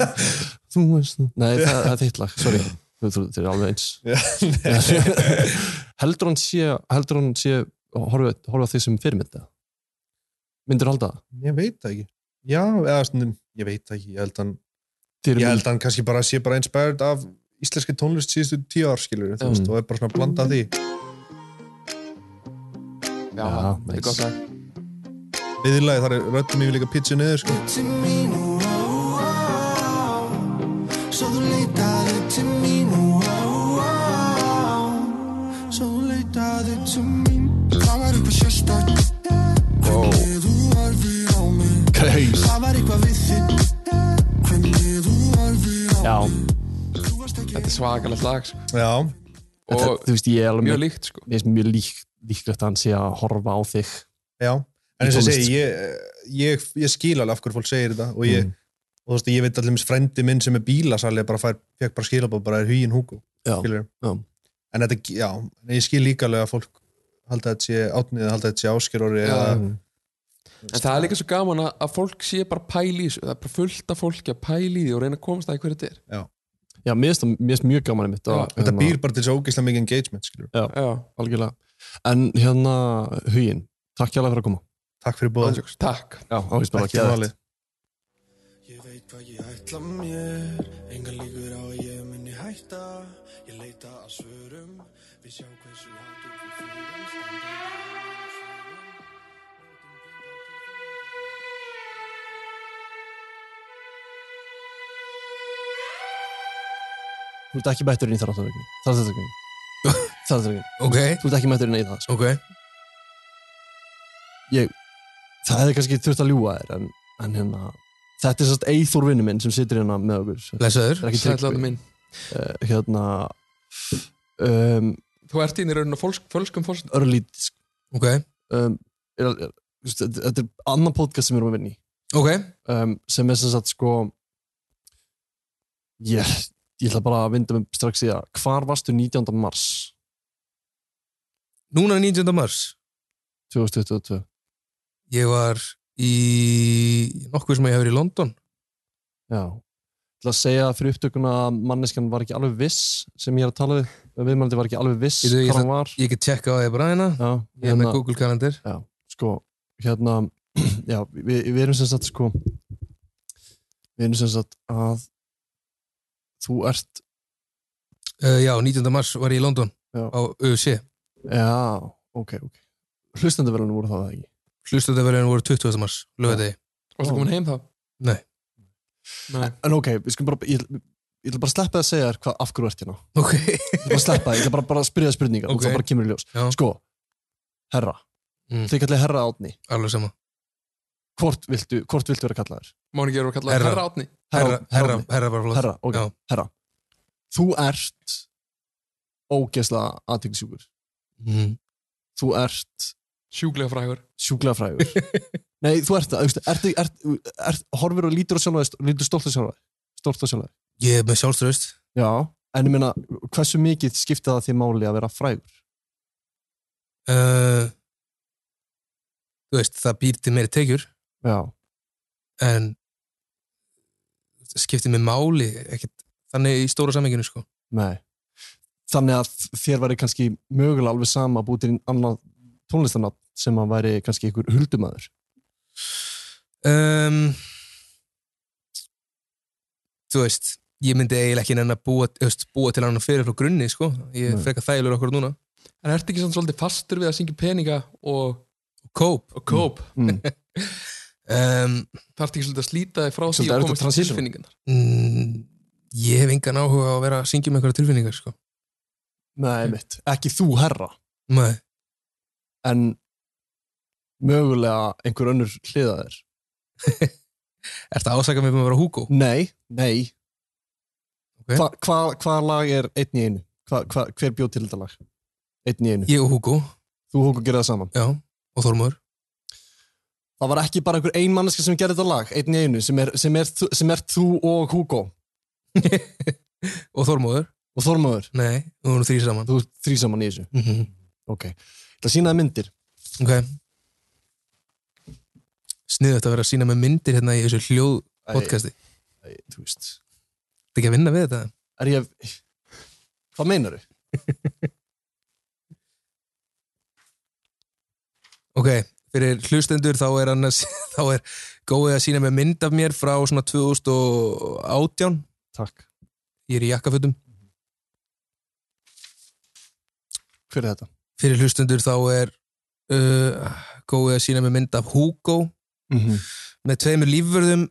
Speaker 5: þú veist Nei, það, það er þitt lag, sorry Þú- þú- Þeir eru alveg
Speaker 10: Já,
Speaker 5: eins Heldur hann sé heldur hann sé horfa, horfa á því sem fyrirmynda Myndir halda það?
Speaker 10: Ég veit það ekki. Já, eða stundum, ég veit það ekki. Ég held hann,
Speaker 5: Dyrum
Speaker 10: ég held hann kannski bara sé bara inspired af íslenski tónlist síðustu tíu ár, skilur, þú veist, og er bara svona að blanda af því.
Speaker 5: Já,
Speaker 10: það er gott að. Viðlagi, þar er röddum yfir líka pitchið niður, sko.
Speaker 8: til mín og ó, ó, ó. Svo þú leitaði til mín og ó, ó, ó. Svo þú leitaði til mín Það var eitthvað sérstakt Hvernig þú horfir á mig
Speaker 5: Kreis.
Speaker 8: Það var eitthvað við þitt Hvernig þú horfir á mig
Speaker 5: Já.
Speaker 2: Þetta er svakalegt lag sko.
Speaker 10: Já.
Speaker 5: Og þetta, þú veist, ég er alveg
Speaker 2: mjög líkt, sko.
Speaker 5: Ég er mjög lík, líklegt að hann sé að horfa á þig.
Speaker 10: Já,
Speaker 5: Í
Speaker 10: en eins
Speaker 5: tónlist.
Speaker 10: og ég
Speaker 9: sko.
Speaker 10: segi, ég, ég, ég skil alveg af hverju fólk segir þetta og
Speaker 5: Mm.
Speaker 9: Mm.
Speaker 10: ég, og þú veist, ég veit allir mis frendi minn sem er bílasali bara fær, fekk bara skilabóð, bara er hugin húku,
Speaker 5: Já,
Speaker 10: skilur.
Speaker 5: já.
Speaker 10: En þetta, já, en ég skil líka alveg að fólk halda þetta sé átnið, halda þetta sé áskjörori eða,
Speaker 2: En það er líka svo gaman að, að fólk sé bara pæli í þessu, það er bara fullt af fólki að pæli í því og reyna að komast að hverju þetta er.
Speaker 10: já.
Speaker 5: Já, mér finnst það- mér finnst mjög gaman einmitt. að-
Speaker 10: Þetta
Speaker 5: hérna-
Speaker 10: býr bara til svo ógeðslega mikið engagement, skilur.
Speaker 5: Já,
Speaker 2: Já.
Speaker 5: algjörlega. En hérna, Huginn, takk hjá fyrir að koma.
Speaker 10: Takk fyrir bóðið.
Speaker 2: Ándjóks, takk.
Speaker 5: Já, ágæst bara
Speaker 10: Ekki um að valið.
Speaker 8: ætla mér Engar líkur á að ég muni hætta Ég leita að svörum Við sjá hversu hátum við fyrir
Speaker 5: Þú ert ekki mættur inn í þarðartökning. Þarðartökning. Þarðartökning.
Speaker 9: Ok.
Speaker 5: Þú ert ekki mættur inn í það.
Speaker 9: Sko. Ok.
Speaker 5: Ég, það hefði kannski þurft að ljúa þér, en, en hérna, þetta er svolítið Eithor vinnu minn sem situr hérna með okkur.
Speaker 9: Blessaður.
Speaker 5: Þetta er ekki
Speaker 2: Sæll,
Speaker 5: Tryggvi.
Speaker 2: Árni minn.
Speaker 5: Eh, hérna, um,
Speaker 2: Þú ert inn í rauninu fólsk, fólskum fólk.
Speaker 5: örlít.
Speaker 9: Ok.
Speaker 5: Um, er, er, þú veist, þetta þetta er annan podcast sem við erum að vinna í.
Speaker 9: Ok.
Speaker 5: um, sem er sem sagt sko ég, ég ætla bara að vinda mig strax í það hvar varstu 19. mars
Speaker 9: Núna 19. mars.
Speaker 5: 2022
Speaker 9: Ég var í nokkuð sem ég hefur í London.
Speaker 5: já Ég ætla að segja fyrir upptökuna að manneskjan var ekki alveg viss sem ég er að tala við viðmælandi var ekki alveg viss
Speaker 9: Ég,
Speaker 5: hvar hann
Speaker 9: ætla,
Speaker 5: var
Speaker 9: ég get tjekka á þig bara hérna.
Speaker 5: já,
Speaker 9: Ég er með Google kalender.
Speaker 5: já, sko, hérna já, við, við erum sem sagt sko við erum sem sagt að þú ert
Speaker 9: Uh, já, 19. mars var ég í London
Speaker 5: Já.
Speaker 9: á UFC.
Speaker 5: já, ok, ok hlustendaverðunum voru það eða ekki
Speaker 9: Hlustandaverðin voru 20. mars, lögadegi.
Speaker 2: Varstu komin heim þá?
Speaker 9: Nei.
Speaker 2: Nei.
Speaker 5: En ok, við skulum bara, ég, ég ætla bara að sleppa það að segja þér hvað af hverju þú ert hérna.
Speaker 9: Ok.
Speaker 5: Ég ætla bara að sleppa það, ég ætla bara, bara að spyrja það spurningar
Speaker 9: Ok.
Speaker 5: og það bara kemur í ljós.
Speaker 9: Já.
Speaker 5: Sko, herra,
Speaker 9: Mm.
Speaker 5: þið kallið herra átni,
Speaker 9: Alveg sama.
Speaker 5: hvort viltu, hvort viltu vera kallaður?
Speaker 2: Máni ekki verið að kalla
Speaker 9: Herra.
Speaker 2: herra átni.
Speaker 9: Herra,
Speaker 5: Herra
Speaker 9: herra,
Speaker 5: Árni.
Speaker 9: herra bara flott.
Speaker 5: Herra, ok,
Speaker 9: Já.
Speaker 5: herra. Þú ert ógeðslega aðtækningsjúkur.
Speaker 9: Mm.
Speaker 5: Þú ert
Speaker 2: Sjúklega frægur.
Speaker 5: sjúklega frægur. Nei, þú ert það, auðvitað, ert, ert, ert, ert, horfir og lítur á sjálfaði, lítur stolt á sjálfaði, stolt á sjálfaði.
Speaker 9: Ég er með sjálfströðust.
Speaker 5: Já, en ég meina, hversu mikið skipta það því máli að vera frægur?
Speaker 9: Uh, þú veist, það býr til meiri tekjur,
Speaker 5: Já,
Speaker 9: en skiptir mér máli, ekkert, þannig í stóra sammenginu, sko.
Speaker 5: nei. Þannig að þér væri kannski mögulega alveg sama að búið til annan tónlistarnafn sem að væri kannski einhver huldumæður.
Speaker 9: Um, þú veist, ég myndi eiginlega ekki nenn að búa, þú veist, búa til annan fyrir frá grunni, sko. Ég er
Speaker 5: Nei.
Speaker 9: frekar þægilegur okkur núna.
Speaker 2: En ertu ekki samt svolítið fastur við að syngja peninga og,
Speaker 9: Kóp.
Speaker 2: og kóp?
Speaker 5: Mm.
Speaker 9: Um,
Speaker 2: Það ertu ekki svolítið að slíta þig frá því
Speaker 5: Svolítið
Speaker 2: að
Speaker 5: erfitt að
Speaker 2: komast til
Speaker 5: transition.
Speaker 2: tilfinningarnar.
Speaker 9: mm, ég hef engan áhuga á að vera að syngja með einhverja tilfinningar, sko.
Speaker 5: Nei, mitt. Ekki þú herra,
Speaker 9: Nei,
Speaker 5: en mögulega einhver önnur hliðaðir.
Speaker 9: ertu að ásaka mig um að vera húkó?
Speaker 5: Nei, nei.
Speaker 9: Ok.
Speaker 5: Hva, hva, hvaða lag er einn í einu? Hva, hva, hver bjóð til þetta lag? Einn í einu.
Speaker 9: Ég og húkó,
Speaker 5: Þú hóku að gera það saman.
Speaker 9: já, og Þormóður.
Speaker 5: Það var ekki bara einhver ein manneska sem gerði þetta lag, einn í einu, sem er, sem er, þú- sem er þú og Hugo
Speaker 9: Og Þormóður?
Speaker 5: og Þormaður.
Speaker 9: Nei, við vorum þrý saman.
Speaker 5: Þú ert þrý saman í þessu.
Speaker 9: Mm
Speaker 5: Ok. Það sínaði myndir.
Speaker 9: Ok. Sniðut að vera að sína með myndir hérna í þessu hljóð podcasti. Þetta
Speaker 5: Æ, þú veist.
Speaker 9: er ekki að vinna við þetta.
Speaker 5: Er ég... Hvað meinar þau?
Speaker 9: Ok, fyrir hlustendur þá er, annars, þá er góið að sína með mynd af mér frá svona 2018
Speaker 5: Takk
Speaker 9: Ég er í jakkafutum
Speaker 5: Hver er þetta?
Speaker 9: Fyrir hlustendur þá er uh, góið að sína með mynd af Hugo
Speaker 5: Mhm.
Speaker 9: með tveimur lífverðum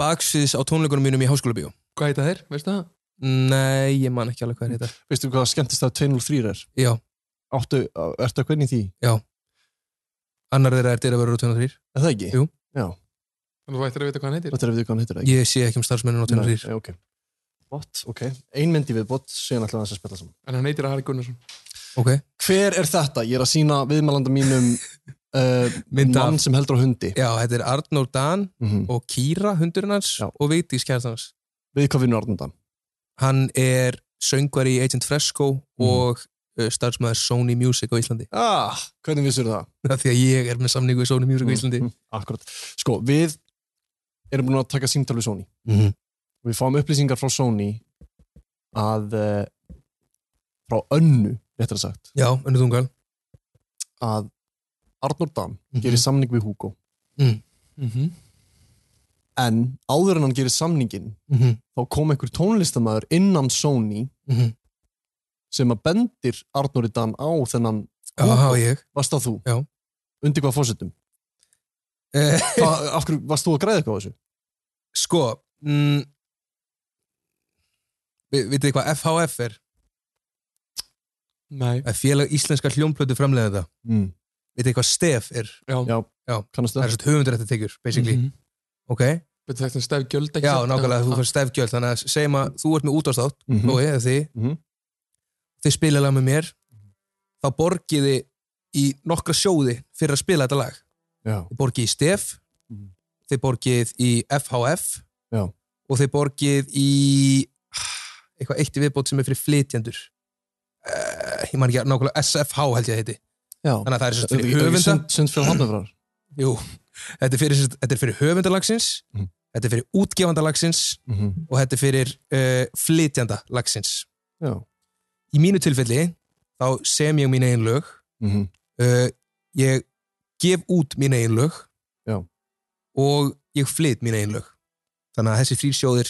Speaker 9: baksviðs á tónleikunum mínum í Háskóla Bíó
Speaker 2: Hvað heita þeir, veistu það?
Speaker 9: Nei, ég man ekki alveg hvað þetta
Speaker 5: Veistu hvað skemmtist að 203 er?
Speaker 9: Já
Speaker 5: Áttu, ertu að hvernig því?
Speaker 9: Já Annar þeirra er dyr að vera 203
Speaker 5: Er það ekki?
Speaker 9: Jú
Speaker 5: Já
Speaker 2: Þú ættir að vita hvað hann heitir
Speaker 5: Þetta er að við hvað hann heitir
Speaker 9: Ég sé ekki um starfsmennina á 203
Speaker 5: Nei, ok Bot, ok Ein myndi við bot, síðan ætlum við aðeins að spila saman
Speaker 2: En hann heitir Ari Gunnarsson
Speaker 9: Ok
Speaker 5: Hver er þetta? Ég er að sína viðmælanda mínum uh, mann sem heldur á hundi
Speaker 9: Já, þetta er Arnór Dan og Kýra hundurinn hans og Vigdís kærtan hans
Speaker 5: Við hvað vinnur Arnór Dan?
Speaker 9: Hann er söngvar í Agent Fresco og uh, starfsmæður Sony Music á Íslandi
Speaker 5: Ah, hvernig vissur það?
Speaker 9: Því að ég er með samningu í Sony Music á Íslandi
Speaker 5: Akkurat Sko, við erum búin að taka símtal við Sony
Speaker 9: Mhm.
Speaker 5: og við fáum upplýsingar frá Sony að uh, frá önnu, réttar að sagt
Speaker 9: Já, önnu tungan
Speaker 5: að Arnór Dan gerir samning við Hugo
Speaker 9: mm.
Speaker 5: en áður en hann gerir samningin
Speaker 9: Mhm.
Speaker 5: þá kom einhver tónlistamæður innan Sony
Speaker 9: Mhm.
Speaker 5: sem að bendir Arnóri Dan á þennan
Speaker 9: Já, það var ég.
Speaker 5: varst það þú?
Speaker 9: Já.
Speaker 5: Undir hvað fórsetum? Af hverju varst þú að græða eitthvað á þessu?
Speaker 9: Sko mm, vi- Vitið þið hvað FHF er?
Speaker 2: Nei
Speaker 9: Það er félag íslenska hljómplötu framlega það
Speaker 5: mm.
Speaker 9: Vitið þið hvað STEF er?
Speaker 2: Já,
Speaker 5: já,
Speaker 9: kannast það Það er svo höfundur þetta tekur, basically
Speaker 2: Mhm.
Speaker 9: Ok
Speaker 2: Betur þetta stef gjöld ekki
Speaker 9: Já,
Speaker 2: satt?
Speaker 9: nákvæmlega, þú
Speaker 2: Já.
Speaker 9: fær stef gjöld Þannig að segjum að þú ert með útástátt mm
Speaker 2: Mhm.
Speaker 9: -hmm. og ég eða þið
Speaker 5: mm -hmm.
Speaker 9: Þið spila lag með mér Þá borgið þið í nokkra sjóði fyrir að spila þetta lag
Speaker 5: Já.
Speaker 9: Þið borgið í STEF Þið borgið í FHF
Speaker 5: Mm. Já.
Speaker 9: og þið borgið í eitthvað eitt í viðbót sem er fyrir flytjendur uh, ég man ekki nákvæmlega SFH held ég að heiti
Speaker 5: Já.
Speaker 9: þannig að það er sem sagt
Speaker 5: Þetta
Speaker 9: fyrir
Speaker 5: er ekki
Speaker 9: höfunda
Speaker 5: sund- Sundfjall Hafnarfjarðar?
Speaker 9: Jú, þetta er fyrir, sem sagt- þetta er fyrir höfundalagsins
Speaker 5: Mm.
Speaker 9: þetta er fyrir útgefandalagsins
Speaker 5: Mhm.
Speaker 9: og þetta er fyrir uh, flytjandalagsins
Speaker 5: Já.
Speaker 9: í mínu tilfelli þá sem ég mín eigin lög
Speaker 5: Mhm.
Speaker 9: uh, ég gef út mín eigin lög
Speaker 5: Já.
Speaker 9: og ég flyt mín eigin lög þannig að þessi þrýr sjóðir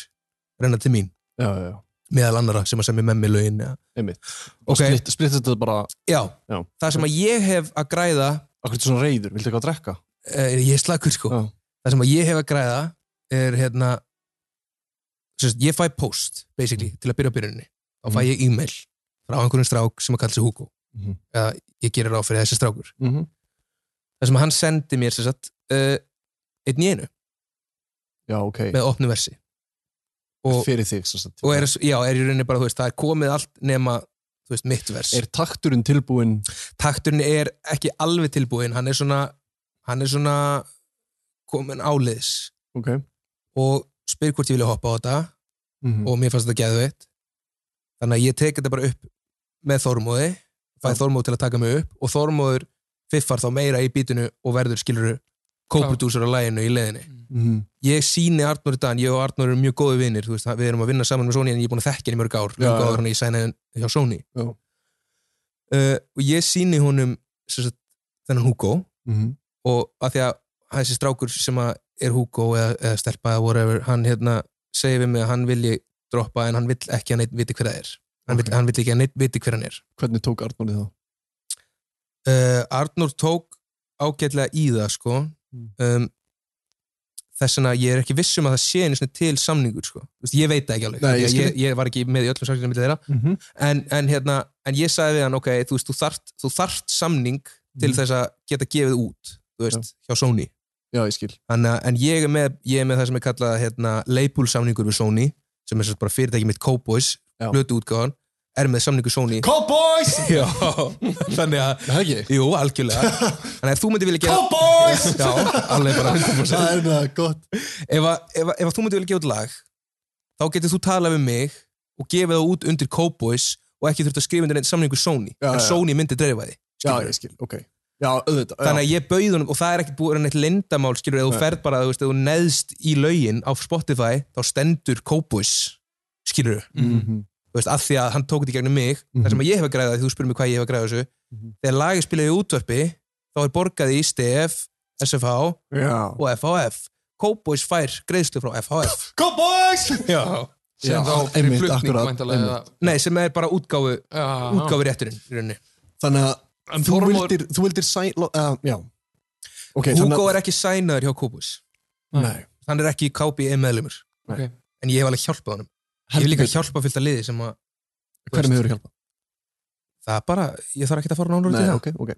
Speaker 9: renna til mín
Speaker 5: Já, já, já.
Speaker 9: meðal annara sem að semja með mér lögin eða
Speaker 5: Einmitt. Og
Speaker 9: Ok.
Speaker 5: splitt, splitt þetta bara
Speaker 9: Já,
Speaker 5: já.
Speaker 9: það sem að ég hef að græða
Speaker 5: Akkur er svona reyður, viltu eitthvað að drekka?
Speaker 9: uh, ég er slakur sko það sem að ég hef að græða er hérna sérst, ég fæ post basically til að byrja á byrjunni þá fæ
Speaker 5: Mhm.
Speaker 9: ég e-mail frá einhverjum strák sem að kalla sig Hugo
Speaker 5: Mhm.
Speaker 9: eða ég gerir ráð fyrir þessi strákur
Speaker 5: Mhm.
Speaker 9: það sem að hann sendi mér sem sagt, uh, einn í einu
Speaker 5: Já, ok
Speaker 9: með opnu versi
Speaker 5: Fyrir þig, sem sagt.
Speaker 9: og er, já, er í rauninni bara, þú veist, það er komið allt nema, þú veist, mitt vers
Speaker 5: Er takturinn tilbúinn?
Speaker 9: Takturinn er ekki alveg tilbúinn hann er svona, hann er svona komin áliðs
Speaker 5: Ok.
Speaker 9: og spyr hvort ég vilja hoppa á þetta
Speaker 5: Mhm.
Speaker 9: og mér fannst þetta geðveitt þannig að ég tek þetta bara upp með Þormóði, fæ ja. Þormóð til að taka mig upp og Þormóður fiffar þá meira í bítinu og verður skiluru kópudúsur á læginu í leðinni
Speaker 5: Mhm.
Speaker 9: ég síni Arnóri Dan, ég og Arnór erum mjög góði vinnir veist, við erum að vinna saman með Sony en ég er búin að þekkja hann í mörg ár
Speaker 5: Já,
Speaker 9: mörg
Speaker 5: já.
Speaker 9: áður en ég sæna hann hjá Sony
Speaker 5: Já.
Speaker 9: uh, og ég síni honum sem sagt, þennan Hugo
Speaker 5: Mhm.
Speaker 9: og að því að þessi strákur sem að er Hugo eða, eða stelpa eða whatever, hann hérna segir við mig að hann vilji droppa en hann vill ekki að neitt viti hver það er hann, vill, hann vill ekki að neitt viti hver hann er
Speaker 5: Hvernig tók Arnóri það?
Speaker 9: uh, Arnur tók ágætlega í það sko
Speaker 5: Hmm.
Speaker 9: um, þess vegna ég er ekki viss um að það sé einu sinni til samningur sko. Þú veist, ég veit það ekki alveg
Speaker 5: Nei, ég
Speaker 9: Því að
Speaker 5: skil.
Speaker 9: ég, ég var ekki með í öllum samningum milli þeirra
Speaker 5: Mhm.
Speaker 9: en, en, hérna, en ég sagði við hann ok, þú, veist, þú, þarft, þú þarft samning til
Speaker 5: Mhm.
Speaker 9: þess að geta gefið út þú veist, hjá Sony
Speaker 5: Já, ég skil.
Speaker 9: Þannig, að- en ég er, með, ég er með það sem er kallað hérna, label samningur við Sony sem er sem sagt bara fyrirtæki mitt Cowboys hlutu útgáðan, er með samningu Sony
Speaker 5: Cowboys!
Speaker 9: Já, þannig að
Speaker 5: Það ekki?
Speaker 9: Jú, algjörlega Þannig að ef þú myndir vilja gera
Speaker 5: Cowboys!
Speaker 9: Já, alveg bara 100%
Speaker 5: Það er með gott
Speaker 9: Ef, að, ef, að, ef að þú myndir vilja gefa út lag þá getur þú talað við mig og gefið það út undir Cowboys og ekki þurft að skrifa undir einn samningu Sony
Speaker 5: Já,
Speaker 9: en
Speaker 5: já.
Speaker 9: Sony myndi dreifa því
Speaker 5: Já, ég skil, ok. Já, auðvitað. já.
Speaker 9: Þannig að ég bauð honum og það er ekki búið að vera neitt lindamál skilur, eða þú
Speaker 5: Nei.
Speaker 9: ferð bara, þú veist, eða þú neðst í lögin á Spotify, þá stendur Cowboys, skilur
Speaker 5: Mhm.
Speaker 9: þú veist, af því að hann tók þetta í gegnum mig
Speaker 5: Mhm.
Speaker 9: þar sem að ég hef að græða, því þú spyrir mig hvað ég hef að græða þessu þegar lagið spilaði í útvarpi þá er borgaði í stef
Speaker 2: SFH
Speaker 5: Já.
Speaker 2: og FHF Cowboys fær greiðslu frá FHF
Speaker 5: Cowboys!
Speaker 2: Já,
Speaker 5: Já,
Speaker 2: sem þá fyrir
Speaker 5: einmitt,
Speaker 2: flutning
Speaker 5: akkurat,
Speaker 2: væntanlega
Speaker 5: einmitt.
Speaker 2: eða- Nei, sem er bara útgáfu útgáfu rétturinn í rauninni
Speaker 5: Þannig að þú
Speaker 2: Þormóður-
Speaker 5: vildir, þú vildir sæn, uh, já. Ok,
Speaker 2: Hugo er ekki sænaður hjá Kópus
Speaker 5: Nei.
Speaker 2: hann er ekki KBE meðlumur
Speaker 5: Nei.
Speaker 2: en ég hef alveg hjálpað honum ég hef
Speaker 5: Heldur
Speaker 2: líka
Speaker 5: betur.
Speaker 2: hjálpað fylgta liði sem að
Speaker 5: Hverjum hefur hjálpað?
Speaker 2: það er bara, ég þarf ekki að fara nánar út í
Speaker 5: Nei,
Speaker 2: það
Speaker 5: ok, ok.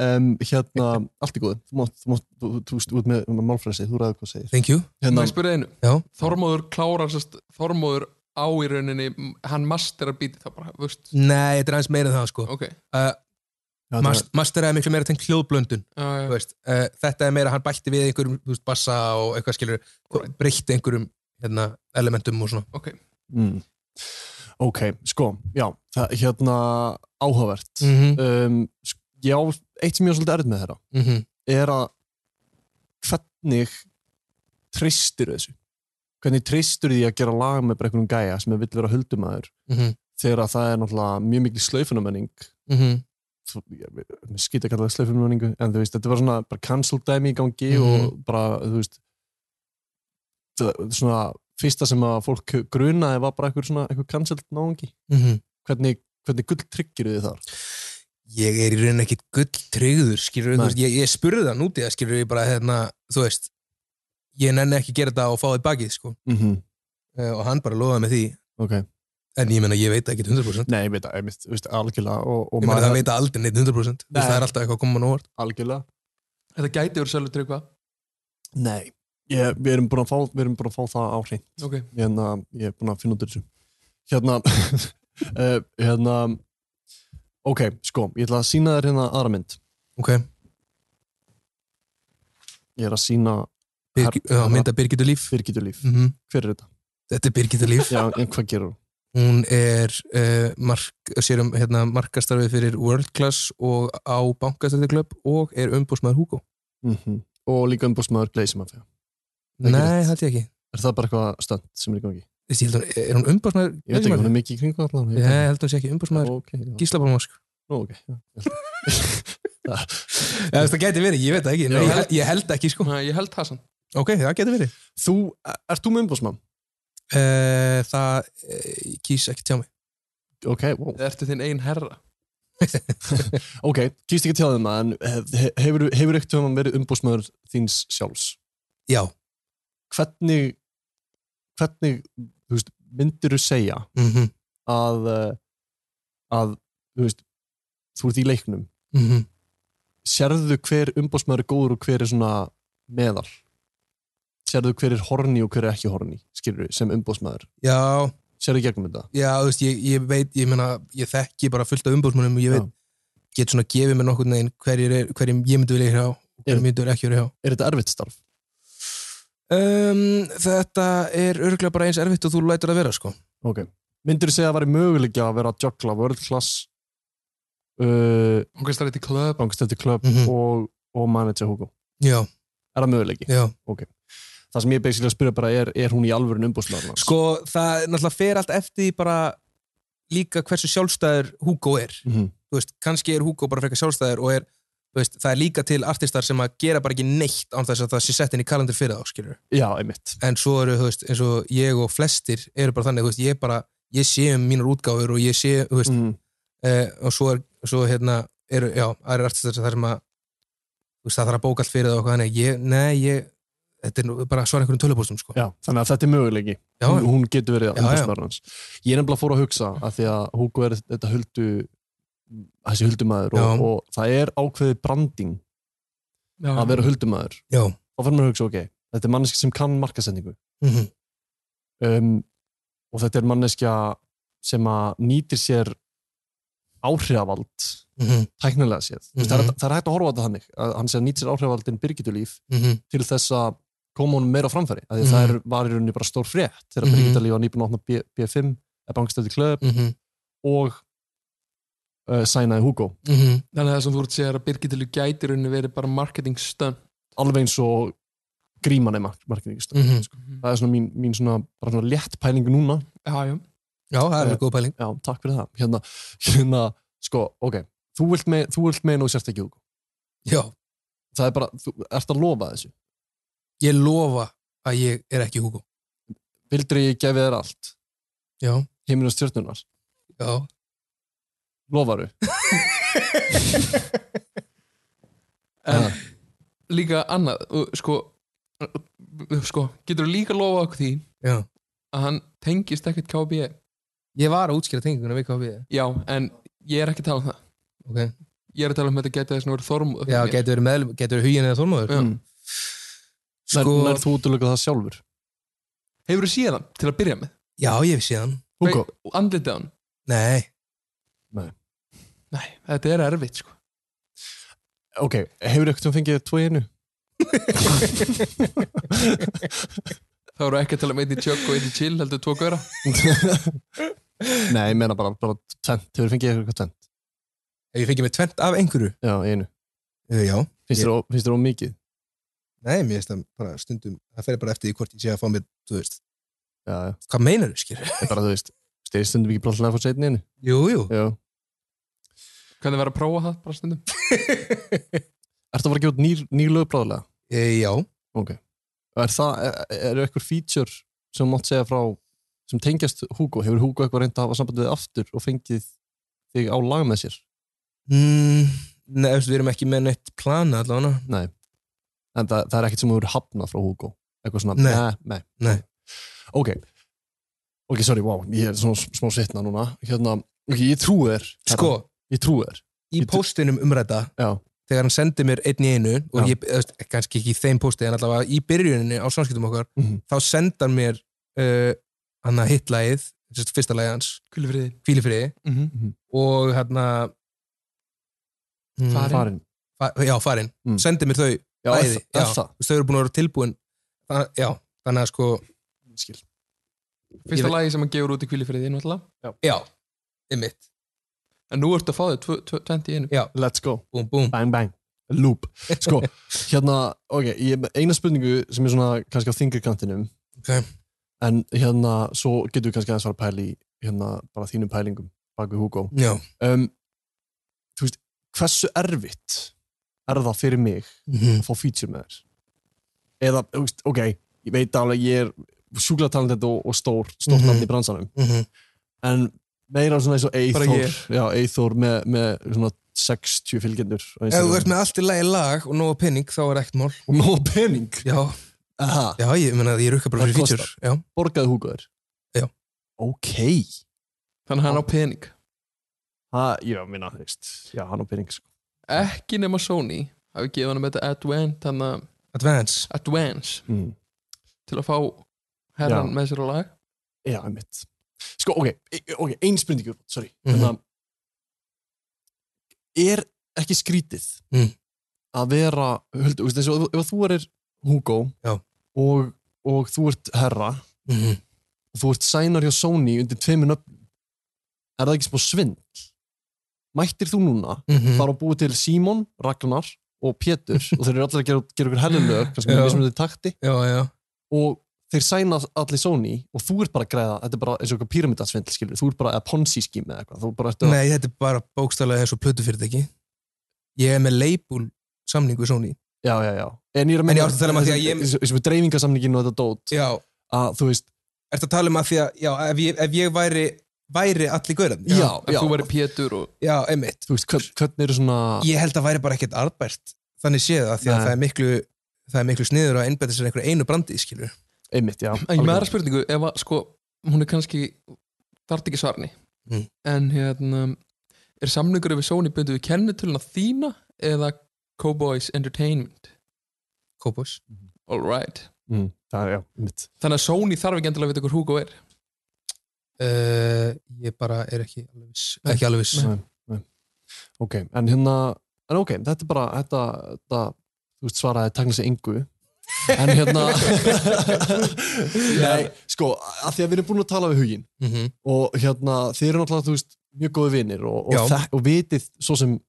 Speaker 5: Um, hérna, allt í góðu. Þú mátt, þú mátt, þú, þú, þú, þú ert með, með málfræsi, þú ræður hvað segir.
Speaker 2: Thank you.
Speaker 5: Hérna,
Speaker 9: Má ég spyrja einu?
Speaker 2: Já.
Speaker 9: Þormóður klárar sérst, Þormóður á í rauninni hann masterar bítið það bara, veist
Speaker 2: Nei, þetta er aðeins meira en það sko
Speaker 9: okay.
Speaker 2: uh,
Speaker 9: það
Speaker 2: mas, Master er miklu meira tengt hljóðblöndun
Speaker 9: já.
Speaker 2: Þú veist, uh, Þetta er meira, hann bætti við einhverjum þú veist, bassa og eitthvað skilur right. breytti einhverjum hérna, elementum og svona
Speaker 9: okay.
Speaker 5: Mm. Ok, sko, já, það, hérna áhugavert.
Speaker 2: Mhm.
Speaker 5: um, sk- já, eitt sem ég er svolítið erð með þeirra
Speaker 2: Mhm.
Speaker 5: er að hvernig tristir þessu? Hvernig tristir því að gera lag með bara einhverjum gæja sem er vill vera huldumæður
Speaker 2: Mhm.
Speaker 5: þegar að það er náttúrulega mjög mikil slaufunamenning
Speaker 2: Mhm.
Speaker 5: þú- ég- ég- ég skýt að kalla það slaufunamenningu en þú veist, þetta var svona bara cancel dæmi í gangi og bara, þú veist það- svona fyrsta sem að fólk grunaði var bara einhver svona einhver cancel náungi
Speaker 2: Mhm.
Speaker 5: hvernig, hvernig gull tryggir þið þar?
Speaker 2: ég er í rauninni ekkit gulltryggður skilur, þú
Speaker 5: Nei.
Speaker 2: veist, ég, ég spurði það núti að skilur ég bara, hérna, þú veist ég nenni ekki að gera þetta og fá þið bakið sko.
Speaker 5: Mhm.
Speaker 2: uh, og hann bara lofaði með því
Speaker 5: okay.
Speaker 2: en ég menna ég veit ekki 100%
Speaker 5: Nei, ég veit að, þú veist, algjörlega og, og
Speaker 2: ég menna
Speaker 5: maður-
Speaker 2: það veit aldrei neitt 100% Þú veist,
Speaker 5: Nei.
Speaker 2: það er alltaf eitthvað að koma mann óvart
Speaker 5: algjörlega
Speaker 9: Þetta gæti verið svolítið tryggva
Speaker 5: Nei, ég, við, erum búin að fá, við erum búin að fá það á hreint
Speaker 9: Ok.
Speaker 5: hérna, Ég er búin að finna út úr þessu Hérna, uh, hérna Ok, sko, ég ætla að sína þér hérna aðra mynd
Speaker 2: Ok
Speaker 5: Ég er að sína
Speaker 2: Birgi- já, mynd af Birgitur Líf
Speaker 5: Birgitur Líf,
Speaker 2: Mhm.
Speaker 5: hver er þetta?
Speaker 2: Þetta er Birgitta Líf
Speaker 5: Já, en hvað gerur hún?
Speaker 2: hún er uh, mark, sér um hérna, markastarfið fyrir World Class og á bankastarfiklöp og er umbúsmaður Hugo
Speaker 5: -hmm. Og líka umbúrsmaður Gleismafja
Speaker 2: Nei, held ég ekki
Speaker 5: Er það bara eitthvað stönd sem er í gangi?
Speaker 2: Þessi, ég held hún- er hún umbúsmaður
Speaker 5: Ég veit ekki, hún er mikið í kringu allan
Speaker 2: Ég held hún sé ekki umbúsmaður
Speaker 5: okay,
Speaker 2: Gíslabálmask
Speaker 5: Nú, ok, já
Speaker 2: Já, það geti verið, ég veit það ekki Nei,
Speaker 5: Já.
Speaker 2: ég, held, ég held ekki sko
Speaker 9: Nei, ég held það sann
Speaker 2: Ok, það geti verið
Speaker 5: Þú, ert þú með umbúrsmann?
Speaker 2: Uh, það uh, kýs ekki tjá mig
Speaker 5: Ok, wow
Speaker 9: Ertu þinn ein herra?
Speaker 5: Ok, kýst ekki til þeim það, en hef- he- hefur, hefur ekkert höfum verið umbúsmaður þíns sjálfs?
Speaker 2: Já.
Speaker 5: Hvernig, hvernig, þú veist, myndir þú segja
Speaker 2: Mhm.
Speaker 5: að, eh, að, þú veist, þú ert í leiknum,
Speaker 2: Mhm.
Speaker 5: sérðu hver umbúsmaður er góður og hver er svona meðal? Sérðu hver er horni og hver er ekki horni, skilur við, sem umbúsmaður?
Speaker 2: Já,
Speaker 5: Sérðu í gegnum þetta?
Speaker 2: já, þú veist, ég, ég veit, ég meina, ég þekki bara fullt af umbúrsmunum og ég veit, get svona gefið mér nokkur neginn hverjir, er- hverjum ég myndi vilja hjá og hverjum ég myndi vilja ekki hjá.
Speaker 5: Er þetta erfitt starf?
Speaker 2: Um, þetta er örgulega bara eins erfitt og þú lætur að vera, sko.
Speaker 5: Ok. Myndir þú segja að það væri möguleika að vera að joggla world class uh,
Speaker 9: Bankastræti Club,
Speaker 5: Bankastræti Club
Speaker 2: Mhm.
Speaker 5: og, og manager Hugo?
Speaker 2: Mm. Já.
Speaker 5: Er það möguleiki?
Speaker 2: Já.
Speaker 5: Ok. Það sem ég basically að spyrja bara er, er hún í alvöru umbúsmaður?
Speaker 2: Sko, það náttúrulega fer allt eftir því bara líka hversu sjálfstæður Hugo er.
Speaker 5: Mhm.
Speaker 2: Þú veist, kannski er Hugo bara frekar sjálfstæður og er, þú veist, það er líka til artistar sem að gera bara ekki neitt án þess að það sé sett inn í kalendar fyrir þá, skilur.
Speaker 5: Já, einmitt.
Speaker 2: en svo eru, þú veist, eins og ég og flestir eru bara þannig, þú veist, ég bara ég sé um mínar útgáfur og ég sé, þú veist eh,
Speaker 5: mm.
Speaker 2: og svo er, svo hérna eru, já, aðrir artistar sem það sem að þú veist, það þarf að bóka allt fyrir það og eitthvað þannig, ég, nei, ég þetta er nú bara svara einhverjum tölupóstum, sko
Speaker 5: Já, þannig að þetta er möguleiki.
Speaker 2: Já,
Speaker 5: hún,
Speaker 2: já.
Speaker 5: hún getur verið
Speaker 2: Já, já.
Speaker 5: umbúsmaður hans. Ég er nefnilega að fóra að hugsa að því að Hugo er þetta huldu, þessi huldumæður og,
Speaker 2: Já.
Speaker 5: og það er ákveðið branding
Speaker 9: Já.
Speaker 5: að vera huldumæður.
Speaker 2: Já.
Speaker 5: Þá fyrir maður að hugsa, ok, þetta er manneski sem kann markasendingu.
Speaker 2: Mhm.
Speaker 5: um, og þetta er manneskja sem að nýtir sér áhrifavald
Speaker 2: Mhm.
Speaker 5: tæknilega séð mm -hmm. það, er,
Speaker 2: Mhm.
Speaker 5: hægt- það er hægt að horfa á þetta þannig að hann sé að nýtir sér áhrifavaldin Birgitulíf
Speaker 2: Mhm.
Speaker 5: til þess að koma honum meira á framfæri af því að
Speaker 2: Mhm.
Speaker 5: það er, var í rauninni bara stór frétt þegar mm
Speaker 2: Mhm.
Speaker 5: -hmm. Birgitulíf var nýbúin að opna B, B5 eða bankstætti klöp
Speaker 2: Mhm.
Speaker 5: og uh, sænaði Hugo
Speaker 2: Mhm.
Speaker 9: Þannig að það sem þú ert segir að Birgitilu gæti í rauninni verið bara marketing stönd
Speaker 5: alveg eins og gríman er marketingist mm
Speaker 2: Mhm.
Speaker 5: sko. það er svona mín, mín svona, bara svona létt pæling núna
Speaker 9: Já, já.
Speaker 2: Já, það er
Speaker 5: Eh,
Speaker 2: alveg góð pæling.
Speaker 5: Já, takk fyrir það. Hérna, hérna sko, ok, þú vilt, með, þú vilt meina og sért ekki Hugo.
Speaker 2: Já.
Speaker 5: það er bara, þú ert að lofa þessu
Speaker 9: ég lofa að ég er ekki Hugo
Speaker 5: vildur ég gefi þér allt
Speaker 9: já
Speaker 5: heiminn og stjórnunar
Speaker 9: já
Speaker 5: lofaru
Speaker 2: en líka annað og, sko, sko getur líka lofa okkur því
Speaker 9: Já.
Speaker 2: að hann tengist ekkert KB
Speaker 9: ég var að útskýra tenginguna við KB
Speaker 2: já, en ég er ekki að tala um það
Speaker 9: okay.
Speaker 2: ég er að tala um þetta gæti þess að vera þormóð
Speaker 9: já, getur verið meðlum, getur verið hugin eða þormóður
Speaker 2: Já.
Speaker 9: sko,
Speaker 5: Nær- nær þú útlöku það sjálfur
Speaker 2: hefur þú síðan til að byrja með
Speaker 9: já, ég hef séð hann
Speaker 2: Hugo. andlitið á hann,
Speaker 9: nei,
Speaker 2: nei, þetta er erfitt sko.
Speaker 5: ok, hefur ekkert um fengið tvo í einu
Speaker 2: þá eru ekki að tala um einn í tjökk og einn í chill heldur tvo góra
Speaker 5: nei, ég meina bara, bara tvent, hefur fengið eitthvað tvent
Speaker 9: hefur ég fengið mig tvent af einhverju
Speaker 5: já, í einu,
Speaker 9: Eh, já
Speaker 5: finnst
Speaker 9: Ég-
Speaker 5: þér ó- finnst þér ómikið
Speaker 9: Nei, mér finnst það bara stundum, það fer bara eftir því hvort ég sé að fá mér, þú veist,
Speaker 5: já, já.
Speaker 9: hvað meinar þú skilur?
Speaker 5: Það er bara, þú veist, styrði stundum ekki bara alltaf að fá setni einu
Speaker 9: Jú, jú.
Speaker 5: já.
Speaker 2: hvernig verður að prófa það bara stundum
Speaker 5: ertu að fara að gefa út nýr, nýr lög bráðlega?
Speaker 9: E, já
Speaker 5: ok, er það, er- eru eitthvað feature sem þú mátt segja frá sem tengjast Hugo, hefur Hugo eitthvað reynd að hafa samband við þig aftur og fengið þig á lag með sér?
Speaker 9: Mm, nei, þú veist, við erum ekki með neitt plana allavega.
Speaker 5: Nei, en það, það er ekkert sem þú eru hafnað frá Hugo eitthvað svona,
Speaker 9: Nei.
Speaker 5: nei,
Speaker 9: nei.
Speaker 5: ok ok, sorry, wow, ég er svona sm- smá sitna núna hérna, ok, ég trú þér herra.
Speaker 9: Sko.
Speaker 5: ég trú þér
Speaker 9: Í póstinum umræta,
Speaker 5: já.
Speaker 9: þegar hann sendi mér einn í einu, og
Speaker 5: Já.
Speaker 9: ég, þú veist, kannski ekki í þeim pósti, en allavega í byrjuninni á samskiptum okkar,
Speaker 5: Mhm.
Speaker 9: þá senda hann mér uh, hann að hitlægið, fyrsta lagið hans,
Speaker 2: Kvílifriði.
Speaker 9: Kvílifriði,
Speaker 2: Mhm.
Speaker 9: og hérna mm,
Speaker 2: Farin.
Speaker 5: Farin.
Speaker 9: Fa- já, farin,
Speaker 5: Mm.
Speaker 9: sendi mér þau
Speaker 5: Já, er
Speaker 9: bæði,
Speaker 5: það- er það?
Speaker 9: Þú veist, þau eru búin að vera tilbúin Þann, já, þannig að sko
Speaker 5: skil
Speaker 2: fyrsta
Speaker 9: Ég-
Speaker 2: lagi sem hann gefur út í kvílifriði náttúrulega
Speaker 9: já, einmitt
Speaker 2: en nú ertu að fá þau 21
Speaker 9: já,
Speaker 5: let's go
Speaker 9: boom, boom.
Speaker 5: bang bang loop sko hérna ok ég er með eina spurningu sem er svona kannski á þingarkantinum
Speaker 9: Ok.
Speaker 5: en hérna svo getum við kannski aðeins fara að pæla í hérna bara þínum pælingum bak við Hugo
Speaker 9: Já.
Speaker 5: um, þú veist hversu erfitt er það fyrir mig
Speaker 9: Mhm.
Speaker 5: að fá feature með þér eða þú veist ok ég veit alveg ég er sjúklega talendend og, og stór stórt
Speaker 9: Mhm.
Speaker 5: nafn í bransanum
Speaker 9: Mhm.
Speaker 5: en meira svona eins og Eithor
Speaker 9: ég.
Speaker 5: já, Eithor með, með svona 60 fylgjendur á
Speaker 9: ef þú
Speaker 5: Instagram.
Speaker 9: ert með allt í lagi lag og nóga penning þá er ekkert mál
Speaker 5: og nóga penning?
Speaker 9: já,
Speaker 5: Aha.
Speaker 9: já ég meina að ég rukka bara
Speaker 5: Það
Speaker 9: fyrir feature
Speaker 5: kostar.
Speaker 9: já.
Speaker 5: borgaði húkaður
Speaker 9: já,
Speaker 5: ok
Speaker 2: þannig að hann á pening
Speaker 5: ha, já, minna, þú veist já, hann á pening sko.
Speaker 2: ekki nema Sony hafi gefið hann um þetta Advent hana,
Speaker 9: Advance,
Speaker 2: Advance
Speaker 5: Mm.
Speaker 2: til að fá herran
Speaker 5: Já.
Speaker 2: með sér á lag
Speaker 5: já, mitt sko, ok, e- ok, ein spurningu sorry,
Speaker 2: Mhm.
Speaker 5: mm er ekki skrítið
Speaker 9: Mm.
Speaker 5: að vera höldu, veist, eins og, ef, ef þú erir Hugo
Speaker 9: Já.
Speaker 5: og, og þú ert herra
Speaker 9: Mhm.
Speaker 5: og þú ert sænar hjá Sony undir tveimur nöfnum er það ekki smá svindl mættir þú núna
Speaker 9: Mhm.
Speaker 5: fara að búa til Simon, Ragnar og Pétur og þeir eru allir að gera, gera ykkur hellinlög kannski
Speaker 9: Já.
Speaker 5: með mismunandi takti
Speaker 9: já, já
Speaker 5: og þeir sæna allir Sony og þú ert bara að græða, þetta er bara eins og eitthvað píramidasvindl skilur, þú ert bara að ponzi skími eða eitthvað þú bara ert að,
Speaker 9: nei, þetta er bara bókstælega eins og plötu ég er með label samningu við Sony
Speaker 5: já, já, já en ég er að
Speaker 9: En ég átti að tala um að því að ég-
Speaker 5: eins og- eins og með dreifingasamningin og þetta dót
Speaker 9: já,
Speaker 5: að þú veist,
Speaker 9: ertu að tala um að því að já, ef, ég, ef ég væri væri allir gaurarnir
Speaker 5: já,
Speaker 2: að þú væri Pétur og
Speaker 9: já, einmitt
Speaker 5: þú veist, hvern- hvernig eru svona
Speaker 9: ég held að væri bara ekkert arðbært þannig séð að því að
Speaker 5: Nei.
Speaker 9: það er miklu það er miklu sniður að einbæta sér einhverju einu brandi skilur
Speaker 5: einmitt, já
Speaker 2: En ég með
Speaker 5: algjörlega.
Speaker 2: aðra spurningu, ef að sko hún er kannski, þarf ekki svarni
Speaker 9: Mm.
Speaker 2: en hérna er samlingur yfir Sony bundið við kennitöluna þína eða Cowboys Entertainment
Speaker 9: Kópos
Speaker 2: All right.
Speaker 5: mm, það er, já, einmitt
Speaker 2: Þannig að Sony þarf ekki endilega að vita hver Hugo er
Speaker 9: uh, ég bara er ekki alveg viss ekki alveg viss
Speaker 5: Nei, nei. ok, en hérna en ok, þetta er bara þetta, þetta, þú veist, svaraði teknisig engu en hérna nei, sko, að því að við erum búin að tala við hugin
Speaker 9: Mhm.
Speaker 5: og hérna, þið eru náttúrulega, þú veist, mjög góði vinir og,
Speaker 9: Já.
Speaker 5: og, þek- og vitið svo sem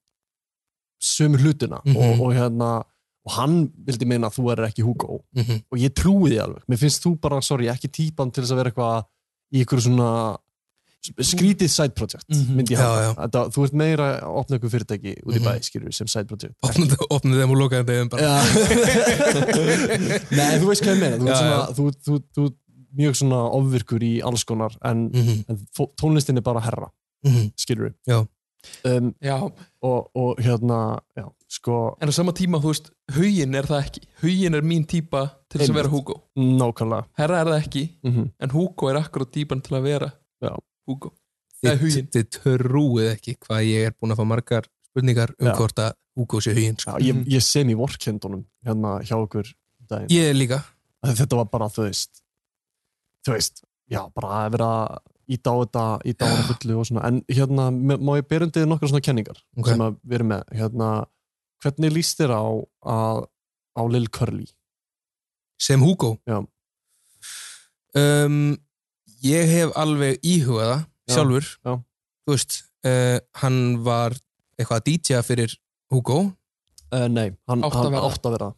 Speaker 5: sömu hlutina
Speaker 9: Mhm.
Speaker 5: og, og hérna, og hann vildi meina að þú er ekki Hugo
Speaker 9: Mhm.
Speaker 5: og ég trúi því alveg, mér finnst þú bara, sorry, ekki típan til þess að vera eitthvað í ykkur svona skrítið side project
Speaker 9: Mhm.
Speaker 5: myndi ég
Speaker 9: Já, já.
Speaker 5: hafa Þetta- þú ert meira að opna ykkur fyrirtæki út í
Speaker 9: Mhm.
Speaker 5: bæ skilur sem side project
Speaker 9: opnaði, opnaði þeim og lokaði þeim bara
Speaker 5: Nei, þú veist hvað ég meina þú,
Speaker 9: Já,
Speaker 5: ert svona,
Speaker 9: já.
Speaker 5: þú, þú, þú ert mjög svona ofvirkur í alls konar en, en fó- tónlistin er bara herra
Speaker 9: Mhm.
Speaker 5: skilur
Speaker 9: Já.
Speaker 5: Um,
Speaker 2: já.
Speaker 5: Og, og hérna já, sko,
Speaker 2: En á sama tíma, þú veist, hugin er það ekki Hugin er mín típa til þess að
Speaker 5: Einmitt.
Speaker 2: vera Hugo
Speaker 5: nákvæmlega
Speaker 2: Herra er það ekki,
Speaker 5: Mhm.
Speaker 2: en Hugo er akkurat típan til að vera
Speaker 5: já.
Speaker 2: Hugo Það er
Speaker 9: þið,
Speaker 2: hugin
Speaker 9: þið trúið ekki hvað ég er búin að fá margar spurningar um
Speaker 5: Já.
Speaker 9: hvort að Hugo sé huginn sko.
Speaker 5: Já, ég, ég sem í vorkendunum hérna hjá okkur um daginn.
Speaker 9: Ég líka.
Speaker 5: Að Þetta var bara, þú veist þú veist, já, bara að vera íta á þetta, íta á þetta fullu og svona, en hérna, me- má ég bera undir nokkra svona kenningar
Speaker 9: Ok.
Speaker 5: sem að við erum með hérna, hvernig líst þér á að, á Lil Curly
Speaker 9: sem Hugo
Speaker 5: já.
Speaker 9: um, ég hef alveg íhugað það
Speaker 5: Já,
Speaker 9: sjálfur
Speaker 5: já.
Speaker 9: þú veist, uh, hann var eitthvað að DJ fyrir Hugo
Speaker 5: uh, nei, hann
Speaker 9: Átti að
Speaker 5: hann
Speaker 9: vera.
Speaker 5: átti að vera það.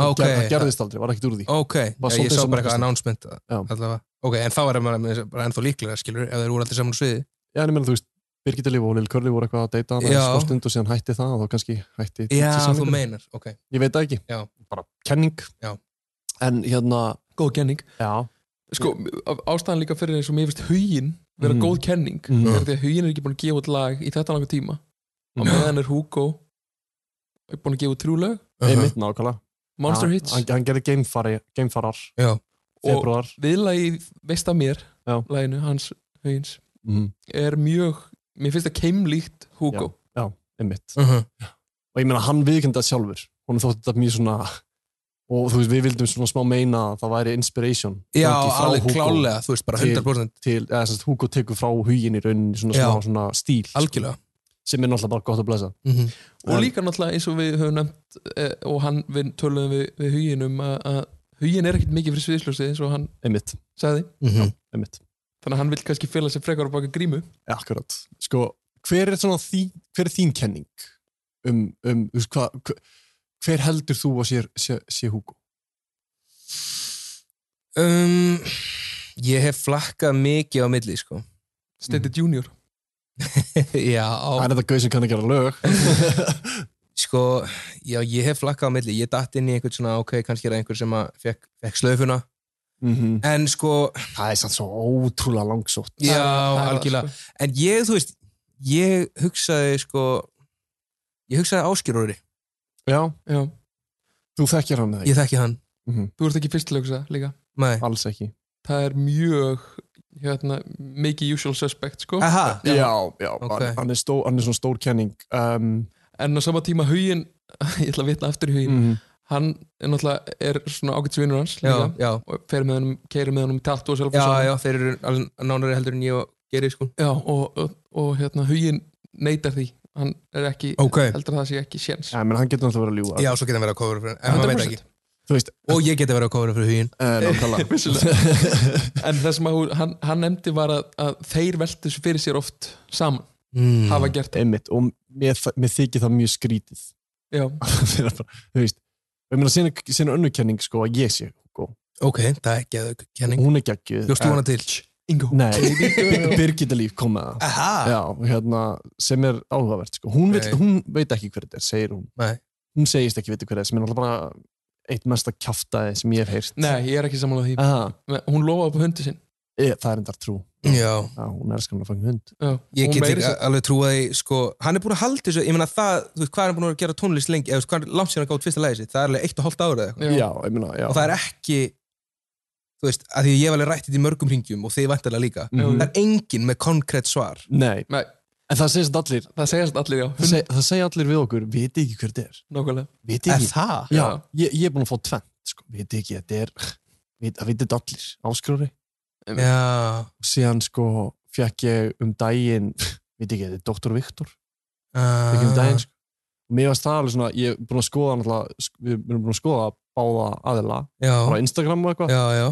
Speaker 9: Ah,
Speaker 5: Hann
Speaker 9: ok.
Speaker 5: ger- það gerðist aldrei, var ekkert úr því
Speaker 9: ok,
Speaker 5: Var
Speaker 9: já,
Speaker 5: svolítið
Speaker 9: ég sá
Speaker 5: sem
Speaker 9: bara eitthvað
Speaker 5: markast.
Speaker 9: announcement allavega. ok, en þá er maður með þessu bara ennþá líklega skilur, ef þeir voru allir saman á sviði
Speaker 5: já, en ég meina, þú veist, Birgitta Líf og Lil Curly voru eitthvað að deyta hann
Speaker 9: Já.
Speaker 5: aðeins skort stund og síðan hætti það og þá kannski hætti
Speaker 9: já,
Speaker 5: DJ-samningurinn.
Speaker 9: þú meinar, ok
Speaker 5: ég veit það ekki,
Speaker 9: já.
Speaker 5: bara kenning
Speaker 9: já.
Speaker 5: en hérna
Speaker 2: Góð kenning
Speaker 5: já,
Speaker 2: Sko, af- ástæðan líka fyrir eins og mér finnst hugin vera
Speaker 5: Mhm.
Speaker 2: góð kenning
Speaker 5: Mhm.
Speaker 2: er því að hugin er ekki búin að gefa út lag í þetta langa tíma og
Speaker 9: Uh-huh.
Speaker 2: meðan er Hugo er búin að gefa út þrjú lög
Speaker 5: einmitt nákvæmlega
Speaker 2: Monster
Speaker 5: Já,
Speaker 2: Hits.
Speaker 5: hann, hann gerði gamefari, gamefarar
Speaker 9: Já.
Speaker 5: februar
Speaker 2: og viðlagi veist að mér
Speaker 5: Já.
Speaker 2: laginu hans hugins
Speaker 5: Mhm.
Speaker 2: er mjög, mér finnst það keimlíkt Hugo
Speaker 5: já, einmitt
Speaker 9: -huh.
Speaker 5: og ég meina hann viðkenda sjálfur hún þótti þetta mjög svona og þú veist, við vildum svona smá meina að það væri inspiration
Speaker 9: Já,
Speaker 5: gangi frá
Speaker 9: alveg
Speaker 5: Hugo
Speaker 9: klálega, þú veist, bara
Speaker 5: til-
Speaker 9: 100%.
Speaker 5: til, eða sem sagt, Hugo tekur frá hugin í rauninni svona,
Speaker 9: Já.
Speaker 5: smá svona stíl sko,
Speaker 9: Algjörlega.
Speaker 5: sem er náttúrulega bara gott að blessa
Speaker 9: Mhm.
Speaker 2: og líka náttúrulega eins og við höfum nefnt eh, og hann, við töluðum við, við hugin um að, að hugin er ekkert mikið fyrir sviðsljósi eins og hann
Speaker 5: einmitt,
Speaker 2: sagði
Speaker 9: Mhm.
Speaker 5: einmitt
Speaker 2: þannig að hann vil kannski fela sig frekar á baka grímu
Speaker 5: Akkurat. Sko, hver er, svona þín, hver er þín kenning um, um þú veist, hva, hver- hver heldur þú að sé, sé, sé Hugo?
Speaker 9: um, ég hef flakkað mikið á milli sko.
Speaker 5: Mm.
Speaker 2: Stendi Junior
Speaker 9: já,
Speaker 5: Það er þetta gauð sem kann að gera lög
Speaker 9: sko, já, ég hef flakkað á milli ég datt inn í einhvern svona, ok, kannski er það einhver sem að fekk, fekk slöfuna
Speaker 5: Mhm.
Speaker 9: en sko
Speaker 5: það er sann svo ótrúlega langsótt Það
Speaker 9: já,
Speaker 5: er sko. það,
Speaker 9: algjörlega, en ég, þú veist ég hugsaði sko ég hugsaði áskýrúri
Speaker 5: já,
Speaker 2: sko- já.
Speaker 5: þú þekkir hann eða
Speaker 9: ég þekki hann,
Speaker 2: þú ert ekki fyrst til að hugsa líka
Speaker 9: nei
Speaker 5: alls ekki
Speaker 2: það er mjög hérna, mikið usual suspect sko.
Speaker 9: Aha.
Speaker 5: já, já, hann, hann, er stó, hann er svona stór kenning um,
Speaker 2: en á sama tíma hugin ég ætla að vitna aftur í hugin
Speaker 9: Mm.
Speaker 5: Mhm.
Speaker 2: hann er náttúrulega er svona ágætsvinur hans
Speaker 9: Já, já.
Speaker 2: og fer með honum, keirir með honum í tattu og
Speaker 9: já,
Speaker 2: sjálf
Speaker 9: já, þeir eru alveg nánari heldur en ég og Geri sko
Speaker 2: Já, og, og, og hérna, hugin neytar því hann er ekki,
Speaker 9: Ókei.
Speaker 2: heldur að það sé ekki séns
Speaker 5: ja, menn, hann getur náttúrulega verið að ljúga
Speaker 9: já, svo geta verið að kofra fyrir, en maður veit
Speaker 2: 100%.
Speaker 9: ekki
Speaker 5: Þú veist,
Speaker 9: og ég geta verið að kofra fyrir hugin
Speaker 5: Eh, nákvæmlega.
Speaker 2: Vissulega. en það sem að, hún- hann, hann nefndi var að, að þeir veltu þessu fyrir sér oft saman
Speaker 9: Mm.
Speaker 2: hafa gert það
Speaker 5: einmitt, og mér, mér þykir það mjög skrítið
Speaker 2: já,
Speaker 5: Það er bara, þú veist og ég meina sinna, sinna önnu kenning sko að ég sé Hugo
Speaker 9: ok, það er ekki að kenning
Speaker 5: hún er geggjuð Eh,
Speaker 9: Bjóstu hana til?
Speaker 2: Ingo
Speaker 5: Nei, Birgitta Líf kom með það
Speaker 9: Aha.
Speaker 5: Já, hérna, sem er áhugavert sko. hún, veit,
Speaker 9: Nei.
Speaker 5: hún veit ekki hver þetta er, segir hún
Speaker 9: Nei.
Speaker 5: Hún segist ekki veit hver þetta er sem er náttúrulega bara eitt mesta kjaftaði sem ég hef heyrt
Speaker 2: nei, ég er ekki samanlega því
Speaker 5: Aha,
Speaker 9: Ah.
Speaker 2: Men hún lofaði upp hundi sinn
Speaker 5: ég, Það er endar trú
Speaker 9: Já,
Speaker 5: Já, hún er skamlega fangin hund
Speaker 2: já,
Speaker 9: ég
Speaker 2: hún
Speaker 9: get
Speaker 2: meira
Speaker 9: ekki
Speaker 2: sér-
Speaker 9: alveg trúið í, sko, hann er búin að halda þessu, ég meina það, þú veist, hvað er hann búin að gera tónlist lengi, eða þú veist, hvað er langt síðan að gátt fyrsta lægið sitt, það er alveg eitt og hálft ára eða eitthvað.
Speaker 5: Já, ég meina, já
Speaker 9: Og það er ekki, þú veist, að því ég hef alveg rætt þetta í mörgum ringjum og þið vantarlega líka,
Speaker 5: Mhm.
Speaker 9: það er enginn með konkrétt svar.
Speaker 5: Nei,
Speaker 2: Nei,
Speaker 5: en það segist allir
Speaker 2: það segjast allir já,
Speaker 5: Það, seg, það segja allir við okkur, viti ekki hver þetta er
Speaker 2: nákvæmlega
Speaker 5: Viti ekki
Speaker 9: það?
Speaker 5: Já, ég, ég er búin að fá tvennt sko. Viti ekki, þetta er vit- Það viti þetta allir, áskrúri
Speaker 9: Já,
Speaker 5: Og síðan sko, fekk ég um daginn Viti ekki, þetta er Dr. Viktor ekki
Speaker 9: ah,
Speaker 5: um daginn sko. og mér varst það alveg svona, ég er búin að skoða náttúrulega, sk- við erum búin að skoða báða aðila
Speaker 9: já,
Speaker 5: á Instagram og eitthvað
Speaker 9: já, já,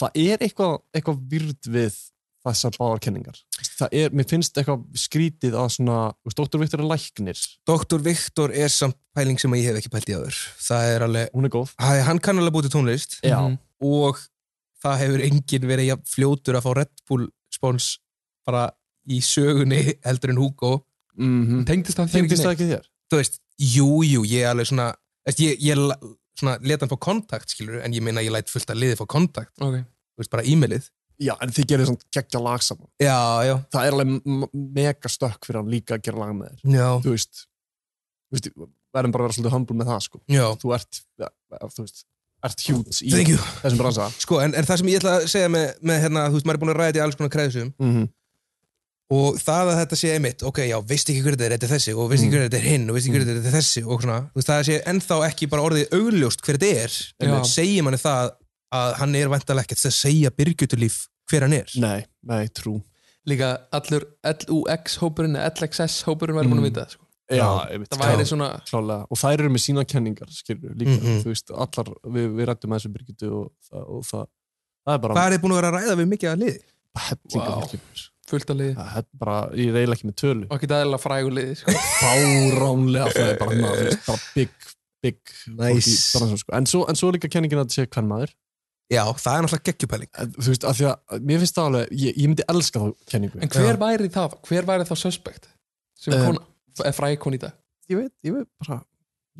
Speaker 5: það er eitthvað, eitthvað virð við þessar báðar kenningar það er, mér finnst eitthvað skrítið að svona, þú veist, Dr. Viktor er læknir
Speaker 9: Dr. Viktor er samt pæling sem ég hef ekki pælt í áður, það er alveg,
Speaker 5: hún er góð,
Speaker 9: hæ, hann kann alveg búið til tónlist
Speaker 5: já,
Speaker 2: Mhm.
Speaker 9: og það hefur enginn verið jafn fljótur að fá Red Bull spons bara í sögunni heldur en Hugo
Speaker 2: mm
Speaker 5: Mhm.
Speaker 2: -hmm. tengdist það þér
Speaker 9: Tengdist
Speaker 2: ekki
Speaker 9: það ekki
Speaker 2: neitt?
Speaker 9: þér? Þú veist, jú, jú, ég alveg svona veist, ég, ég la- svona, let hann fá kontakt skilur, en ég meina ég læt fullt að liði fá kontakt
Speaker 2: okay.
Speaker 9: þú veist, bara e-mailið
Speaker 5: Já, en þið gerir svona geggja lag saman.
Speaker 9: Já, já.
Speaker 5: Það er alveg m- mega stökk fyrir hann líka að gera lag með þér.
Speaker 9: Já.
Speaker 5: Þú veist, þú veist, verðum bara að vera svolítið humble með það, sko.
Speaker 9: Já.
Speaker 5: Þú ert, ja, þú veist, ert huge í
Speaker 9: Thank you.
Speaker 5: þessum bransa.
Speaker 9: sko, en, en það sem ég ætla að segja með, með hérna, þú veist, maður er búin að ræða þetta í alls konar kreðsum
Speaker 5: Mhm.
Speaker 9: og það að þetta sé einmitt, ok, já, veist ekki hverju þetta er, þetta er þessi og veist ekki hverju þetta er hinn og veist ekki hverju þetta er þessi og svona, þú veist, það sé ennþá ekki bara orðið augljóst hver þetta er
Speaker 5: Já.
Speaker 9: en segir manni það að hann er vantalega ekkert að segja byrgjutulíf hver hann er
Speaker 5: Nei, nei, trú
Speaker 2: líka allur LUX hópurinn eða LXS hópurinn væri búin
Speaker 9: Mhm.
Speaker 2: að vita það, sko. það væri svona
Speaker 5: klálega. og þær eru með sína kenningar skilur, líka,
Speaker 9: Mhm.
Speaker 5: þú veist, allar við, við rættum að þessu Birgitu og, það- og það, það er bara
Speaker 9: Hvað er þið búin að vera að ræða við mikið að liði?
Speaker 5: hellinga
Speaker 2: Vá.
Speaker 5: fólki maður.
Speaker 2: fullt að liði
Speaker 5: það er bara, ég reyla ekki með tölu
Speaker 2: og ekki aðeins frægur liði sko.
Speaker 5: fáránlega það er bara, annað, þú veist, bara big, big
Speaker 9: Nice.
Speaker 5: fólk í bransanum, sko. en, svo, en svo er líka kenningin að þetta sé hvern maður
Speaker 9: Já, það er náttúrulega geggjupæling
Speaker 5: þú veist, af því að mér finnst það alveg ég, ég myndi elska þá kenningu
Speaker 2: en hver væri það, hver væri þá suspect sem
Speaker 5: Eh,
Speaker 2: kona, eða fræg kona í dag
Speaker 5: ég veit, ég veit bara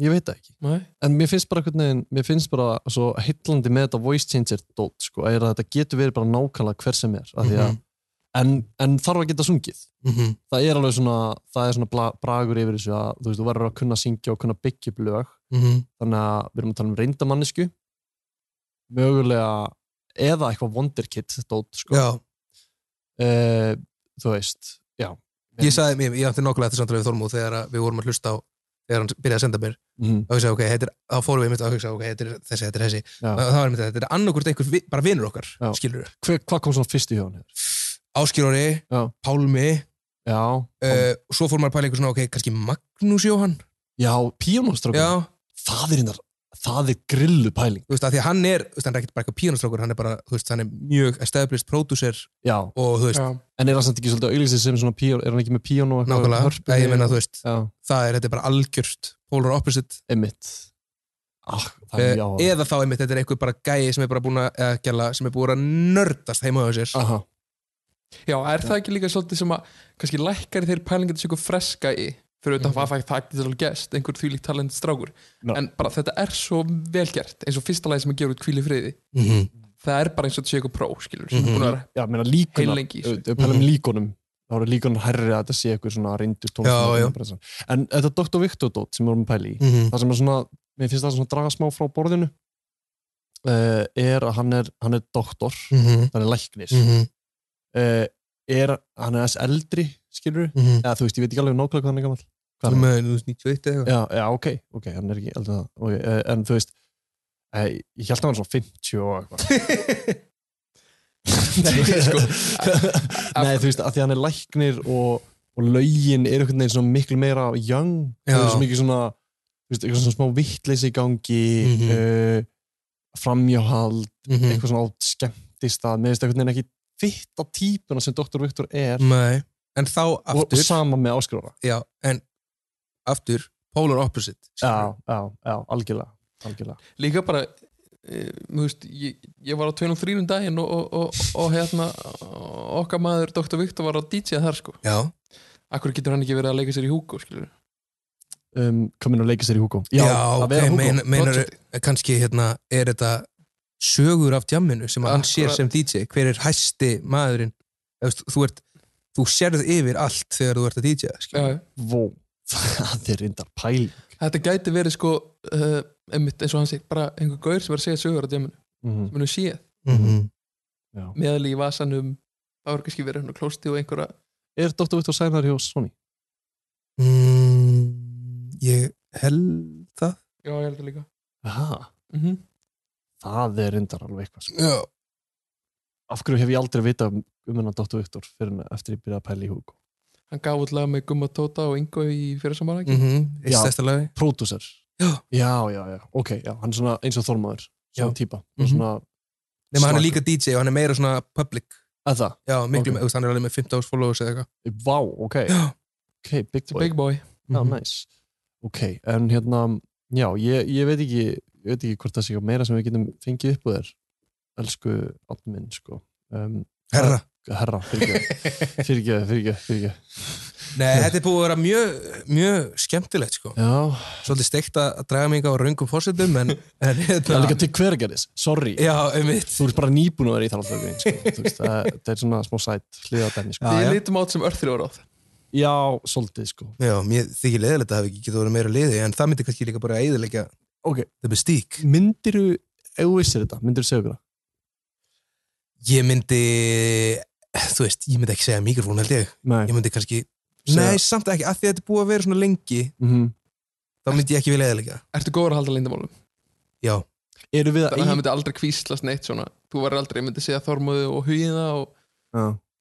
Speaker 5: ég veit það ekki
Speaker 2: Nei.
Speaker 5: en mér finnst bara einhvern veginn mér finnst bara svo hillandi með þetta voice changer dót sko, er að þetta getur verið bara nákvæmlega hver sem er mm -hmm.
Speaker 9: Mhm.
Speaker 5: en, en þarf að geta sungið
Speaker 9: Mhm.
Speaker 5: það er alveg svona það er svona bla, bragur yfir þessu að þú veist, þú verður að kunna syngja og kunna byggja upp lög
Speaker 9: Mhm.
Speaker 5: þannig að við erum að tala um reyndamannisku mögulega eða eitthvað wonderkid dót sko. uh, þú veist já
Speaker 9: Ég sagði, ég, ég átti nákvæmlega þetta samtalið við Þormóð þegar að við vorum að hlusta á þegar hann byrjaði að senda mér
Speaker 5: Mhm.
Speaker 9: og ég sagði, ok, heitir, þá fórum við mitt að hugsa ok, þetta er þessi, þetta er þessi
Speaker 5: Já.
Speaker 9: og það var mitt að þetta er annarkvort einhver, vi- bara vinur okkar
Speaker 5: Já.
Speaker 9: skilur við,
Speaker 5: Hver, hvað kom svona fyrst í hjóðan
Speaker 9: Áskilóri Pálmi
Speaker 5: já,
Speaker 9: uh, og svo fór maður að pæla einhver svona, ok, kannski Magnús Jóhann
Speaker 5: já, píjónustrákur
Speaker 9: Já.
Speaker 5: það er hinnar, það er grillu pæling
Speaker 9: þú veist, að því að hann er, þú veist, hann er ekkert bara eitthvað píjónustrákur hann er bara, þú veist, hann er mjög established producer
Speaker 5: já.
Speaker 9: og þú veist,
Speaker 5: en er hann samt ekki svolítið auðvitað sem svona píjón er hann ekki með píjón og eitthvað
Speaker 9: nákvæmlega,
Speaker 5: hörpu
Speaker 9: Eða, ég meina, þú veist,
Speaker 5: já,
Speaker 9: það er, þetta er bara algjört polar opposite
Speaker 5: emitt ah, það
Speaker 9: Eh,
Speaker 5: er já
Speaker 9: eða þá einmitt, þetta er einhver bara gæi sem er bara búin að, eða gæla, sem er búin að nördast heima á sér
Speaker 5: Aha.
Speaker 2: já, er það ekki líka svolítið sem að kannski lækkar þeir pælingar þessu ykkur freska í fyrir
Speaker 9: Mhm.
Speaker 2: auðvitað að það ekki svolítið gest einhver þvílíkt talent strákur
Speaker 5: No.
Speaker 2: en bara þetta er svo velgert eins og fyrsta lagi sem að gera út kvíli friði
Speaker 9: Mhm.
Speaker 2: það er bara eins og þetta sé ykkur pró skilur sem mm búin að vera
Speaker 5: já, meina líkunar
Speaker 2: Heillengi í þessu.
Speaker 5: Ef við pælum
Speaker 2: Mhm.
Speaker 5: líkunum þá eru líkunar hærri að þetta sé eitthvað svona reyndur
Speaker 9: Já, já.
Speaker 5: tónlistamæður en þetta Dr. Victor dót sem við vorum að pæla í
Speaker 9: Mhm.
Speaker 5: það sem er svona, mér finnst það svona draga smá frá borðinu uh, er að hann er, hann er doktor
Speaker 9: Mhm.
Speaker 5: hann er læknir
Speaker 9: Mhm.
Speaker 5: uh, er, hann er þess eldri skilur,
Speaker 9: Mhm.
Speaker 5: eða þú veist, ég veit ekki alveg nákvæmlega hvað hann er gammal
Speaker 9: Þú með, þú veist, 91 eða eitthvað
Speaker 5: já, já, ok, ok, hann er ekki eldri en það, okay, uh, en þú veist uh, ég held að hann var svona 50 og eitthvað
Speaker 2: Nei, sko.
Speaker 9: sko.
Speaker 5: Nei, þú veist, að því hann er læknir og, og lögin er einhvern veginn svona miklu meira young,
Speaker 9: Já.
Speaker 5: það er svo mikið svona þú veist, eitthvað svona smá vittleysi í gangi mm
Speaker 9: Mhm.
Speaker 5: framjáhald,
Speaker 9: Mhm.
Speaker 5: eitthvað svona átt skemmtist að, með veist, einhvern veginn ekki fitta típuna sem Dr. Viktor er
Speaker 9: Nei, Mhm. en þá
Speaker 5: og, og
Speaker 9: Mm, aftur
Speaker 5: sama með áskrifara
Speaker 9: Já, en aftur polar opposite
Speaker 5: já, já, já, algjörlega, algjörlega.
Speaker 2: líka bara eh, þú veist, ég, ég var á 23. daginn og, og, og, og hérna okkar maður Dr. Viktor var á DJ þar sko
Speaker 9: Já.
Speaker 2: Akkur getur hann ekki verið að leika sér í húko skilur
Speaker 5: Um, komin og leika sér í Hugo
Speaker 9: Já,
Speaker 5: að vera
Speaker 9: ok,
Speaker 5: Hugo,
Speaker 9: mein, meinar
Speaker 5: project.
Speaker 9: kannski hérna, er þetta sögur af djamminu sem að hann sér
Speaker 2: Akkurat.
Speaker 9: sem DJ hver er hæsti maðurinn Eða, þú, veist, þú, ert, þú sérð yfir allt þegar þú ert að DJ skilur.
Speaker 2: Já, já.
Speaker 5: Vó, það er reyndar pæl
Speaker 2: Þetta gæti verið sko uh, einmitt, eins og hann segir, bara einhver gaur sem er að segja sögur á djeminu,
Speaker 5: Mhm.
Speaker 2: sem er nú séð
Speaker 9: Mhm.
Speaker 5: Já.
Speaker 2: meðal í vasanum það var kannski verið hann á klósti og einhverja
Speaker 5: er Dr. Viktor sænar hjá Sony?
Speaker 9: mm, ég held það
Speaker 2: Já, ég held það líka
Speaker 5: Aha.
Speaker 2: Mhm.
Speaker 5: það er reyndar alveg eitthvað sko.
Speaker 9: Já.
Speaker 5: af hverju hef ég aldrei vitað um, um hennar Dr. Viktor fyrir en eftir ég byrjaði að pæla í Hugo
Speaker 2: Hann gaf út lag með Gumma Tóta og Ingo í fyrir samanlagi
Speaker 9: mhm, Eitt
Speaker 5: Já.
Speaker 9: stærsta lagi
Speaker 5: Producer já. já, já, já, ok, já, hann er svona eins og þormaður svona típa mm
Speaker 9: Mhm.
Speaker 5: svona
Speaker 9: nema hann er
Speaker 5: slakur.
Speaker 9: líka DJ og hann er meira svona public
Speaker 5: að það,
Speaker 9: Já, miklu,
Speaker 5: Ok.
Speaker 9: okay. hann er alveg með 15.000 followers eða eitthvað
Speaker 5: vá, ok
Speaker 9: Já.
Speaker 5: ok, big boy,
Speaker 2: Big Boy
Speaker 5: já, nice Mhm. ok, en hérna, já, ég, ég veit ekki ég veit ekki hvort það sé eitthvað meira sem við getum fengið upp úr þér elsku admin, sko um,
Speaker 9: Herra.
Speaker 5: herra, fyrirgeðu, fyrirgeðu, fyrirgeðu.
Speaker 9: Nei, þetta er búið að vera mjög, mjög skemmtilegt sko.
Speaker 5: Já.
Speaker 9: Svolítið steikt að að draga mig á röngum fórsetum en, en
Speaker 5: Það er líka til hvergerðis, sorry
Speaker 9: Já, einmitt
Speaker 5: Þú ert bara nýbúin að vera í þarallöfum sko. Þú veist, það það er svona smá sætt hliða dæmi sko.
Speaker 2: Við lítum át sem örþrjóðráð
Speaker 5: Já, svolítið sko
Speaker 9: Já, mér þykir leðilegt að hafa ekki getið að vera meira liði en það myndi kannski líka bara að eðilegja
Speaker 5: okay.
Speaker 9: The Mystique
Speaker 5: Myndiru, ef þú vissir þetta, myndiru segja okkur það?
Speaker 9: Ég myndi, þú veist, ég myndi ekki segja mikrofón held ég
Speaker 5: Nei.
Speaker 9: Ég myndi kannski,
Speaker 5: Segja-
Speaker 9: nei, samt ekki, af því að þetta er búið að vera svona lengi
Speaker 5: Mhm.
Speaker 9: þá myndi ég ekki vilja eðilegja
Speaker 2: Ertu góður að halda leyndamálum?
Speaker 9: Já
Speaker 5: Eru við
Speaker 2: Þannig að það myndi aldrei kvíslast neitt svona Þú var aldrei, myndi segja þormuðu og hugið það og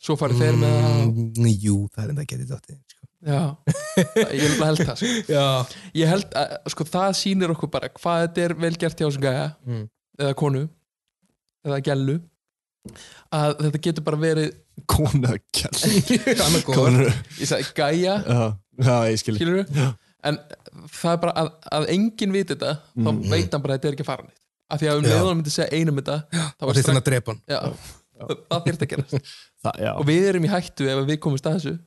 Speaker 2: svo farið þeir með það og...
Speaker 9: mm, Jú, það er enda að geta sko. þetta
Speaker 2: Já, ég held að held það sko. Ég held að sko, það sýnir okkur bara hvað þetta er vel gert hjá sem gæja
Speaker 9: Mm.
Speaker 2: eða konu eða gælu að þetta getur bara verið
Speaker 5: konu eða gælu
Speaker 2: Annað góð.
Speaker 5: Konu.
Speaker 2: Ég sagði gæja
Speaker 5: Já, já, ég Sko. skil
Speaker 2: skilur
Speaker 5: Já.
Speaker 2: en það er bara að, að enginn viti þetta
Speaker 5: Mhm.
Speaker 9: Mm.
Speaker 2: þá veit hann bara að þetta er ekki að fara neitt af því að um
Speaker 5: Já.
Speaker 2: leiðan myndi segja einum þetta þá
Speaker 9: og þyrfti hann að drepa hann.
Speaker 2: já, það þyrfti að gerast
Speaker 5: það,
Speaker 2: og við erum í hættu ef við komumst að þessu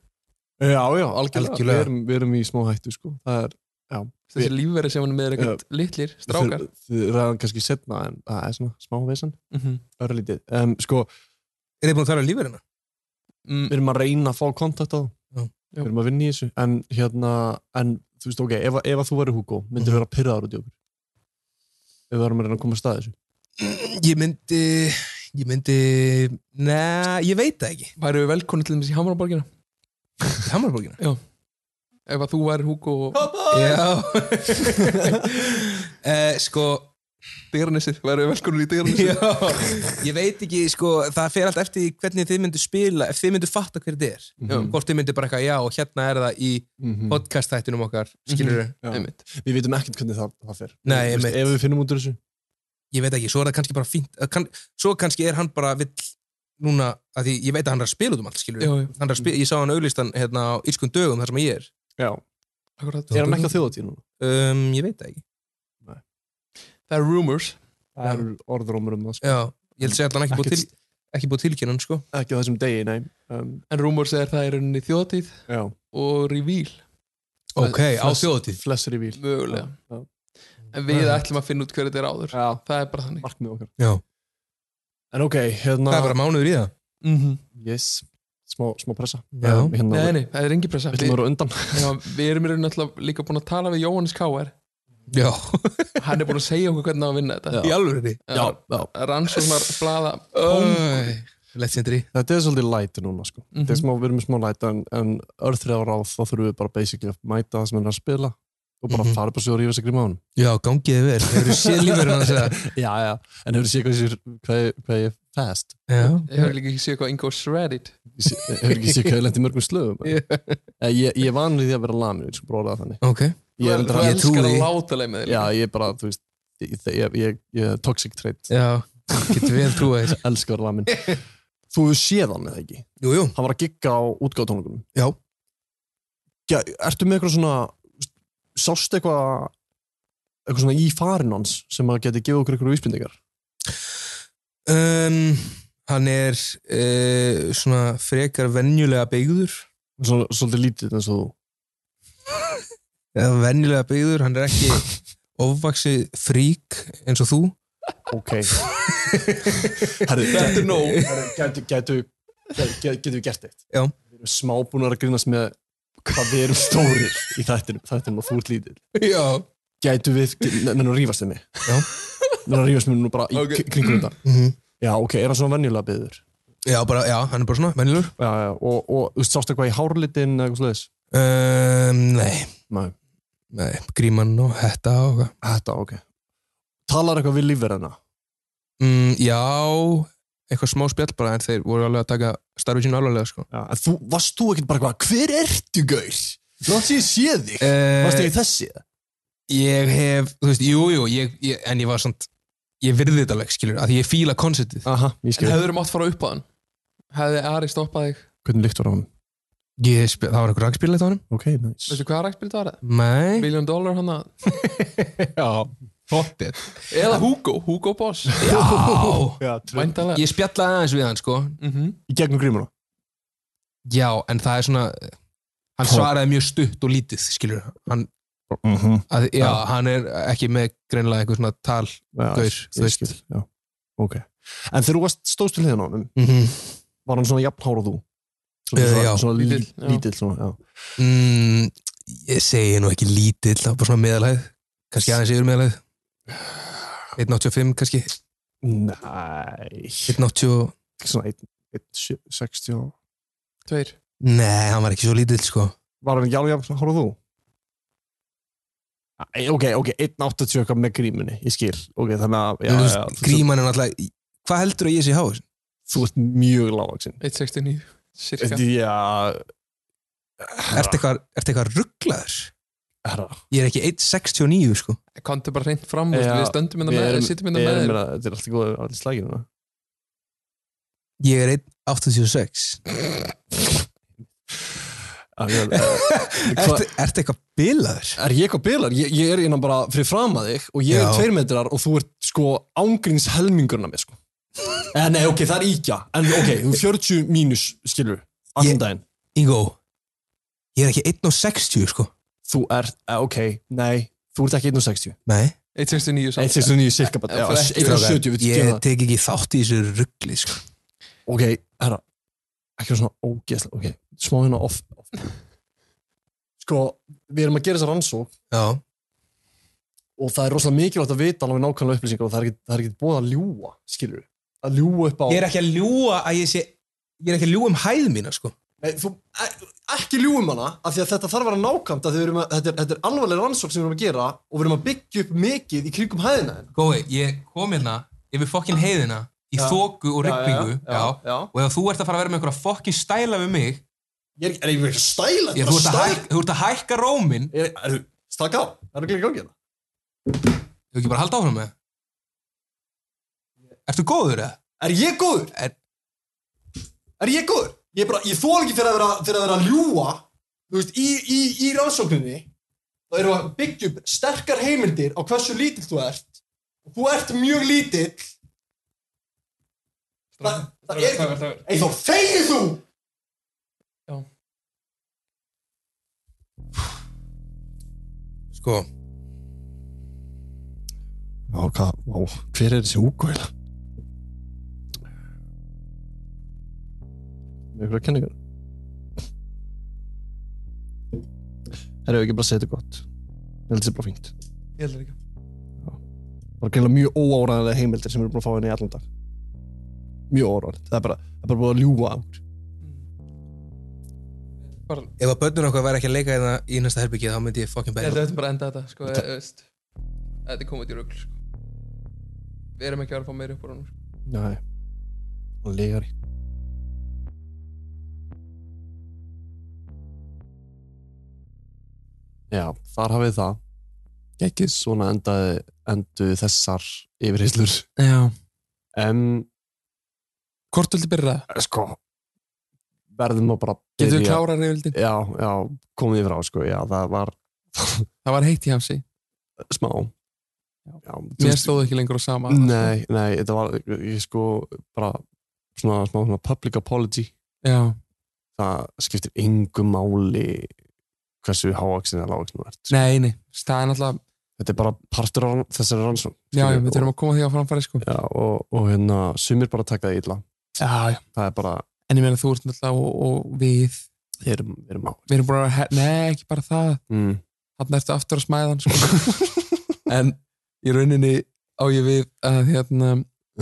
Speaker 5: Eh, Já, já, algjörlega,
Speaker 2: Algjörlega.
Speaker 5: Við, erum, við erum í smá hættu sko. það er, já
Speaker 2: þessi lífveri sem hann er með er eitthvað litlir strákar
Speaker 5: Þið- Þið ræðan kannski setna en það er svona smá vesen
Speaker 2: Mhm.
Speaker 5: örlítið, um, sko
Speaker 9: Er þið búin að tala um lífverðina?
Speaker 2: Mm,
Speaker 5: Við erum að reyna að fá kontakt á
Speaker 9: Já.
Speaker 5: það Við erum að vinna í þessu en hérna, en þú veist, ok, ef, ef að þú væri Hugo myndir vera pyrraður út í okkur ef við varum að reyna að koma að staði þessu
Speaker 9: Ég myndi, ég myndi Nei, ég veit það ekki
Speaker 2: væru við velkonni til þess í Hamaraborgina
Speaker 9: í Hamaraborgina?
Speaker 2: já ef að þú væri Hugo og...
Speaker 9: Já eh, Sko
Speaker 2: Dyrnissið, væru við velkonni í Dyrnissið
Speaker 9: Já, ég veit ekki, sko, það fer allt eftir því hvernig þið myndu spila, ef þið myndu fatta hver þið er,
Speaker 5: Mhm.
Speaker 9: hvort þið myndu bara eitthvað, já, og hérna er það í
Speaker 5: Mhm.
Speaker 9: podcast þættinum okkar, skilur þið?
Speaker 5: Já. Við vitum ekkert hvernig það, það fer
Speaker 9: Nei,
Speaker 5: Þú veist,
Speaker 9: einmitt.
Speaker 5: Ef við finnum út úr þessu
Speaker 9: Ég veit ekki, svo er það kannski bara fínt, eh, kann, svo kannski er hann bara vill núna, að því ég veit að hann er að spila út um allt, skilur
Speaker 2: Já, já.
Speaker 9: þið? Hann er að spila, ég sá hann auðlistan hérna á Írskum dögum þar sem ég er.
Speaker 5: Já.
Speaker 2: Akkurat.
Speaker 5: Er hann ekki á þjóðatíð núna?
Speaker 9: Um, ég veit það ekki.
Speaker 2: Það er rumors.
Speaker 5: Það eru orðrómur um það sko.
Speaker 9: Já, ég held að segja allan ekki búið til, ekki búið tilkynnan, sko.
Speaker 5: Ekki á þessum degi, nei um,
Speaker 2: en rumors er það er unni þjóðtíð
Speaker 5: Já.
Speaker 2: og reveal
Speaker 9: Ok, á
Speaker 2: Flest-
Speaker 9: þjóðatíð.
Speaker 5: Flessir í bíl
Speaker 2: mögulega
Speaker 5: Já,
Speaker 2: en við
Speaker 5: Já.
Speaker 2: ætlum að finna út hverju þetta er áður
Speaker 5: já.
Speaker 2: það er bara þannig
Speaker 5: Markmið okkar
Speaker 9: Já.
Speaker 5: En ok, hérna
Speaker 9: Það er bara mánuður í það.
Speaker 2: mm
Speaker 5: Yes, smá, smá pressa
Speaker 9: Já.
Speaker 5: Um, hérna,
Speaker 2: nei, nei, það er engin pressa
Speaker 5: Við ætlum að vera á undan.
Speaker 2: já, við erum í raun alltaf líka búin að tala við Jóhannes K.R.
Speaker 9: Já.
Speaker 2: hann er búin að segja okkur hvernig á að vinna þetta
Speaker 9: Í alvöru því?
Speaker 2: já,
Speaker 5: já.
Speaker 2: rannsóknar blaða
Speaker 9: Æ, Legendary.
Speaker 5: Þetta er svolítið light núna sko. mm
Speaker 2: Mhm.
Speaker 5: -hmm. smá, Við erum með smá light en, en örþriðar á þá þurfum við bara basically að mæta það sem hann er að spila og bara
Speaker 9: Mhm.
Speaker 5: fara bara svo að rífa sig gríma á hann
Speaker 9: Já, gangiði vel. Hefur séð lífverðin hans eða?
Speaker 5: Já, já, en hefur séð hvað, sér- hvað, hvað ég er fast
Speaker 9: Já.
Speaker 2: ég hefur líka ekki séð hvað Ingo Shredded
Speaker 5: Hefur ekki séð hvað ég lendi mörgum slögum Eh, Ég, ég er vanlega því að vera lamin Við sko bróða það þannig
Speaker 9: Ok.
Speaker 5: Ég,
Speaker 2: Þú-
Speaker 5: reyndar
Speaker 2: þú
Speaker 5: að-
Speaker 2: elskar Ég trúi að því. láta leið með þér
Speaker 5: Já, ég er bara, þú veist Ég, ég, ég, ég er toxic trait
Speaker 9: Já, getur vel trúið þér
Speaker 5: Elskar lamin Þú hefur séð hann eða ekki?
Speaker 9: Jú, jú
Speaker 5: Hann var að gigga á útgáðtónleikunum
Speaker 9: Já
Speaker 5: Já, ertu með eitthvað svona sást eitthvað eitthvað svona í farin hans sem að geti gefið okkur eitthvað vísbendingar
Speaker 9: um, Hann er uh, svona frekar venjulega byggður
Speaker 5: Svo, Svolítið lítið eins og þú
Speaker 9: Eða venjulega byggður, hann er ekki ofvaksi frík eins og þú
Speaker 5: Ok Herri,
Speaker 9: Þetta er nóg.
Speaker 5: herri, Gætu, gætu, gætu, gætu getum við gert eitt
Speaker 9: Já.
Speaker 5: Við erum smábúnar að grínast með hvað við erum stórir í þættinum, þættinum og þú ert lítið
Speaker 9: Já
Speaker 5: gætu við, mennum að rífast við mig
Speaker 9: Já.
Speaker 5: mennum að rífast við mig nú bara í okay. kringum þetta
Speaker 9: Mhm.
Speaker 5: já ok, er hann svona venjulega byður
Speaker 9: Já, bara, já, hann er bara svona venjulegur
Speaker 5: já, já, og, og þú veist, sástu eitthvað í hárlitin eða eitthvað sliðis
Speaker 9: um, Nei,
Speaker 5: nei,
Speaker 9: nei, gríman og hetta og hvað
Speaker 5: þetta, ok talar eitthvað við lífverðina
Speaker 9: mm, Já, eitthvað smá spjall bara en þeir voru alveg að taka starfið sínu alvarlega sko
Speaker 5: já, en þú, varst þú ekkert bara eitthvað, hver ertu gaur þátt ég sé þig
Speaker 9: Eh,
Speaker 5: varst ekki þessi
Speaker 9: ég hef, þú veist, jú, jú ég, ég, en ég var svona ég virði þetta alveg, skilur, að því ég fíla konceptið
Speaker 5: aha, ég
Speaker 2: en
Speaker 5: skil,
Speaker 2: hefur mátt fara upp á hann hefði Ari stoppað þig
Speaker 5: hvernig lykt var á hann
Speaker 9: ég, sp- það var eitthvað rakspílætt á hann
Speaker 5: ok, nice
Speaker 2: veistu hvað rækspilit var það?
Speaker 9: nei,
Speaker 2: Million Dollar hann að
Speaker 9: já
Speaker 2: Pottet Eða Hugo, Hugo Boss Já,
Speaker 5: Já
Speaker 2: Væntanlega.
Speaker 9: Ég spjallaði aðeins við hann sko
Speaker 5: Í gegnum grímuna
Speaker 9: Já, en það er svona Hann
Speaker 5: Hó.
Speaker 9: svaraði mjög stutt og lítið skilur hann
Speaker 5: Mhm.
Speaker 9: að, já,
Speaker 5: Já.
Speaker 9: hann er ekki með greinlega einhver svona tal gaur, þú
Speaker 5: ég
Speaker 9: veist
Speaker 5: skil, já, ok en þegar þú varst stóðst til hliðin á hann
Speaker 9: Mhm.
Speaker 5: var hann svona jafnhár og þú svona,
Speaker 9: Eh, já.
Speaker 5: svona, svona lítill,
Speaker 9: Lítill, já.
Speaker 5: lítill svona, já.
Speaker 9: mm, Ég segi nú ekki lítill það var bara svona meðalæð, kannski aðeins yfir meðalæð 1.85 kannski
Speaker 5: Nei
Speaker 9: 1.80
Speaker 5: svona 1.60
Speaker 2: Tveir
Speaker 9: Nei, hann var ekki svo lítill sko
Speaker 5: var hann ekki alveg jafnhár og þú Æ, ok, ok, 1.80 eitthvað með grímunni, ég skil ok, þannig að já,
Speaker 9: Þú veist,
Speaker 5: já, þú-
Speaker 9: gríman er náttúrulega hvað heldur að ég sé háður?
Speaker 5: þú ert mjög lágvaxin
Speaker 2: 169 Cirka
Speaker 5: já
Speaker 9: Ertu eitthvað, ertu eitthvað rugglaður?
Speaker 5: Herra.
Speaker 9: Ég er ekki 1.69 sko
Speaker 2: Komdu bara hreint fram ja, Við stöndum hérna
Speaker 5: við
Speaker 2: með
Speaker 5: erum-
Speaker 2: þér Sittum hérna
Speaker 5: við
Speaker 2: með
Speaker 5: erum
Speaker 2: þér
Speaker 5: hérna- þetta er alltaf góð allir slægir núna
Speaker 9: Ég er 1.86
Speaker 5: eh, Ertu
Speaker 9: ert eitthvað bilaður?
Speaker 5: Er ég eitthvað bilaður? Ég, ég er innan bara fyrir fram að þig og ég er
Speaker 9: Já.
Speaker 5: tveir metrar og þú ert sko ángríns helmingurinn af mér sko. En nei, ok, það er íkja. En ok, þú ert 40 mínus, skilur, allan daginn.
Speaker 9: Ingo, ég er ekki 1.60 sko
Speaker 5: Þú ert, eh, ok, nei, þú ert ekki 1.60.
Speaker 9: Nei
Speaker 5: hérna-
Speaker 2: 169 samt.
Speaker 5: 169 cirka bara,
Speaker 2: En
Speaker 5: já,
Speaker 2: fyrir ekki-
Speaker 5: 170, við
Speaker 9: Eh, Ég
Speaker 5: gerum það.
Speaker 9: tek ekki þátt í þessu ruggli sko
Speaker 5: Ok, herra, ekki vera svona ógeðslega, ok, smá hérna off. off. Sko, við erum að gera þessa rannsók
Speaker 9: Já
Speaker 5: og það er rosalega mikilvægt að vita alveg nákvæmlega upplýsingar og það er ekkert- það er ekkert búið að ljúa, skilur Að ljúa upp á...
Speaker 9: Ég er ekki að ljúa að ég sé Ég er ekki að ljúa um hæð mína sko
Speaker 5: Nei, þú, e- ekki ljúum hana af því að þetta þarf að vera nákvæmt af því við erum að, þetta, er, þetta er alvarlega rannsókn sem við erum að gera og við erum að byggja upp mikið í kringum hæðina þína.
Speaker 9: Gói, ég kom hérna yfir fokkin heiðina í
Speaker 5: Já.
Speaker 9: þoku og
Speaker 5: Já,
Speaker 9: rigningu
Speaker 5: já, já, já.
Speaker 9: og ef þú ert að fara að vera með einhverja fokkin stæla við mig
Speaker 5: Ég er, er ég verið stæla?
Speaker 9: ég, þú, ert að hæk, þú ert að hækka rómin
Speaker 5: er, er, Stakka á, það er ekki í gangi hérna
Speaker 9: Hefur ekki bara að halda áfram með Ertu góður eða?
Speaker 5: Er ég góður?
Speaker 9: Er,
Speaker 5: Er ég góður? Ég, er bara, ég þól ekki fyrir að vera, fyrir að, vera að ljúa þú veist, í, í, í rannsókninni þá erum við að byggja upp sterkar heimildir á hversu lítill þú ert og þú ert mjög lítill Það, það er ekki Eithor, þegir þú!
Speaker 9: sko
Speaker 5: Já, hvað, ó, hver er þessi Hugo eða? Með ykkur að kenna ykkur Herru, ekki bara að segja þetta gott Ég held að þetta sé bara fínt
Speaker 2: Ég heldur ekki
Speaker 5: Það er greinlega mjög óáræðilega heimildir sem við erum búin að fá henni í allan dag Mjög óáræðilegt, það er bara, það er bara búin að ljúga át
Speaker 9: Ef að börnur okkar væri ekki að leika hérna í næsta herbyggið þá myndi ég fokkin
Speaker 2: Ég heldur
Speaker 9: berja
Speaker 2: þetta bara að enda þetta Sko, ég veist Þetta er komið út í rugl sko. Við erum ekki að vera að fá meira upp úr honum sko.
Speaker 5: Nei, og legari Já, þar hafið það Gekkið Svona endaði, endu þessar yfirheyslur
Speaker 2: Já
Speaker 5: En
Speaker 2: Hvort vildi byrja það?
Speaker 5: sko Verðum að bara
Speaker 2: Getum við
Speaker 5: byrja-
Speaker 2: klárað reyfildin?
Speaker 5: Já, já, komið frá sko Já, það var
Speaker 2: Það var heitt í hamsi
Speaker 5: smá Já, þú
Speaker 2: Mér
Speaker 5: veist- Mm.
Speaker 2: stóð ekki lengur á sama
Speaker 5: Nei, nei, þetta var ég sko bara svona smá svona public apology
Speaker 2: Já.
Speaker 5: það skiptir engu máli hversu háaksin eða lágaksin þú ert
Speaker 2: Nei, nei, staðan alltaf
Speaker 5: þetta er bara partur af rann- þessari rannsókn
Speaker 2: Já, já,
Speaker 5: skilur,
Speaker 2: við þurfum
Speaker 5: og,
Speaker 2: að koma því á framfæri sko
Speaker 5: já, og, og hérna, sumir bara taka það illa
Speaker 2: Já, já
Speaker 5: það er bara,
Speaker 2: En ég meina þú ert náttúrulega og, og við
Speaker 5: við erum, við erum á
Speaker 2: Við erum búin að vera, nei ekki bara það
Speaker 5: mm.
Speaker 2: Þannig ertu aftur að smæðan sko. En í rauninni á ég við að hérna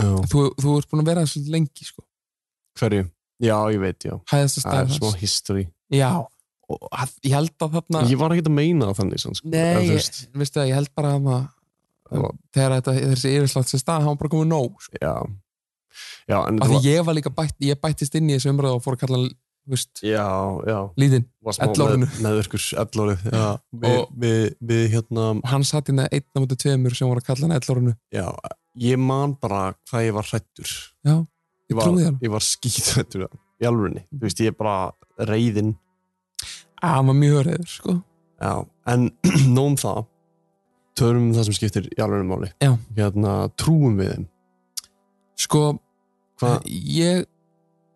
Speaker 2: þú, þú ert búin að vera það svolítið lengi sko
Speaker 5: hverju, já, ég veit, já
Speaker 2: Hæðast að
Speaker 5: það
Speaker 2: staða
Speaker 5: er smá history
Speaker 2: Já, og að, ég held að þarna
Speaker 5: ég var ekki að meina það þannig sann, sko.
Speaker 2: Nei,
Speaker 5: en, þú
Speaker 2: ég,
Speaker 5: veist,
Speaker 2: veistu það, ég held bara að maður
Speaker 5: Og-
Speaker 2: Þegar þetta, þessi yfirslátt sér stað, hann var bara komið nóg sko.
Speaker 5: já já, en
Speaker 2: Af
Speaker 5: þetta
Speaker 2: því
Speaker 5: var
Speaker 2: ég var líka bætt, ég bættist inn í þessu umræðu og fór að kalla, þú veist,
Speaker 5: já, já,
Speaker 2: lítinn,
Speaker 5: var smá
Speaker 2: 11 árinu.
Speaker 5: með, meðvirkur 11 árið já, við,
Speaker 2: Og-
Speaker 5: við, við hérna
Speaker 2: Og hann satt inn að einna mútið tveimur sem voru að kalla hann 11 árinu.
Speaker 5: já, ég man bara hvað ég var hrættur
Speaker 2: Já, ég
Speaker 5: ég var,
Speaker 2: trúði hann.
Speaker 5: ég var skítrættur í alvörinni, þú veist, ég er bara reyðin
Speaker 2: Að hann var mjög reyður, sko.
Speaker 5: já, en nóg um það törum um það sem skiptir í alveg máli
Speaker 2: Já.
Speaker 5: hérna trúum við þeim
Speaker 2: sko ég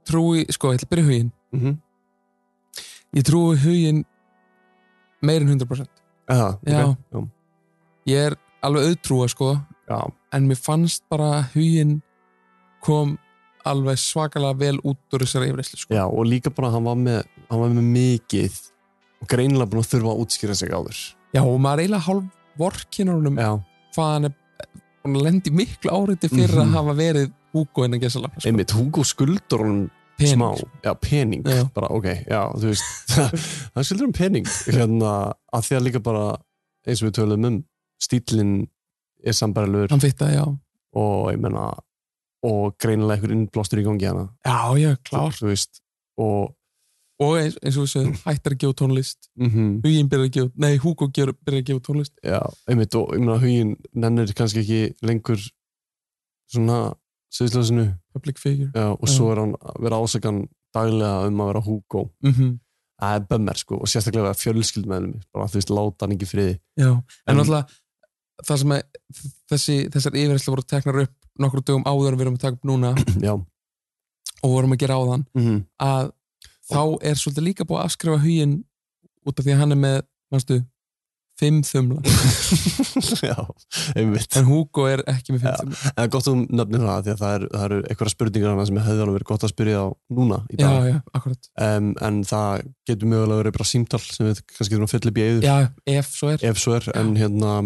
Speaker 2: trúi, sko, ég ætla að byrja í huginn
Speaker 5: Mhm.
Speaker 2: ég trúi huginn meir en 100%
Speaker 5: Aha,
Speaker 2: já,
Speaker 5: ok, já.
Speaker 2: ég er alveg auðtrúa sko
Speaker 5: já.
Speaker 2: en mér fannst bara huginn kom alveg svakalega vel út úr þessari yfirleyslu sko.
Speaker 5: Já, og líka bara hann var með, hann var með mikið og greinilega búin að þurfa að útskýra sig áður
Speaker 2: já, og maður er eiginlega hálf vorkinunum hvað hann er búin að lenda í miklu áriti fyrir
Speaker 5: Mhm.
Speaker 2: að hafa verið Hugo innan gesalappa sko.
Speaker 5: einmitt, Hugo skuldur honum
Speaker 2: Pening.
Speaker 5: smá, já, pening
Speaker 2: Já.
Speaker 5: bara, ok, já, þú veist hann skuldur um pening hérna, að því að líka bara, eins og við töluðum um stílinn er sambærilegur
Speaker 2: hann fitta, já
Speaker 5: og ég menna og greinilega einhver innblástur í gangi hana
Speaker 2: Já, já, klár
Speaker 5: Þú veist, og
Speaker 2: Og eins, eins og við segjum, hættar að gefa tónlist
Speaker 5: Mm. Mhm.
Speaker 2: Huginn byrjar að gefa, nei, Hugo ger- byrjar að gefa tónlist
Speaker 5: já, einmitt, og ég menna hugin nennir kannski ekki lengur svona sviðslösinu
Speaker 2: Public figure
Speaker 5: já, og
Speaker 2: Já.
Speaker 5: svo er hann að vera ásakan daglega um að vera Hugo
Speaker 2: Mhm.
Speaker 5: það er bömmer sko og sérstaklega fjölskyld með henni bara þú veist, láta hann ekki í friði
Speaker 2: Já, en
Speaker 5: En-
Speaker 2: náttúrulega það sem að þessi, þessar yfirherslu voru teknar upp nokkru dögum áður en við erum að taka upp núna
Speaker 5: Já.
Speaker 2: og vorum að gera áðan
Speaker 5: Mhm.
Speaker 2: að þá er svolítið líka búið að afskrifa huginn út af því að hann er með, mannstu, fimm þumla
Speaker 5: Já, einmitt
Speaker 2: En Hugo er ekki með fimm þumla
Speaker 5: en gott um nöfnir það því að það eru er eitthvað spurningar hana sem hefði alveg verið gott að spyrja á núna í dag
Speaker 2: Já, já, akkurat
Speaker 5: Em, en það getur mögulega verið bara símtal sem við kannski þurfum að fylla upp í eyður
Speaker 2: Já, ef svo er
Speaker 5: ef svo er, en hérna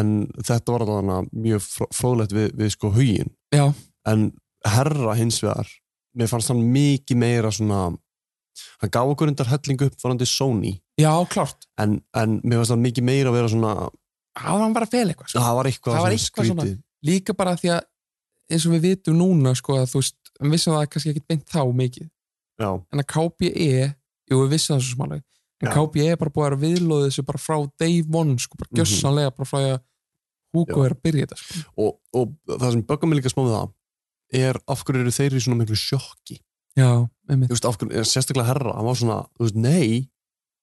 Speaker 5: en þetta var alveg mjög fró- fróðlegt við, við sko hugin
Speaker 2: Já,
Speaker 5: en herra hins vegar mér fannst hann mikið meira svona hann gaf okkur undar hellingu upp varandi Sony
Speaker 2: já, klárt
Speaker 5: en, en mér fannst hann mikið meira að vera svona
Speaker 2: Það var hann bara að fela eitthvað sko.
Speaker 5: Já, það var eitthvað
Speaker 2: það var
Speaker 5: svona
Speaker 2: eitthvað svona,
Speaker 5: skrítið.
Speaker 2: líka bara því að eins og við vitum núna sko að þú veist, við vissum það kannski ekki beint þá mikið
Speaker 5: já,
Speaker 2: en að KPE, jú við vissum það svo smálega en
Speaker 5: Já.
Speaker 2: KPE er bara búið að vera viðlóðið þessu bara frá day one sko, bara
Speaker 5: Mhm.
Speaker 2: gjössanlega bara frá því að Hugo er að byrja þetta sko.
Speaker 5: og, og það sem böggar mig líka smá við það er af hverju eru þeir í svona miklu sjokki
Speaker 2: já, einmitt,
Speaker 5: Þú veist, af hverju, sérstaklega herra, hann var svona þú veist, nei,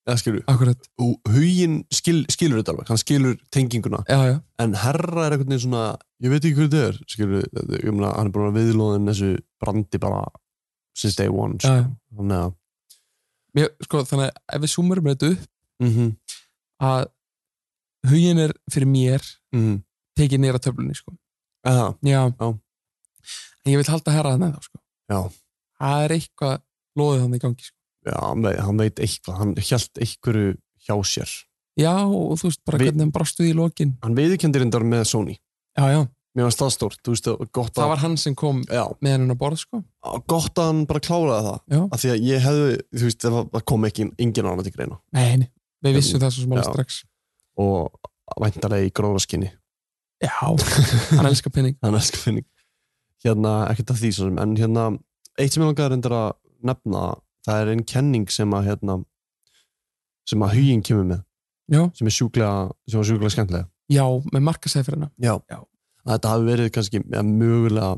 Speaker 5: eða skilur
Speaker 2: akkurat
Speaker 5: og hugin skil, skilur þetta alveg hann skilur tenginguna
Speaker 2: já, já,
Speaker 5: en herra er einhvern veginn svona ég veit ekki hverju þetta er skilur, þetta- ég meina, hann er bara viðlóðin þessu brandi bara since day one
Speaker 2: já,
Speaker 5: sko.
Speaker 2: já.
Speaker 5: þannig að
Speaker 2: Mér, sko, þannig að ef við súmurum þetta upp
Speaker 5: mhm,
Speaker 2: að hugin er fyrir mér
Speaker 5: mhm,
Speaker 2: tekið nýra töflunni sko.
Speaker 5: eða,
Speaker 2: já,
Speaker 5: Já.
Speaker 2: en ég vil halda herra þannig þá sko.
Speaker 5: já,
Speaker 2: það er eitthvað loðið hann í gangi sko.
Speaker 5: já hann, veit, hann veit eitthvað hann hjælt einhverju hjá sér
Speaker 2: Já, og þú veist bara
Speaker 5: Vi-
Speaker 2: hvernig hann brastu því í lokin
Speaker 5: hann viðurkendir endar með Sony
Speaker 2: Já, já,
Speaker 5: mér varst það stórt, þú veist, og gott
Speaker 2: það
Speaker 5: að
Speaker 2: var hann sem kom
Speaker 5: já,
Speaker 2: með hennan á borð, sko
Speaker 5: og gott að hann bara kláraði það
Speaker 2: Já.
Speaker 5: af því að ég hefði, þú veist, það var- það kom ekki engin annað til greina
Speaker 2: Nei, nei, við vissum það svo smála
Speaker 5: Já.
Speaker 2: strax
Speaker 5: og væntalega í gróðaskinni
Speaker 2: Já, hann elskar penning
Speaker 5: hann elskar finning hérna, ekkert að því svo sem, en hérna eitt sem ég langaði reyndar að nefna það er einn kenning sem að hérna, sem að huginn kemur með
Speaker 2: Já.
Speaker 5: sem er sjúklega, sem var sjúklega skemmtilega
Speaker 2: Já, með markasæðferðina
Speaker 5: Já.
Speaker 2: Já.
Speaker 5: að þetta hafi verið kannski ja, mögulega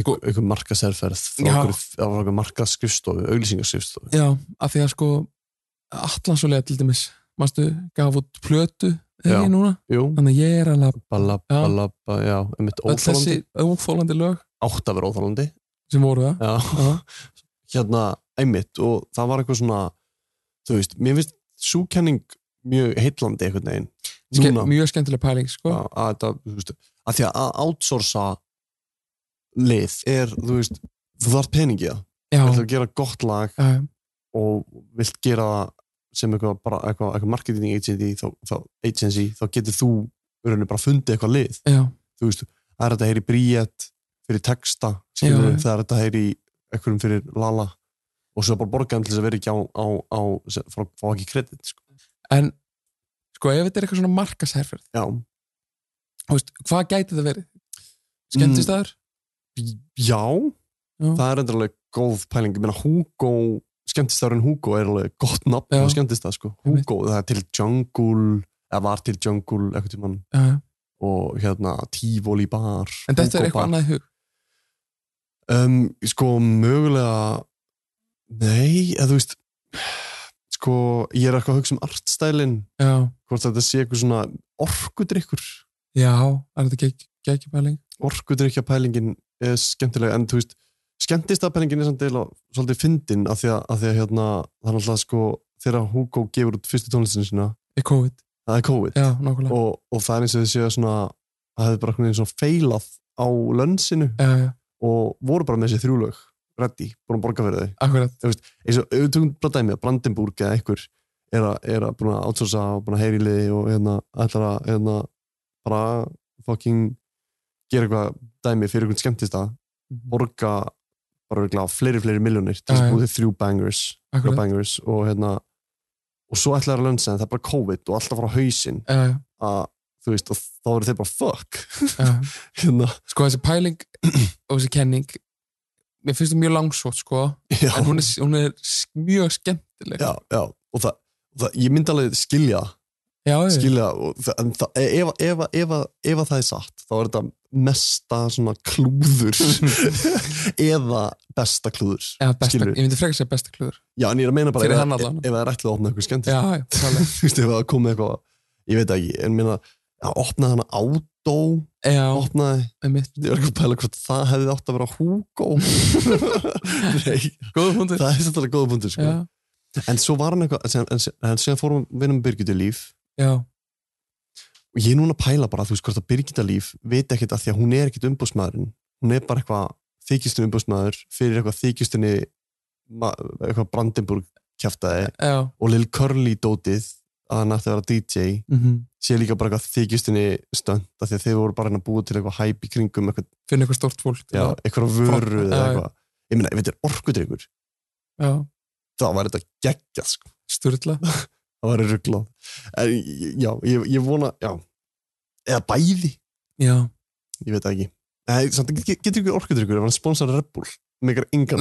Speaker 5: sko, einhver markaserferð frá
Speaker 2: Já.
Speaker 5: okkur, okkur markaskrifstofu, auglýsingaskrifstofu
Speaker 2: Já, af því að sko Allansulega til dæmis, manstu gaf út plötu,
Speaker 5: Já.
Speaker 2: þegar ég núna
Speaker 5: Jú,
Speaker 2: Þannig að ég er alveg
Speaker 5: balla,
Speaker 2: Já.
Speaker 5: balla, balla, já, einmitt
Speaker 2: öll þessi
Speaker 5: óþálandi,
Speaker 2: óþólandi lög
Speaker 5: átt að vera óþálandi
Speaker 2: sem voru það
Speaker 5: já,
Speaker 2: Já.
Speaker 5: hérna, einmitt og það var eitthvað svona þú veist, mér finnst súkenning mjög heitlandi einhvern veginn
Speaker 2: Ske
Speaker 5: núna,
Speaker 2: Mjög skemmtileg pæling, sko
Speaker 5: að, að, þetta, þú veist, að því að outsourca lið er, þú veist þú þarf peningi það,
Speaker 2: Já,
Speaker 5: þú ætlar að gera gott lag
Speaker 2: já,
Speaker 5: og vilt gera það sem eitthvað, bara, eitthvað, eitthvað marketing agency þá, þá, agency, þá getur þú í rauninni bara fundið eitthvað lið
Speaker 2: já,
Speaker 5: þú veist, það er þetta heyri bríett fyrir texta, skilur
Speaker 2: Já, já.
Speaker 5: það er þetta heyri einhverjum fyrir lala og svo bara borgaðum til þess að vera ekki á, á, á sem- fá, fá ekki kredit sko.
Speaker 2: En sko, ef þetta er eitthvað svona markasæðferð
Speaker 5: já,
Speaker 2: þú veist, Hvað gæti það verið? Skemmtistæður?
Speaker 5: Mm. já,
Speaker 2: Já.
Speaker 5: það er enda alveg góð pæling, ég meina Hugo skemmtistæðurinn Hugo er alveg gott nafn
Speaker 2: Já.
Speaker 5: og skemmtistæð, sko,
Speaker 2: Einmitt.
Speaker 5: Hugo það er til Jungle, eða var til Jungle eitthvað tímann
Speaker 2: Já, já.
Speaker 5: og hérna Tífóli bar
Speaker 2: En þetta er
Speaker 5: Hugo
Speaker 2: eitthvað
Speaker 5: bar.
Speaker 2: annað í hug
Speaker 5: um, sko mögulega nei, eða þú veist sko, ég er eitthvað að hugsa um artstælin
Speaker 2: Já.
Speaker 5: hvort þetta sé eitthvað svona orkudrykkur
Speaker 2: Já, er þetta geggjupæling?
Speaker 5: Orkudrykja pælingin er skemmtilega en þú veist, skemmtist að pælingin er samt deila svolítið fyndin af því að, af því að hérna, það er alltaf sko þegar Hugo gefur út fyrstu tónlistinu sína
Speaker 2: Í COVID
Speaker 5: það er COVID
Speaker 2: Já, nákvæmlega.
Speaker 5: og, og það er eins og þið séu að svona það hefði bara einhvern veginn svona feilað á lönnsinu
Speaker 2: Já, já.
Speaker 5: og voru bara með þessi þrjúlög ready, búin að borga fyrir þau
Speaker 2: Akkurat.
Speaker 5: Þú veist, eins og ef við tökum bara dæmið, Brandenburg eða einhver er að, er að búin að outsourca og búin að heyri liði og hérna ætlar að hérna bara fucking gera eitthvað dæmi fyrir einhvern skemmtist að borga bara örugglega fleiri fleiri miljónir
Speaker 14: Mhm.
Speaker 5: til
Speaker 14: Já,
Speaker 5: að
Speaker 14: já.
Speaker 5: búið þrjú bangers, þrjú
Speaker 14: Akkurat.
Speaker 5: bangers og hérna og svo ætlar að lönsa en það er bara COVID og alltaf fara á hausinn
Speaker 2: Já, já.
Speaker 5: að þú veist og þá eru þeir bara fuck
Speaker 2: Já.
Speaker 5: hérna.
Speaker 2: sko þessi pæling og þessi kenning mér finnst það mjög langsótt sko
Speaker 5: Já.
Speaker 2: en hún er, hún er s- mjög skemmtileg
Speaker 5: já, já, og það, og það ég myndi alveg skilja
Speaker 2: Já, já.
Speaker 5: skilja, og það, en það, e, ef, ef, ef, ef að það er satt, þá er þetta mesta svona klúður eða besta klúður
Speaker 2: Eða besta-
Speaker 5: skilurðu.
Speaker 2: ég myndi frekar segja besta klúður
Speaker 5: já, en ég er að meina bara
Speaker 2: Fyrir
Speaker 5: ef,
Speaker 2: hann
Speaker 5: ef,
Speaker 2: allan.
Speaker 5: ef það er ætlið að opna eitthvað
Speaker 2: Já,
Speaker 5: skemmtilegt
Speaker 2: já, klálega.
Speaker 5: þú veist, ef það komið eitthvað ég veit það ekki, en minna að opna hana átó
Speaker 2: já,
Speaker 5: opnaði,
Speaker 2: ég
Speaker 5: var ekki að pæla hvort það hefði átt að vera húgó nei,
Speaker 2: góða fundur
Speaker 5: það er þetta góða fundur sko.
Speaker 2: Já.
Speaker 5: en svo var hann eitthvað en, síðan- en, síðan- en síðan fórum við vinnum Birgitta líf
Speaker 2: já,
Speaker 5: og ég er núna að pæla bara, þú veist, hvort að Birgitta líf veit ekkert að því að hún er ekkert umbúsmaðurinn hún er bara eitthvað þykjustum umbúsmaður fyrir eitthvað þykjustunni ma- eitthvað Brandenburg kjaftaði
Speaker 2: já,
Speaker 5: og Lil Curly dótið að hann ætti að vera DJ
Speaker 2: Mhm.
Speaker 5: sé líka bara eitthvað þykjustunni stönd af því að þeir voru bara hérna að búa til eitthvað hæp í kringum eitthvað,
Speaker 2: finna eitthvað stórt fólk til
Speaker 5: já,
Speaker 2: að-
Speaker 5: eitthvað vöru
Speaker 2: Já,
Speaker 5: eða
Speaker 2: já.
Speaker 5: eitthvað ég meina, ef þetta er orkudryggur
Speaker 2: já,
Speaker 5: þá var þetta geggjað sko.
Speaker 2: Sturla
Speaker 5: það var rugglað en já, ég, ég vona já. eða bæði,
Speaker 2: já,
Speaker 5: ég veit það ekki Nei, samt, get- getur ykkur orkudryggur ef hann sponsar Red Bull með ykkur engan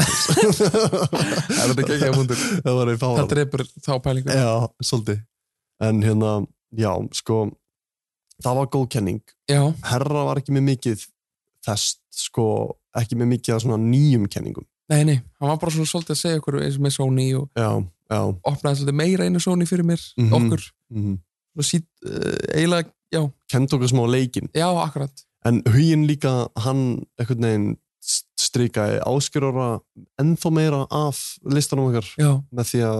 Speaker 2: er þetta geggjaði fundur
Speaker 5: það var við
Speaker 2: það dreipur þá pælingu
Speaker 5: já, svolítið en hérna, já, sko það var góð kenning
Speaker 2: já,
Speaker 5: herra var ekki með mikið þess, sko, ekki með mikið af svona nýjum kenningum
Speaker 2: nei, nei, hann var bara svona svolítið að segja okkur eins og með Sony og
Speaker 5: já, já.
Speaker 2: opnaði svolítið meira einu Sony fyrir mér
Speaker 5: Mhm,
Speaker 2: okkur,
Speaker 5: mm.
Speaker 2: og sít uh, eiginlega, já,
Speaker 5: kend okkur smá leikin
Speaker 2: já, akkurat
Speaker 5: en huginn líka hann einhvern veginn strikaði áskjörara ennþá meira af listanum okkar
Speaker 2: Já.
Speaker 5: með því að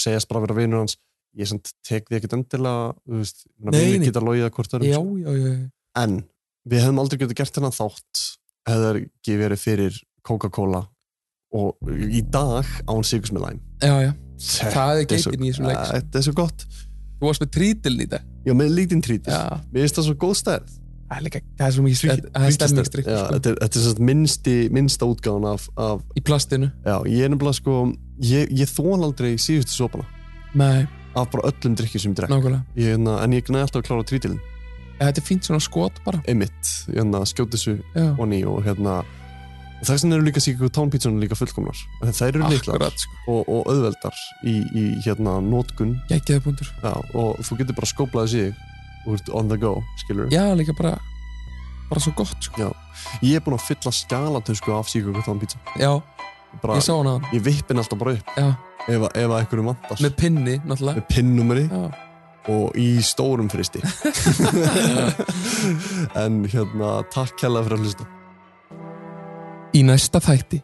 Speaker 5: segjast bara að vera vinur hans ég samt tek því ekkert endilega þú veist, ég meina,
Speaker 2: Nei,
Speaker 5: vinir
Speaker 2: nei.
Speaker 5: geta logið að hvort öðrum
Speaker 2: já,
Speaker 5: sko.
Speaker 2: já, já, já.
Speaker 5: en við hefðum aldrei getið gert þennan þátt hefðar ekki verið fyrir Coca-Cola og í dag án sigus með læm
Speaker 2: já, já.
Speaker 5: Eh, Þetta
Speaker 2: það er
Speaker 5: er svo- Ah.
Speaker 2: geitin í þessum leik sko.
Speaker 5: þetta er svo gott
Speaker 2: þú varst með trítil í dag
Speaker 5: já, með lítinn trítil
Speaker 2: já.
Speaker 5: mér finnst það svo góð stærð
Speaker 2: það er líka, það er svo mikið strík það er stemmingsdrykk
Speaker 5: Já,
Speaker 2: sko.
Speaker 5: þetta er, þetta er satt minnsti, minnsta útgáðan af, af
Speaker 2: í plastinu
Speaker 5: já, ég er nefnilega sko ég, ég þón aldrei síðustu sopana
Speaker 2: nei,
Speaker 5: af bara öllum drikkjum sem ég drekk
Speaker 2: nákvæmlega
Speaker 5: ég, hérna, en ég næði alltaf að klára trítilin
Speaker 2: ja, þetta er fínt svona skot bara
Speaker 5: einmitt, hérna, skjóti þessu
Speaker 2: Já.
Speaker 5: onni og hérna og þess vegna eru líka síkku tánpítsunum líka fullkomnar En þær eru litlar
Speaker 2: Akkurat, sko.
Speaker 5: og, og auðveldar í, í hérna nótkun
Speaker 2: Geggjaður punktur.
Speaker 5: já, og þú getur bara skóplað þessi í þig og ert on the go, skilur
Speaker 2: já, líka bara bara svo gott sko.
Speaker 5: Já, ég er búinn að fylla skjalatösku af síkur hvað pizza
Speaker 2: Já, ég sá hana áðan.
Speaker 5: Ég vippin alltaf bara upp
Speaker 2: Já.
Speaker 5: Ef, að- ef að einhverju vantar
Speaker 2: með pinni, náttúrulega
Speaker 5: Með pinnumri
Speaker 2: Já.
Speaker 5: Og í stórum fristi En hérna, takk kærlega fyrir að hlusta
Speaker 2: í næsta þætti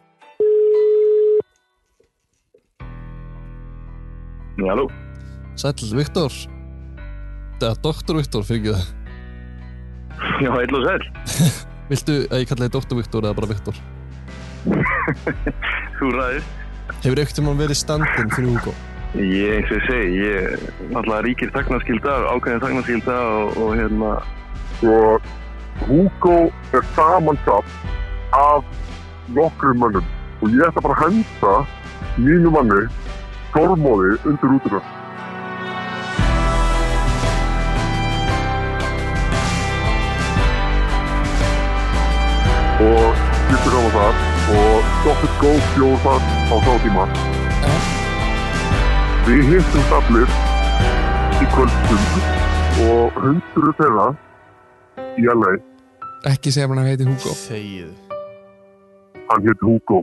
Speaker 5: Halló Sæll, Viktor Eða, Doktor Viktor, fyrir ekki það
Speaker 15: Já, heil og sæl.
Speaker 5: Viltu að ég kalla þig Doktor Viktor eða bara Viktor?
Speaker 15: Þú ræðir.
Speaker 5: Hefur ekkert um hann verið standin fyrir Hugo?
Speaker 15: Ég, eins og ég segi, ég náttúrulega ríkir þagnarskylda, ákveðin þagnarskylda og, og hérna...
Speaker 16: og Hugo er samansap af nokkrum mönnum og ég ætla bara að henda mínu manni Þormóði undir útuna og skiptir á það og Dr. Go bjóð það á þá tíma Við hittum allir í kvöldstund og hundru þeirra í LA
Speaker 2: ekki segja hann að hann heiti Hugo
Speaker 5: þegið
Speaker 16: hann hétt Hugo